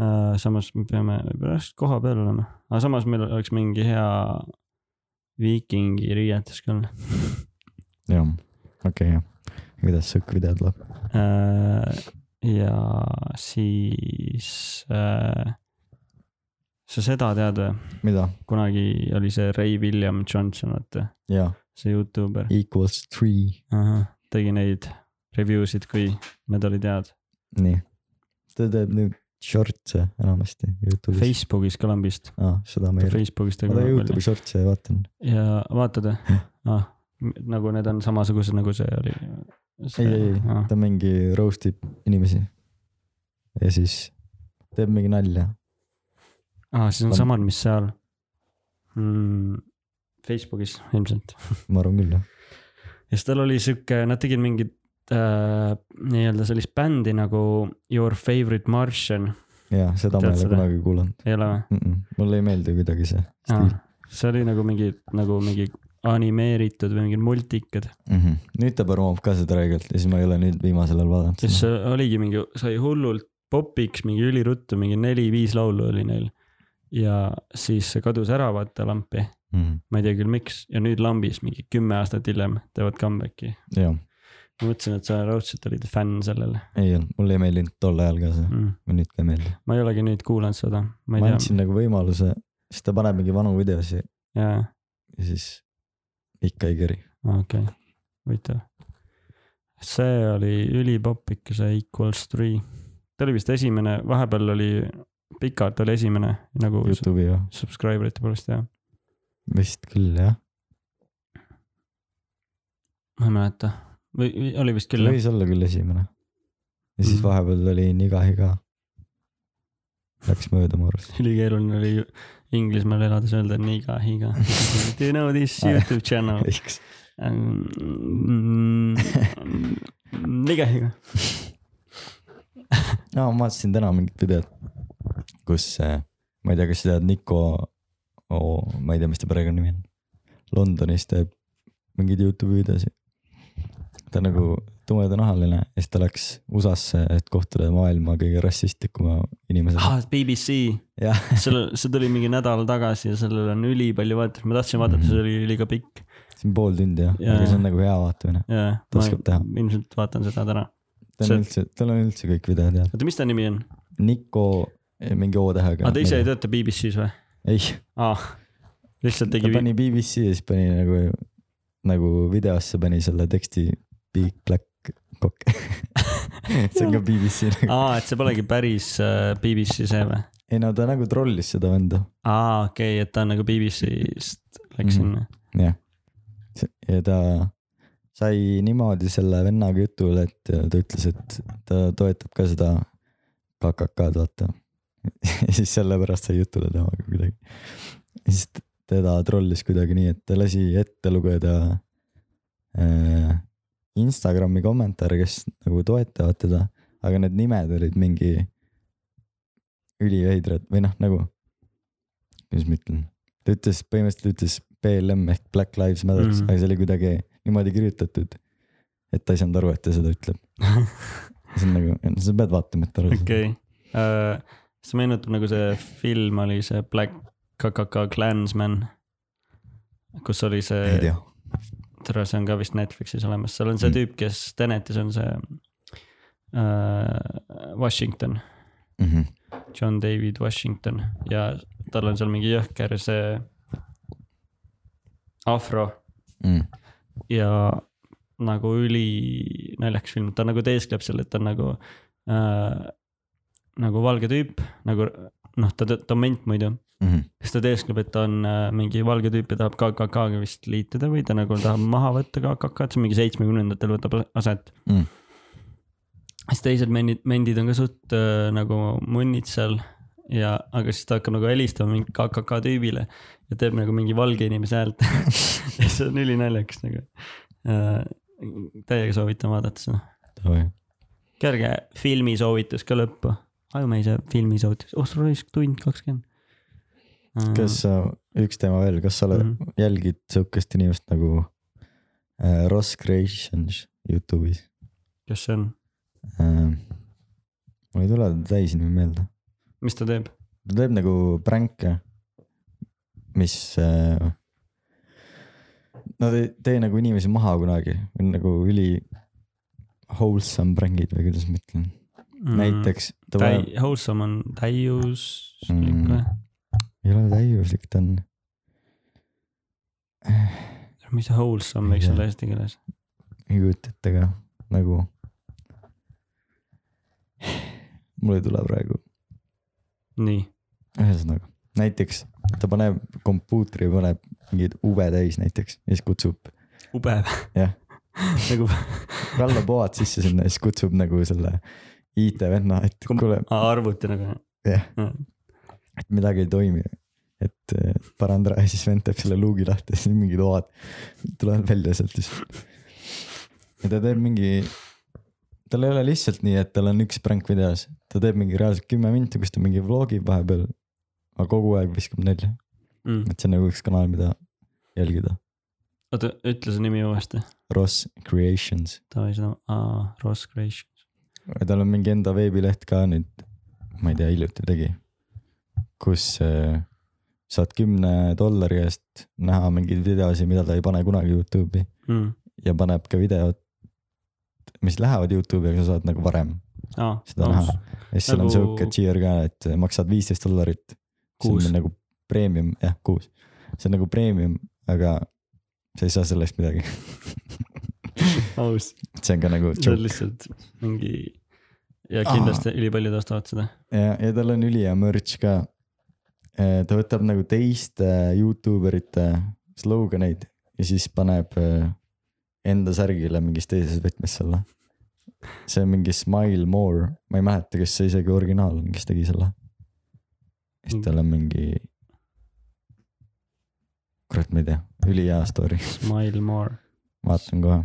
[SPEAKER 2] Äh, samas me peame pärast koha peal olema , aga samas meil oleks mingi hea viikingi riietus ka olla .
[SPEAKER 1] jah , okei jah , igatahes sihuke video tuleb ,
[SPEAKER 2] Äh, ja siis äh, , sa seda tead või ?
[SPEAKER 1] mida ?
[SPEAKER 2] kunagi oli see Ray William Johnson , vaata ,
[SPEAKER 1] jaa ,
[SPEAKER 2] see Youtuber ,
[SPEAKER 1] equals three ,
[SPEAKER 2] tegi neid review sid , kui need olid head .
[SPEAKER 1] nii . ta teeb nüüd short'e enamasti Youtube'is ,
[SPEAKER 2] Facebookis ka lambist ,
[SPEAKER 1] aa seda ma ei ,
[SPEAKER 2] Facebookis
[SPEAKER 1] ma
[SPEAKER 2] tegi
[SPEAKER 1] ta
[SPEAKER 2] väga palju.
[SPEAKER 1] Youtube'i short'e vaatan ,
[SPEAKER 2] ja vaatad või ? ah, ? nagu need on samasugused , nagu see oli . ah.
[SPEAKER 1] ei , ei , ei , ta mingi roast ib inimesi . ja siis teeb mingi nalja ,
[SPEAKER 2] aa , Ah, siis on
[SPEAKER 1] ta-
[SPEAKER 2] samad , mis seal mm, . Facebookis ilmselt .
[SPEAKER 1] ma arvan küll jah .
[SPEAKER 2] ja siis tal oli sihuke , nad tegid mingit äh, nii-öelda sellist bändi nagu Your Favorite Martian ,
[SPEAKER 1] ja seda ma
[SPEAKER 2] Tead
[SPEAKER 1] ei ole
[SPEAKER 2] seda?
[SPEAKER 1] kunagi kuulanud
[SPEAKER 2] ei ole
[SPEAKER 1] mm . -mm. mulle ei meeldi kuidagi see stiil
[SPEAKER 2] või ? see oli nagu mingi , nagu mingi animeeritud või mingid multikad .
[SPEAKER 1] mm . -hmm. nüüd ta promob ka seda räigelt ja siis ma ei ole nüüd viimasel ajal vaadanud
[SPEAKER 2] ja siis
[SPEAKER 1] seda .
[SPEAKER 2] see oligi mingi , sai hullult popiks mingi üliruttu , mingi neli-viis laulu oli neil . ja siis see kadus ära , vaata lampi
[SPEAKER 1] Mm -hmm.
[SPEAKER 2] ma ei tea küll , miks ja nüüd lambis mingi kümme aastat hiljem teevad comeback'i .
[SPEAKER 1] jah ,
[SPEAKER 2] ma mõtlesin , et sa raudselt olid fänn sellele
[SPEAKER 1] ei olnud , mulle ei meeldinud tol ajal ka see ,
[SPEAKER 2] mm. .
[SPEAKER 1] nüüd ka ei meeldi .
[SPEAKER 2] ma ei olegi nüüd kuulanud seda , ma
[SPEAKER 1] ma
[SPEAKER 2] ei tea ,
[SPEAKER 1] andsin nagu võimaluse , siis ta paneb mingi vanu videosi
[SPEAKER 2] jaa ,
[SPEAKER 1] ja siis ikka ei keri .
[SPEAKER 2] okei okay. , huvitav . see oli ülipopp ikka , see Equals Three . ta oli vist esimene , vahepeal oli pikalt oli esimene nagu su-
[SPEAKER 1] Youtube'i jah ,
[SPEAKER 2] subscriber ite poolest jah ,
[SPEAKER 1] vist küll jah ,
[SPEAKER 2] ma ei mäleta või või oli vist küll jah ,
[SPEAKER 1] võis olla küll esimene . ja siis
[SPEAKER 2] Mhm.
[SPEAKER 1] vahepeal oli Nigahi ka . Läks mööda mu arust .
[SPEAKER 2] ülikeeruline oli ju Inglismaal elades öelda niga , higa . Do you know this Youtube channel ? Ähm,
[SPEAKER 1] eks ,
[SPEAKER 2] mm, ligehiga .
[SPEAKER 1] no ma vaatasin täna mingit videot , kus äh, ma ei tea , kas sa tead Niko oh, , ma ei tea , mis ta perekonnanimi on . Londonis teeb mingeid Youtube'i videosid . ta on nagu tumedanahaline ja siis ta läks USA-sse , et kohtuda maailma kõige rassistlikuma inimesega .
[SPEAKER 2] ah , BBC ,
[SPEAKER 1] jah ,
[SPEAKER 2] selle , see tuli mingi nädal tagasi ja sellel on ülipalju vaatajaid , ma tahtsin vaadata , see oli liiga pikk
[SPEAKER 1] see on pool tundi jah
[SPEAKER 2] Ah. Jaa.
[SPEAKER 1] yeah. , aga see on nagu hea vaatamine .
[SPEAKER 2] ja
[SPEAKER 1] Ta
[SPEAKER 2] ma
[SPEAKER 1] oskab teha.
[SPEAKER 2] ilmselt vaatan seda täna .
[SPEAKER 1] tal
[SPEAKER 2] See-
[SPEAKER 1] on üldse , tal on üldse kõik videod head .
[SPEAKER 2] oota , mis ta nimi on ?
[SPEAKER 1] Niko eh, mingi O tähega .
[SPEAKER 2] aa , Ah, ta ise ei tööta BBC-s või ?
[SPEAKER 1] ei ,
[SPEAKER 2] aa , lihtsalt
[SPEAKER 1] ta
[SPEAKER 2] tegi .
[SPEAKER 1] pani BBC ja siis pani nagu , nagu videosse pani selle teksti Big Black Cock . see on ka BBC nagu ,
[SPEAKER 2] aa , Ah, et see polegi päris äh, BBC see või ?
[SPEAKER 1] ei no ta nagu trollis seda venda ,
[SPEAKER 2] aa , okei okay, , et ta on nagu BBC-st
[SPEAKER 1] Mhm.
[SPEAKER 2] läks sinna .
[SPEAKER 1] jah . ja ta sai niimoodi selle vennaga jutule , et ta ütles , et ta toetab ka seda KKK-d , vaata . ja siis sellepärast sai jutule temaga kuidagi . ja siis t- teda trollis kuidagi nii , et ta lasi ette lugeda äh, Instagrami kommentaare , kes nagu toetavad teda , aga need nimed olid mingi üliveidrad või noh , nagu , kuidas ma ütlen , ta ütles , põhimõtteliselt ütles BLM ehk Black Lives Matters mm. ,
[SPEAKER 2] Mhm.
[SPEAKER 1] aga see oli kuidagi niimoodi kirjutatud , et ta ei saanud aru , et ta seda ütleb . see on nagu , sa pead vaatama , et aru saada .
[SPEAKER 2] okei , see meenutab nagu see film oli see Black KKK Klansman , kus oli
[SPEAKER 1] ei
[SPEAKER 2] see ,
[SPEAKER 1] tea ,
[SPEAKER 2] tere , see on ka vist Netflixis olemas , seal on see
[SPEAKER 1] Mm.
[SPEAKER 2] tüüp , kes Tenetis on see äh, Washington ,
[SPEAKER 1] Mhm.
[SPEAKER 2] John David Washington ja tal on seal mingi jõhker see afro
[SPEAKER 1] Mm.
[SPEAKER 2] ja nagu üli naljakas film , ta nagu teeskleb seal , et ta on nagu äh, . nagu valge tüüp , nagu noh , ta , ta on ment muidu ,
[SPEAKER 1] Mhm.
[SPEAKER 2] siis ta teeskleb , et ta on äh, mingi valge tüüp ja tahab KKK-ga vist liituda või ta nagu tahab maha võtta KKK-d , see on mingi seitsmekümnendatel võtab aset . siis teised mendid , mendid on ka suht äh, nagu munnid seal ja , aga siis ta hakkab nagu helistama mingi KKK tüübile ja teeb nagu mingi valge inimese häält . ja see on ülinaljakas nagu äh, . Täiega soovitan vaadata seda . kerge filmisoovitus ka lõppu . ajumeise filmisoovitus , oh sul oli üks tund kakskümmend . Äh,
[SPEAKER 1] kas sa , üks teema veel , kas sa oled
[SPEAKER 2] Mhm.
[SPEAKER 1] mm. , jälgid sihukest inimest nagu äh, Ross Creations Youtube'is
[SPEAKER 2] kes see on ,
[SPEAKER 1] äh, ? mul ei tule ta täisnimi meelde ,
[SPEAKER 2] mis ta teeb ?
[SPEAKER 1] ta teeb nagu pränke , mis äh, . Nad ei tee nagu inimesi maha kunagi , nagu üli wholesome prängid või kuidas ma ütlen mm. ,. näiteks ta paneb ,
[SPEAKER 2] Mhm. täi- , wholesome on täiuslik
[SPEAKER 1] Mm.
[SPEAKER 2] või ?
[SPEAKER 1] ei ole täiuslik , ta on
[SPEAKER 2] mis see wholesome võiks
[SPEAKER 1] Ei
[SPEAKER 2] olla eesti keeles ?
[SPEAKER 1] ei kujuta ette ka nagu . mul ei tule praegu ,
[SPEAKER 2] nii ,
[SPEAKER 1] ühesõnaga näiteks ta paneb kompuutri , paneb mingeid ube täis näiteks ja siis kutsub
[SPEAKER 2] ube
[SPEAKER 1] Jah. .
[SPEAKER 2] nagu
[SPEAKER 1] rallapoad sisse sinna ja siis kutsub nagu selle IT-venna , et kuule ,
[SPEAKER 2] aa, arvuti nagu .
[SPEAKER 1] jah
[SPEAKER 2] Mm. ,
[SPEAKER 1] et midagi ei toimi et eh, paranda ja siis vend teeb selle luugi lahti ja siis mingid oad tulevad välja sealt siis . ja ta teeb mingi , tal ei ole lihtsalt nii , et tal on üks pränk videos , ta teeb mingi reaalselt kümme minti , kus ta mingi vlogib vahepeal . aga kogu aeg viskab nalja ,
[SPEAKER 2] Mm.
[SPEAKER 1] et see on nagu üks kanal , mida jälgida .
[SPEAKER 2] oota , ütle see nimi uuesti .
[SPEAKER 1] Ross Creations ,
[SPEAKER 2] Davai seda , aa , Ross Creation .
[SPEAKER 1] tal on mingi enda veebileht ka nüüd , ma ei tea , hiljuti tegi , kus eh, saad kümne dollari eest näha mingeid videosid , mida ta ei pane kunagi Youtube'i
[SPEAKER 2] mm. .
[SPEAKER 1] ja paneb ka videod , mis lähevad Youtube'i , aga sa saad nagu varem .
[SPEAKER 2] aa ,
[SPEAKER 1] Seda näha. ja siis seal on
[SPEAKER 2] Nagu-
[SPEAKER 1] sihuke cheer ka , et maksad viisteist dollarit .
[SPEAKER 2] Kuus.
[SPEAKER 1] nagu premium , jah kuus , see on nagu premium , aga sa ei saa selle eest midagi ,
[SPEAKER 2] aus .
[SPEAKER 1] see on ka nagu
[SPEAKER 2] see on
[SPEAKER 1] joke
[SPEAKER 2] lihtsalt mingi ja kindlasti ülipaljud ostavad seda .
[SPEAKER 1] ja , ja tal on ülihea merch ka . ta võtab nagu teiste Youtube erite äh, sloganeid ja siis paneb eh, enda särgile mingis teises võtmes selle . see on mingi Smile More , ma ei mäleta , kas see isegi originaal on , kes tegi selle . siis tal on mingi . kurat , ma ei tea , ülihea story ,
[SPEAKER 2] Smile more ,
[SPEAKER 1] vaatan kohe .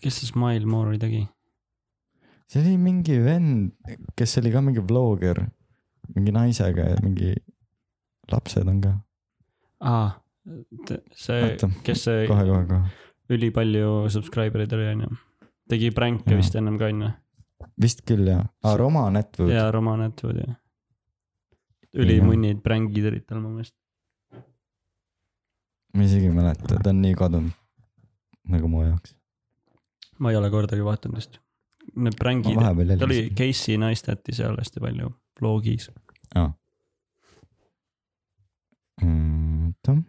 [SPEAKER 2] kes see Smile more'i tegi ?
[SPEAKER 1] see oli mingi vend , kes oli ka mingi blogger , mingi naisega ja mingi lapsed on ka .
[SPEAKER 2] aa , see
[SPEAKER 1] Oota, ,
[SPEAKER 2] kes see
[SPEAKER 1] kohe , kohe , kohe .
[SPEAKER 2] ülipalju subscriber eid oli onju , tegi pränk'e
[SPEAKER 1] Jaa.
[SPEAKER 2] vist ennem ka onju
[SPEAKER 1] vist küll jah ah, , Roman Atwood
[SPEAKER 2] ja Roman Atwood ja . ülimunnid prängid olid tal mu meelest ,
[SPEAKER 1] ma isegi ei mäleta , ta on nii kadunud nagu mu jaoks .
[SPEAKER 2] ma ei ole kordagi vaadanud vist .
[SPEAKER 1] ma
[SPEAKER 2] Need prängid ,
[SPEAKER 1] vahepeal
[SPEAKER 2] ta oli
[SPEAKER 1] jälgisin .
[SPEAKER 2] Casey Neistati seal hästi palju vlogis ,
[SPEAKER 1] Mm, oota . aa ,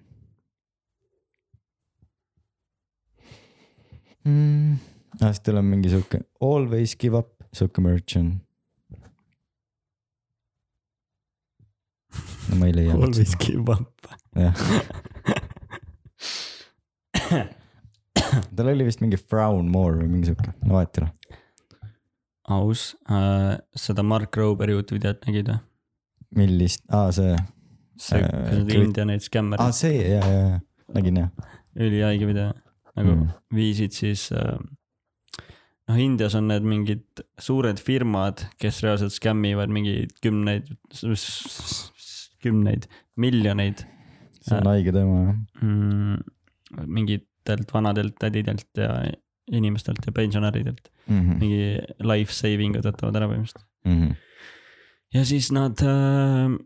[SPEAKER 1] Mm. Ah, siis tal on mingi sihuke Always give up , sihuke merch on . no ma ei leia .
[SPEAKER 2] Always give up .
[SPEAKER 1] jah , tal oli vist mingi Frown More või mingi sihuke , no vahet ei ole .
[SPEAKER 2] aus , seda Mark Rober'i Youtube'i videot nägid või ?
[SPEAKER 1] millist , aa see ,
[SPEAKER 2] see ,
[SPEAKER 1] Äh,
[SPEAKER 2] kus need
[SPEAKER 1] kri-
[SPEAKER 2] India need skämmerid
[SPEAKER 1] aa see ja , ja , ja , nägin jah .
[SPEAKER 2] ülihaige video nagu
[SPEAKER 1] Mm.
[SPEAKER 2] mm. viisid siis äh, . noh , Indias on need mingid suured firmad , kes reaalselt skämmivad mingeid kümneid , kümneid miljoneid
[SPEAKER 1] see on haige teema jah .
[SPEAKER 2] mm, mingitelt vanadelt tädidelt ja inimestelt ja pensionäridelt
[SPEAKER 1] Mhm.
[SPEAKER 2] mingi life saving ud võtavad ära põhimõtteliselt . ja siis nad äh, ,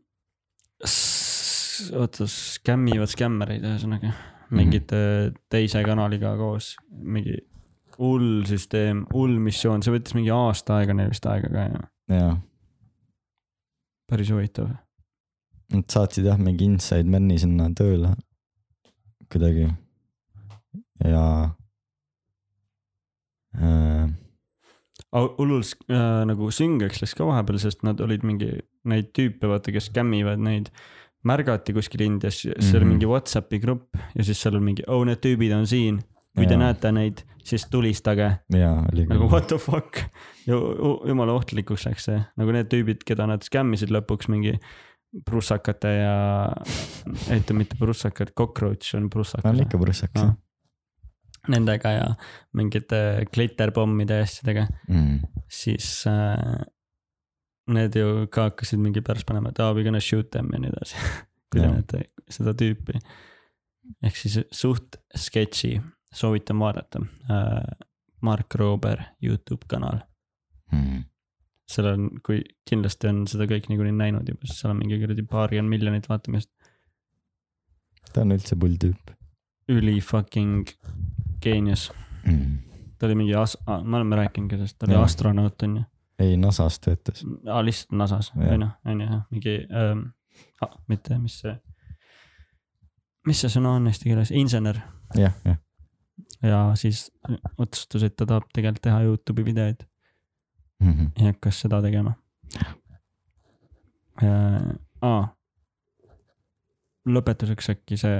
[SPEAKER 2] oota , scam ivad skämmereid ühesõnaga ,
[SPEAKER 1] Mhm.
[SPEAKER 2] mingite teise kanaliga koos , mingi hull süsteem , hull missioon , see võttis mingi aasta aega neil vist aega ka ja
[SPEAKER 1] jaa ,
[SPEAKER 2] päris huvitav .
[SPEAKER 1] nad saatsid jah mingi inside man'i sinna tööle kuidagi ja äh, .
[SPEAKER 2] hullult äh, nagu süngeks läks ka vahepeal , sest nad olid mingi neid tüüpe , vaata , kes scam ivad neid . märgati kuskil Indias , seal mm -hmm.
[SPEAKER 1] Mhm.
[SPEAKER 2] mingi Whatsappi grupp ja siis seal on mingi , oh need tüübid on siin . kui te
[SPEAKER 1] Jaa.
[SPEAKER 2] näete neid , siis tulistage
[SPEAKER 1] jaa , oli
[SPEAKER 2] nagu
[SPEAKER 1] küll ,
[SPEAKER 2] what the fuck . jumala ohtlikuks läks see , nagu need tüübid , keda nad scam isid lõpuks mingi prussakate ja , ei mitte prussakad , cockroach on
[SPEAKER 1] on
[SPEAKER 2] prussakas
[SPEAKER 1] Noh, ikka . prussakas
[SPEAKER 2] Aa.
[SPEAKER 1] jah
[SPEAKER 2] Nendega ja mingite kliterpommide ja asjadega
[SPEAKER 1] mm. .
[SPEAKER 2] siis äh, need ju ka hakkasid mingi pärast panema , et aa , we gonna shoot them ja nii edasi . kui te
[SPEAKER 1] Jah.
[SPEAKER 2] näete seda tüüpi . ehk siis suht sketši , soovitan vaadata äh, . Mark Roober Youtube kanal ,
[SPEAKER 1] Mm.
[SPEAKER 2] seal on , kui kindlasti on seda kõik niikuinii näinud juba , sest seal on mingi kuradi paarkümmend miljonit vaatamist .
[SPEAKER 1] ta on üldse pull tüüp
[SPEAKER 2] üli fucking geenius , Mhm.
[SPEAKER 1] mm. .
[SPEAKER 2] ta oli mingi as- , me oleme rääkinud ka sellest , ta oli
[SPEAKER 1] Jah.
[SPEAKER 2] astronaut on ju .
[SPEAKER 1] ei , NASA-s töötas
[SPEAKER 2] aa , lihtsalt NASA-s ,
[SPEAKER 1] Jah.
[SPEAKER 2] on ju , on ju , mingi ähm, , mitte , mis see , mis see sõna on eesti keeles , insener
[SPEAKER 1] jah , jah ,
[SPEAKER 2] ja siis otsustas , et ta tahab tegelikult teha Youtube'i videoid
[SPEAKER 1] Mhm.
[SPEAKER 2] ja hakkas seda tegema äh, . aa , lõpetuseks äkki see ,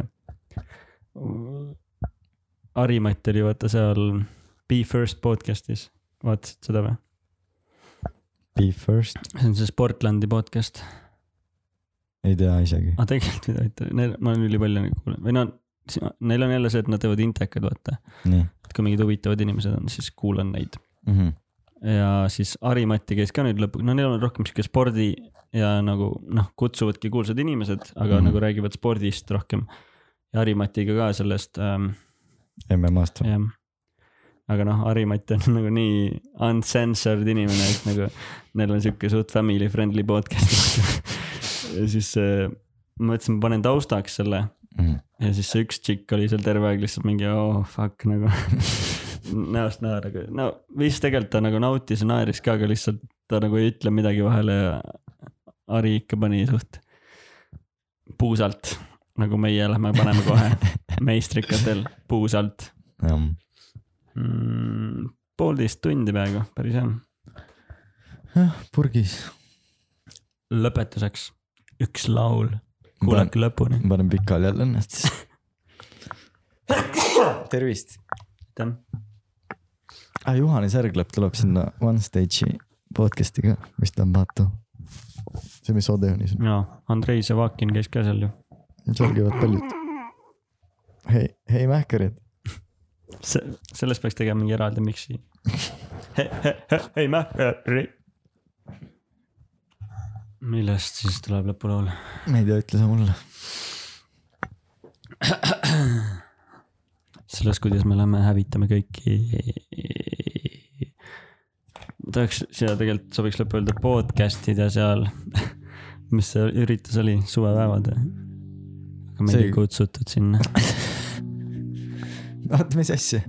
[SPEAKER 2] Arimat oli vaata seal Be First podcast'is , vaatasid seda või ?
[SPEAKER 1] Be first ,
[SPEAKER 2] see on see Sportlandi podcast .
[SPEAKER 1] ei tea isegi ,
[SPEAKER 2] aga Ah, tegelikult mida mitte , neil , ma olen ülipalju neid kuulanud või noh , neil on jälle see , et nad teevad intekaid , vaata .
[SPEAKER 1] nii
[SPEAKER 2] et kui mingid huvitavad inimesed on , siis kuulan neid .
[SPEAKER 1] mm . -hmm.
[SPEAKER 2] ja siis Harimati käis ka nüüd lõpuks , no neil on rohkem sihuke spordi ja nagu noh , kutsuvadki kuulsad inimesed , aga mm
[SPEAKER 1] Mhm.
[SPEAKER 2] -hmm. nagu räägivad spordist rohkem . ja Harimatiga ka sellest ähm, ,
[SPEAKER 1] MM-ast või ?
[SPEAKER 2] jah . aga noh , Harimat on nagu nii uncensored inimene , et nagu neil on sihuke suht family friendly podcast . ja siis äh, ma mõtlesin , ma panen taustaks selle
[SPEAKER 1] Mhm.
[SPEAKER 2] ja siis see üks tšikk oli seal terve aeg lihtsalt mingi oh fuck nagu näost näha nagu , no vist tegelikult ta nagu nautis ja naeris ka , aga lihtsalt ta nagu ei ütle midagi vahele ja Ari ikka pani suht puusalt , nagu meie lähme paneme kohe meistrikatel puusalt
[SPEAKER 1] jah ,
[SPEAKER 2] mm, . poolteist tundi peaaegu , päris hea .
[SPEAKER 1] purgis ,
[SPEAKER 2] lõpetuseks üks laul , kuulake lõpuni .
[SPEAKER 1] ma panen pikali jälle ennast siis . tervist .
[SPEAKER 2] aitäh .
[SPEAKER 1] Ah, Juhani Särglap tuleb sinna One Stage'i podcast'i ka , mis ta on , vaata . see , mis Odeonis on ,
[SPEAKER 2] jaa , Andrei Zavakin käis ka seal ju .
[SPEAKER 1] seal käivad paljud . hei , hei mähkarid ,
[SPEAKER 2] see , sellest peaks tegema mingi eraldi miksi . ei mähkri . millest siis tuleb lõpulaul ?
[SPEAKER 1] ma ei tea , ütle sa mulle .
[SPEAKER 2] sellest , kuidas me lähme hävitame kõiki . tahaks , siia tegelikult sobiks lõppu öelda podcast'id ja seal , mis see üritus oli , suvepäevad või ? aga meid
[SPEAKER 1] See-
[SPEAKER 2] ei kutsutud sinna .
[SPEAKER 1] oota , mis asja ?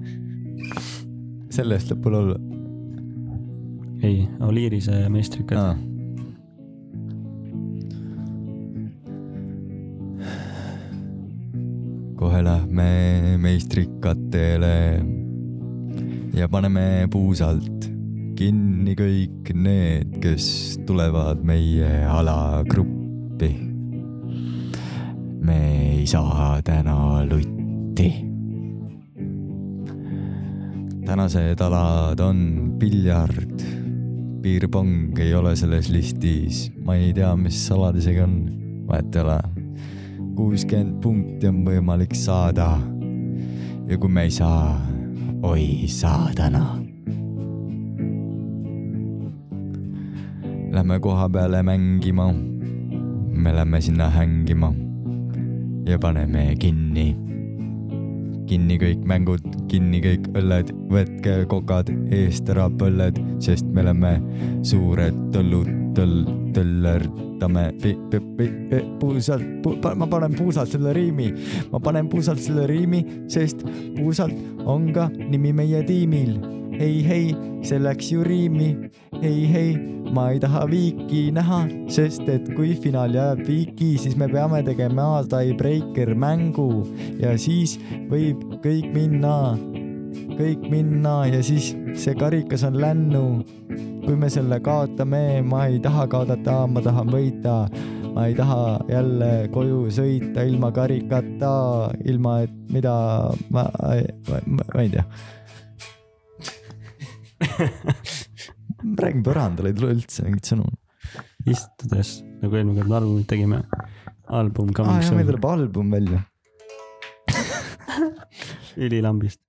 [SPEAKER 1] selle eest lõpul olla .
[SPEAKER 2] ei , Oliirise meistrikad ah. .
[SPEAKER 1] kohe lähme meistrikatele ja paneme puusalt kinni kõik need , kes tulevad meie alagruppi . me ei saa täna lutti . tänased alad on piljard , piirpong ei ole selles listis , ma ei tea , mis alad isegi on , vahet ei ole . kuuskümmend punkti on võimalik saada . ja kui me ei saa , oi saatana . Lähme koha peale mängima . me lähme sinna hängima . ja paneme kinni . kinni kõik mängud , kinni kõik õlled , võtke kokad eest ära põlled , sest me oleme suured tõllud , tõll , töllerdame . puusalt pu, , ma panen puusalt selle riimi , ma panen puusalt selle riimi , sest puusalt on ka nimi meie tiimil . ei , ei , see läks ju riimi . ei , ei , ma ei taha viiki näha , sest et kui finaal jääb viiki , siis me peame tegema tiebreaker mängu ja siis võib kõik minna , kõik minna ja siis see karikas on lännu . kui me selle kaotame , ma ei taha kaotada , ma tahan võita . ma ei taha jälle koju sõita ilma karikata , ilma et mida ma , ma, ma, ma ei tea . räägin põrandale , ei tule üldse mingit sõnu .
[SPEAKER 2] istudes nagu eelmine kord albumit tegime , album
[SPEAKER 1] aa
[SPEAKER 2] coming
[SPEAKER 1] jah , meil
[SPEAKER 2] soon ,
[SPEAKER 1] tuleb album välja .
[SPEAKER 2] ülilambist .